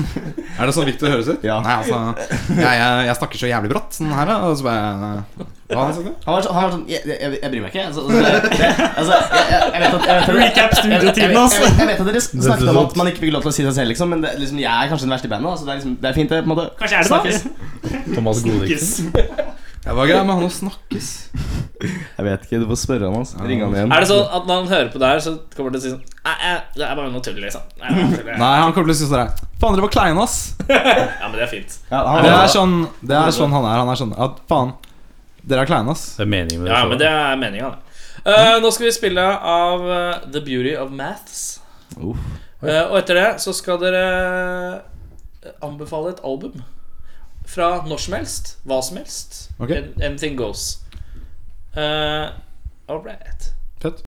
Speaker 6: Er det sånn Victor høres ut?
Speaker 7: Ja.
Speaker 6: Nei, altså jeg, jeg, jeg snakker så jævlig brått sånn her, da, og så bare Hva har han sagt? da?
Speaker 7: Han var, så, han var sånn Jeg, jeg, jeg bryr meg ikke. Altså, altså, jeg, jeg, altså, jeg, jeg, jeg vet at jeg vet at-
Speaker 8: Recap studiotiden,
Speaker 7: jeg-
Speaker 8: ass.
Speaker 7: jeg- jeg- Jeg vet at dere snakket om at man ikke fikk lov til å si seg selv, liksom, men det, liksom, jeg er kanskje den verste i bandet. Altså, det, er liksom, det er fint, det. på en måte
Speaker 8: Kanskje er det da?
Speaker 7: Snakkes.
Speaker 3: Thomas Godiksen.
Speaker 8: Yes.
Speaker 6: Det var greit med han å snakkes.
Speaker 7: Jeg vet ikke. Du får spørre han, altså. Ring han igjen.
Speaker 2: Er det sånn at når han hører på det her, så kommer han til å si sånn Nei, jeg- det er bare noe tull, liksom. Nei, det er bare noe tull, jeg».
Speaker 6: Nei, han kommer til å synes det er Faen, dere var kleine, ass.
Speaker 2: Ja, men det er fint.
Speaker 7: Ja, han,
Speaker 6: Det er sånn, det er sånn han er. Han er sånn at faen, dere er kleine, ass.
Speaker 3: Det er meningen med det.
Speaker 2: Ja,
Speaker 3: showet.
Speaker 2: men det er meninga, det. Eh, nå skal vi spille av eh, The Beauty of Maths.
Speaker 7: Uff.
Speaker 2: Eh, og etter det så skal dere eh, anbefale et album. Fra når som helst. Hva som helst.
Speaker 6: Ok.
Speaker 2: An- Anything goes. Uh, all right.
Speaker 6: Fett.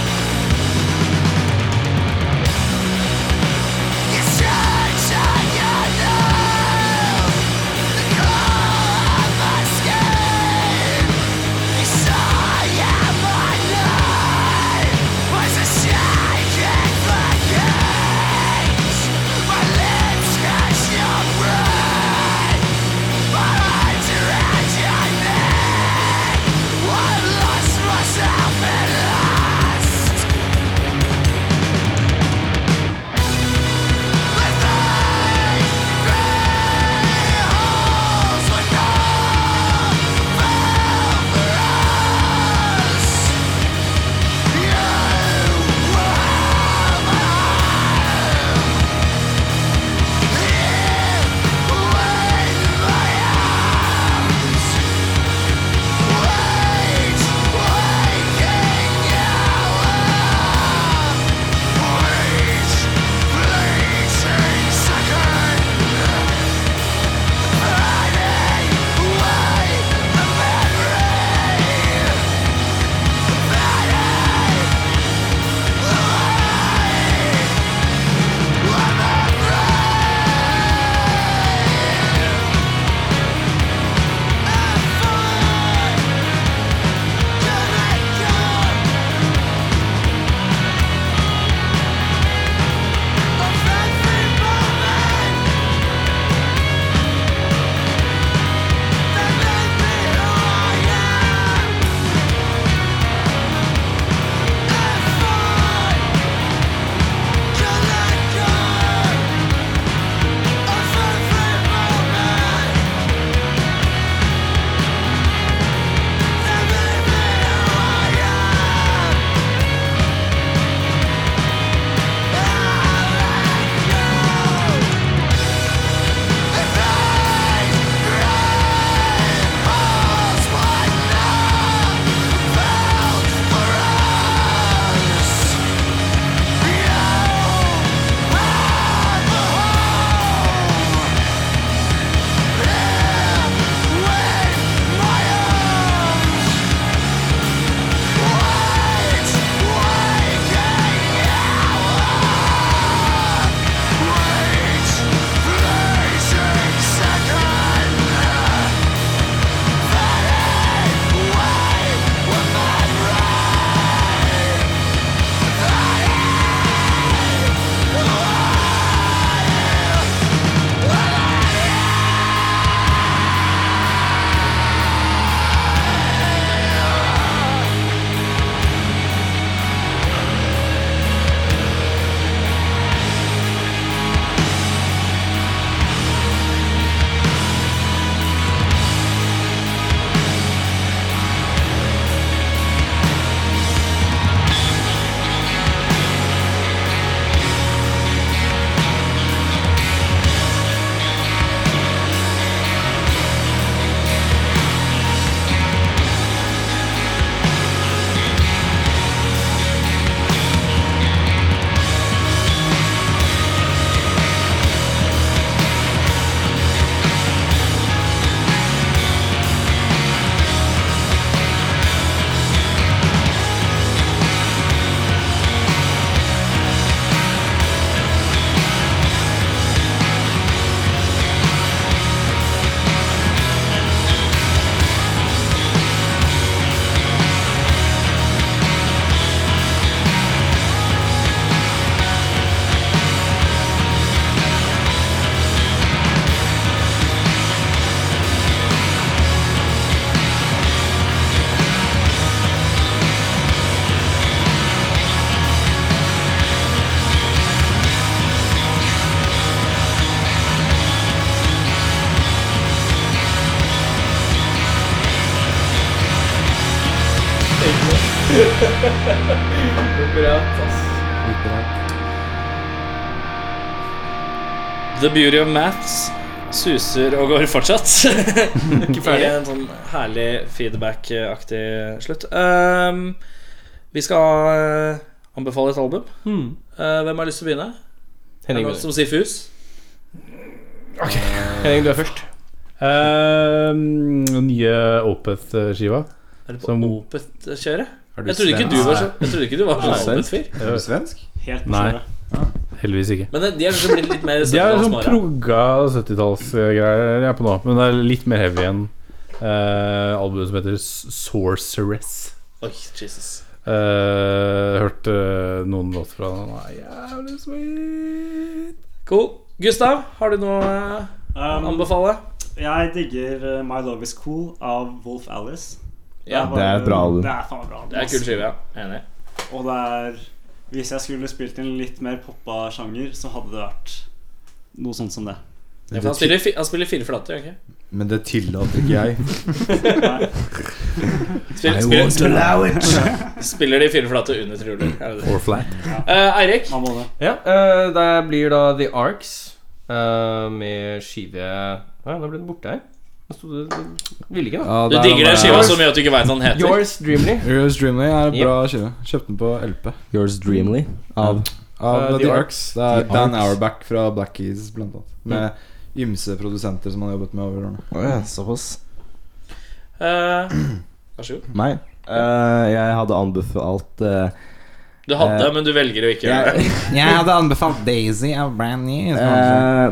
Speaker 9: Thank
Speaker 2: The beauty of maths suser og går fortsatt. Ikke ferdig. en sånn herlig feedback-aktig slutt. Ehm, vi skal eh, anbefale et album. Eh, hvem har lyst til å begynne? Er det
Speaker 4: Henning,
Speaker 2: noen som sier Fus?
Speaker 4: Henning, du er først.
Speaker 9: Eh, nye Opeth-skiva.
Speaker 2: Er det på
Speaker 9: Som-
Speaker 2: Opeth-kjøret?
Speaker 6: Er
Speaker 2: Jeg trodde ikke du var så Jeg trodde ikke du var sånn
Speaker 7: Svensk?
Speaker 2: Opeth-fyr.
Speaker 6: Er du svensk?
Speaker 8: Helt på
Speaker 9: Nei.
Speaker 8: kjøret.
Speaker 9: Heldigvis ikke.
Speaker 2: Men de er kanskje blitt litt mer
Speaker 9: De er sånn
Speaker 2: søttalsmare.
Speaker 9: progga 70-tallsgreier jeg er på nå, men det er litt mer heavy enn eh, albumet som heter S- Sorceress.
Speaker 2: Oi, Jesus.
Speaker 9: Eh, hørte noen låter fra den. Den er jævlig sweet.
Speaker 2: Cool. Gustav, har du noe eh, å
Speaker 8: Um,
Speaker 2: anbefale?
Speaker 8: jeg digger eh, My Love Is Cool av Wolf Alice.
Speaker 2: Ja,
Speaker 8: var-
Speaker 7: det er et bra album.
Speaker 8: Det er faen bra album,
Speaker 2: Det er en
Speaker 8: ass.
Speaker 2: kul skive, ja. Enig.
Speaker 8: Og det er Hvis jeg skulle spilt en litt mer poppa sjanger, så hadde det vært noe sånt som det.
Speaker 2: Ja, for han, spiller, fi- han spiller fire flater, gjør han ikke?
Speaker 6: Men det tillater ikke jeg.
Speaker 8: Nei.
Speaker 2: Spiller, spiller, spiller, spiller de fire flate under trioler? er det det?
Speaker 3: Or flat.
Speaker 2: Eh, Eirik?
Speaker 8: Man må det.
Speaker 4: Ja, eh, det blir da The Arcs eh, med skive Nei, nå ble den borte her. Nå sto det det Ville ikke, da.
Speaker 6: Ja,
Speaker 2: Du
Speaker 6: der
Speaker 2: digger
Speaker 6: er
Speaker 2: den
Speaker 6: han
Speaker 2: skiva
Speaker 6: der.
Speaker 2: så mye at du ikke veit hva den heter.
Speaker 4: Yours Dreamly.
Speaker 6: Yours Dreamly er en
Speaker 4: Yep.
Speaker 6: bra skive. Kjøpte den på LP.
Speaker 7: Yours Dreamly av
Speaker 6: Av
Speaker 4: Eh,
Speaker 6: The, Mm.
Speaker 4: The
Speaker 6: Arcs. Det er
Speaker 7: The
Speaker 6: Dan
Speaker 7: Arcs.
Speaker 6: Auerbach fra Black Keys, blant annet. Med ymse produsenter som han har jobbet med over årene.
Speaker 7: Å ja, såpass.
Speaker 2: Eh, vær så god.
Speaker 7: Meg? Eh, jeg hadde anbefalt eh,
Speaker 2: Du hadde,
Speaker 7: Eh,
Speaker 2: men du velger å ikke gjøre det.
Speaker 7: jeg,
Speaker 6: Jeg hadde anbefalt Daisy av Brand New.
Speaker 7: eh,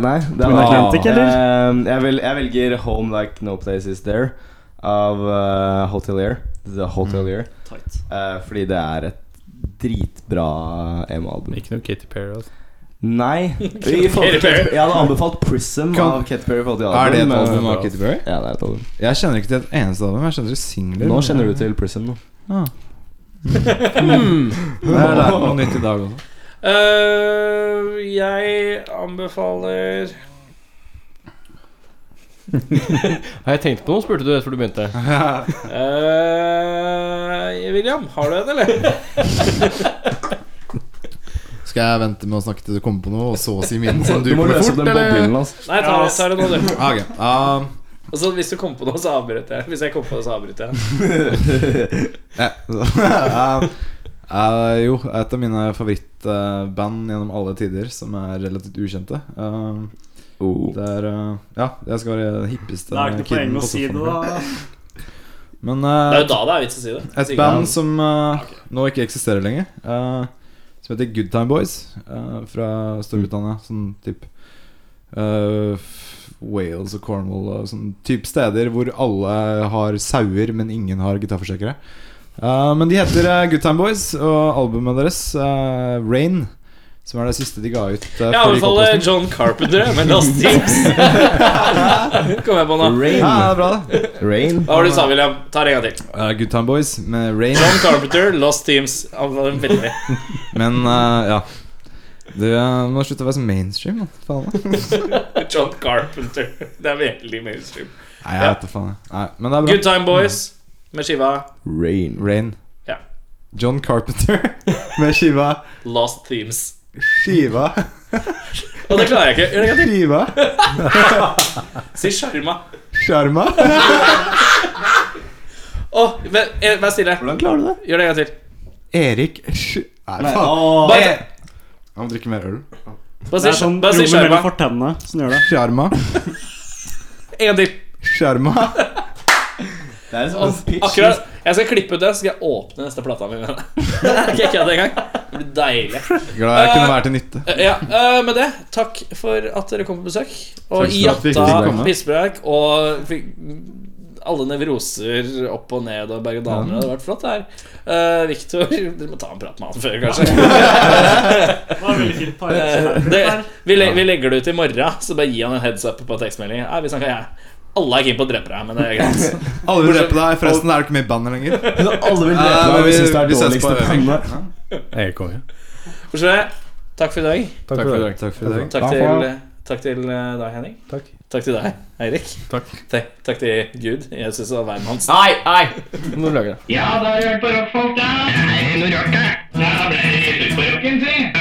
Speaker 7: Nei, det
Speaker 8: Twin Atlantic,
Speaker 7: eller? jeg, vel, jeg velger Home Like No Place Is There av eh, Hotelier. The Hotelier.
Speaker 6: Mm.
Speaker 8: Tight.
Speaker 7: Eh, fordi det er et dritbra emo-album.
Speaker 9: Ikke noe Katy Perry, altså.
Speaker 7: Nei. I forhold til Katy- Jeg hadde anbefalt Prism av Katy Perry. i forhold til
Speaker 6: Er det et
Speaker 7: men-
Speaker 6: album av Katy Perry?
Speaker 7: Ja, det er et album.
Speaker 6: Jeg kjenner ikke til et eneste album. Jeg kjenner til singler.
Speaker 7: Nå kjenner du til Prism, nå.
Speaker 6: Ja. Jeg har lært noe nytt i dag også.
Speaker 2: Eh, jeg anbefaler
Speaker 4: Har jeg tenkt på noe, spurte du rett før du begynte.
Speaker 2: eh, William, har du en, eller?
Speaker 6: Skal jeg vente med å snakke til du kommer på noe, og så si min? Sånn
Speaker 7: Du må løse den boblen, altså.
Speaker 2: Nei, ta, det- ta det nå, du.
Speaker 6: Ah, ok. Ah,
Speaker 2: Altså, hvis du kommer på noe, så avbryter jeg. Hvis jeg kommer på noe, så avbryter jeg.
Speaker 6: Ja. Eh, eh, jo, et av mine favorittband gjennom alle tider, som er relativt ukjente. Eh,
Speaker 7: Oh.
Speaker 6: det er eh, Ja, jeg skal være den hippeste
Speaker 8: Det er ikke noe poeng
Speaker 6: kiden
Speaker 8: med å
Speaker 6: på
Speaker 8: si det,
Speaker 6: sofaen.
Speaker 8: da.
Speaker 6: Men
Speaker 2: Det er jo
Speaker 6: eh,
Speaker 2: da det er vits å si det. Hvis
Speaker 6: et
Speaker 2: ikke-
Speaker 6: band som eh, nå ikke eksisterer lenger, eh, som heter Good Time Boys, eh, fra Storbritannia. Sånn type Wales og Cornwall og sånn type steder hvor alle har sauer, men ingen har gitarforsikre. Eh, men de heter eh, Good Time Boys, og albumet deres, eh, Rain, som er det siste de ga ut. eh, før de
Speaker 2: Jeg
Speaker 6: gikk
Speaker 2: anbefaler
Speaker 6: oppløsning.
Speaker 2: John Carpenter med Lost Tips. Kommer jeg på nå.
Speaker 7: Rain.
Speaker 6: Ja, det er bra, det.
Speaker 7: Rain.
Speaker 2: Hva var det du sa, William? Ta det en gang til.
Speaker 6: Eh, Good Time Boys med Rain.
Speaker 2: John Carpenter, Lost Teams. Han var veldig
Speaker 6: Men eh, ja. Du eh, må slutte å være så mainstream, da. Faen. da.
Speaker 2: John Carpenter. Det er veldig mainstream.
Speaker 6: Nei, jeg vet da faen. jeg. Nei, men det er bra.
Speaker 2: Good Time Boys med skiva
Speaker 7: Rain.
Speaker 6: Rain.
Speaker 2: Ja.
Speaker 6: John Carpenter med skiva
Speaker 2: Lost Themes.
Speaker 6: Skiva
Speaker 2: Og det klarer jeg ikke. Gjør det en gang til.
Speaker 6: Skiva
Speaker 2: Si sjarma.
Speaker 6: Sjarma.
Speaker 2: Å, vær vær stille. Hvordan klarer du det? Gjør det en gang til.
Speaker 6: Erik Sj... Nei, faen.
Speaker 7: Åh.
Speaker 2: Bare,
Speaker 6: Han må drikke mer øl.
Speaker 2: bare
Speaker 8: Det
Speaker 2: si
Speaker 8: er sånn
Speaker 2: sjar- bare si
Speaker 8: rommet mellom
Speaker 2: sjarma.
Speaker 8: fortennene som gjør det.
Speaker 6: Sjarma.
Speaker 2: En gang til.
Speaker 6: Sjarma.
Speaker 7: Det er
Speaker 2: Og
Speaker 7: sånn pitch.
Speaker 2: Akkurat Jeg skal klippe ut det, så skal jeg åpne neste plata mi med det. Skal jeg kødde engang? Det blir deilig.
Speaker 6: Glad jeg kunne være til nytte.
Speaker 2: Ja, eh, med det, takk for at dere kom på besøk. Og
Speaker 6: Takk for at vi
Speaker 2: jatta
Speaker 6: fikk komme.
Speaker 2: pisspreik og fikk alle nevroser opp og ned og berg-og-dal-bane. Det hadde vært flott, det her. Eh, Victor Dere må ta en prat med han før, kanskje.
Speaker 8: Det var veldig fint par
Speaker 2: Eh, det, vi, le, vi legger det ut i morgen, så bare gi han en heads up på tekstmelding. Nei, vi snakker jeg. Alle er keen på å drepe deg, men det er greit.
Speaker 6: Alle vil drepe deg. Forresten, det er du ikke med i bandet lenger.
Speaker 7: Alle vil drepe
Speaker 6: Eh,
Speaker 7: deg
Speaker 6: vi-
Speaker 7: hvis det
Speaker 6: vi
Speaker 7: er
Speaker 6: ses på
Speaker 7: dårligste
Speaker 6: øving.
Speaker 7: bandet.
Speaker 9: Jeg er konge.
Speaker 2: For så, takk for i dag.
Speaker 3: Tak,
Speaker 9: Takk for i dag.
Speaker 6: Takk for i dag.
Speaker 2: Takk til, Takk til eh, deg, Henning.
Speaker 9: Takk.
Speaker 3: tak.
Speaker 2: Takk til deg, Eirik.
Speaker 9: Takk.
Speaker 2: Takk, takk til Gud, Jesus og hvermannsen.
Speaker 4: Nei, nei! Nå må du lage det.
Speaker 10: Ja, da har du hørt på rockfolk, da. Det er noe rart, det. Da ble det litt ut på rocken, si.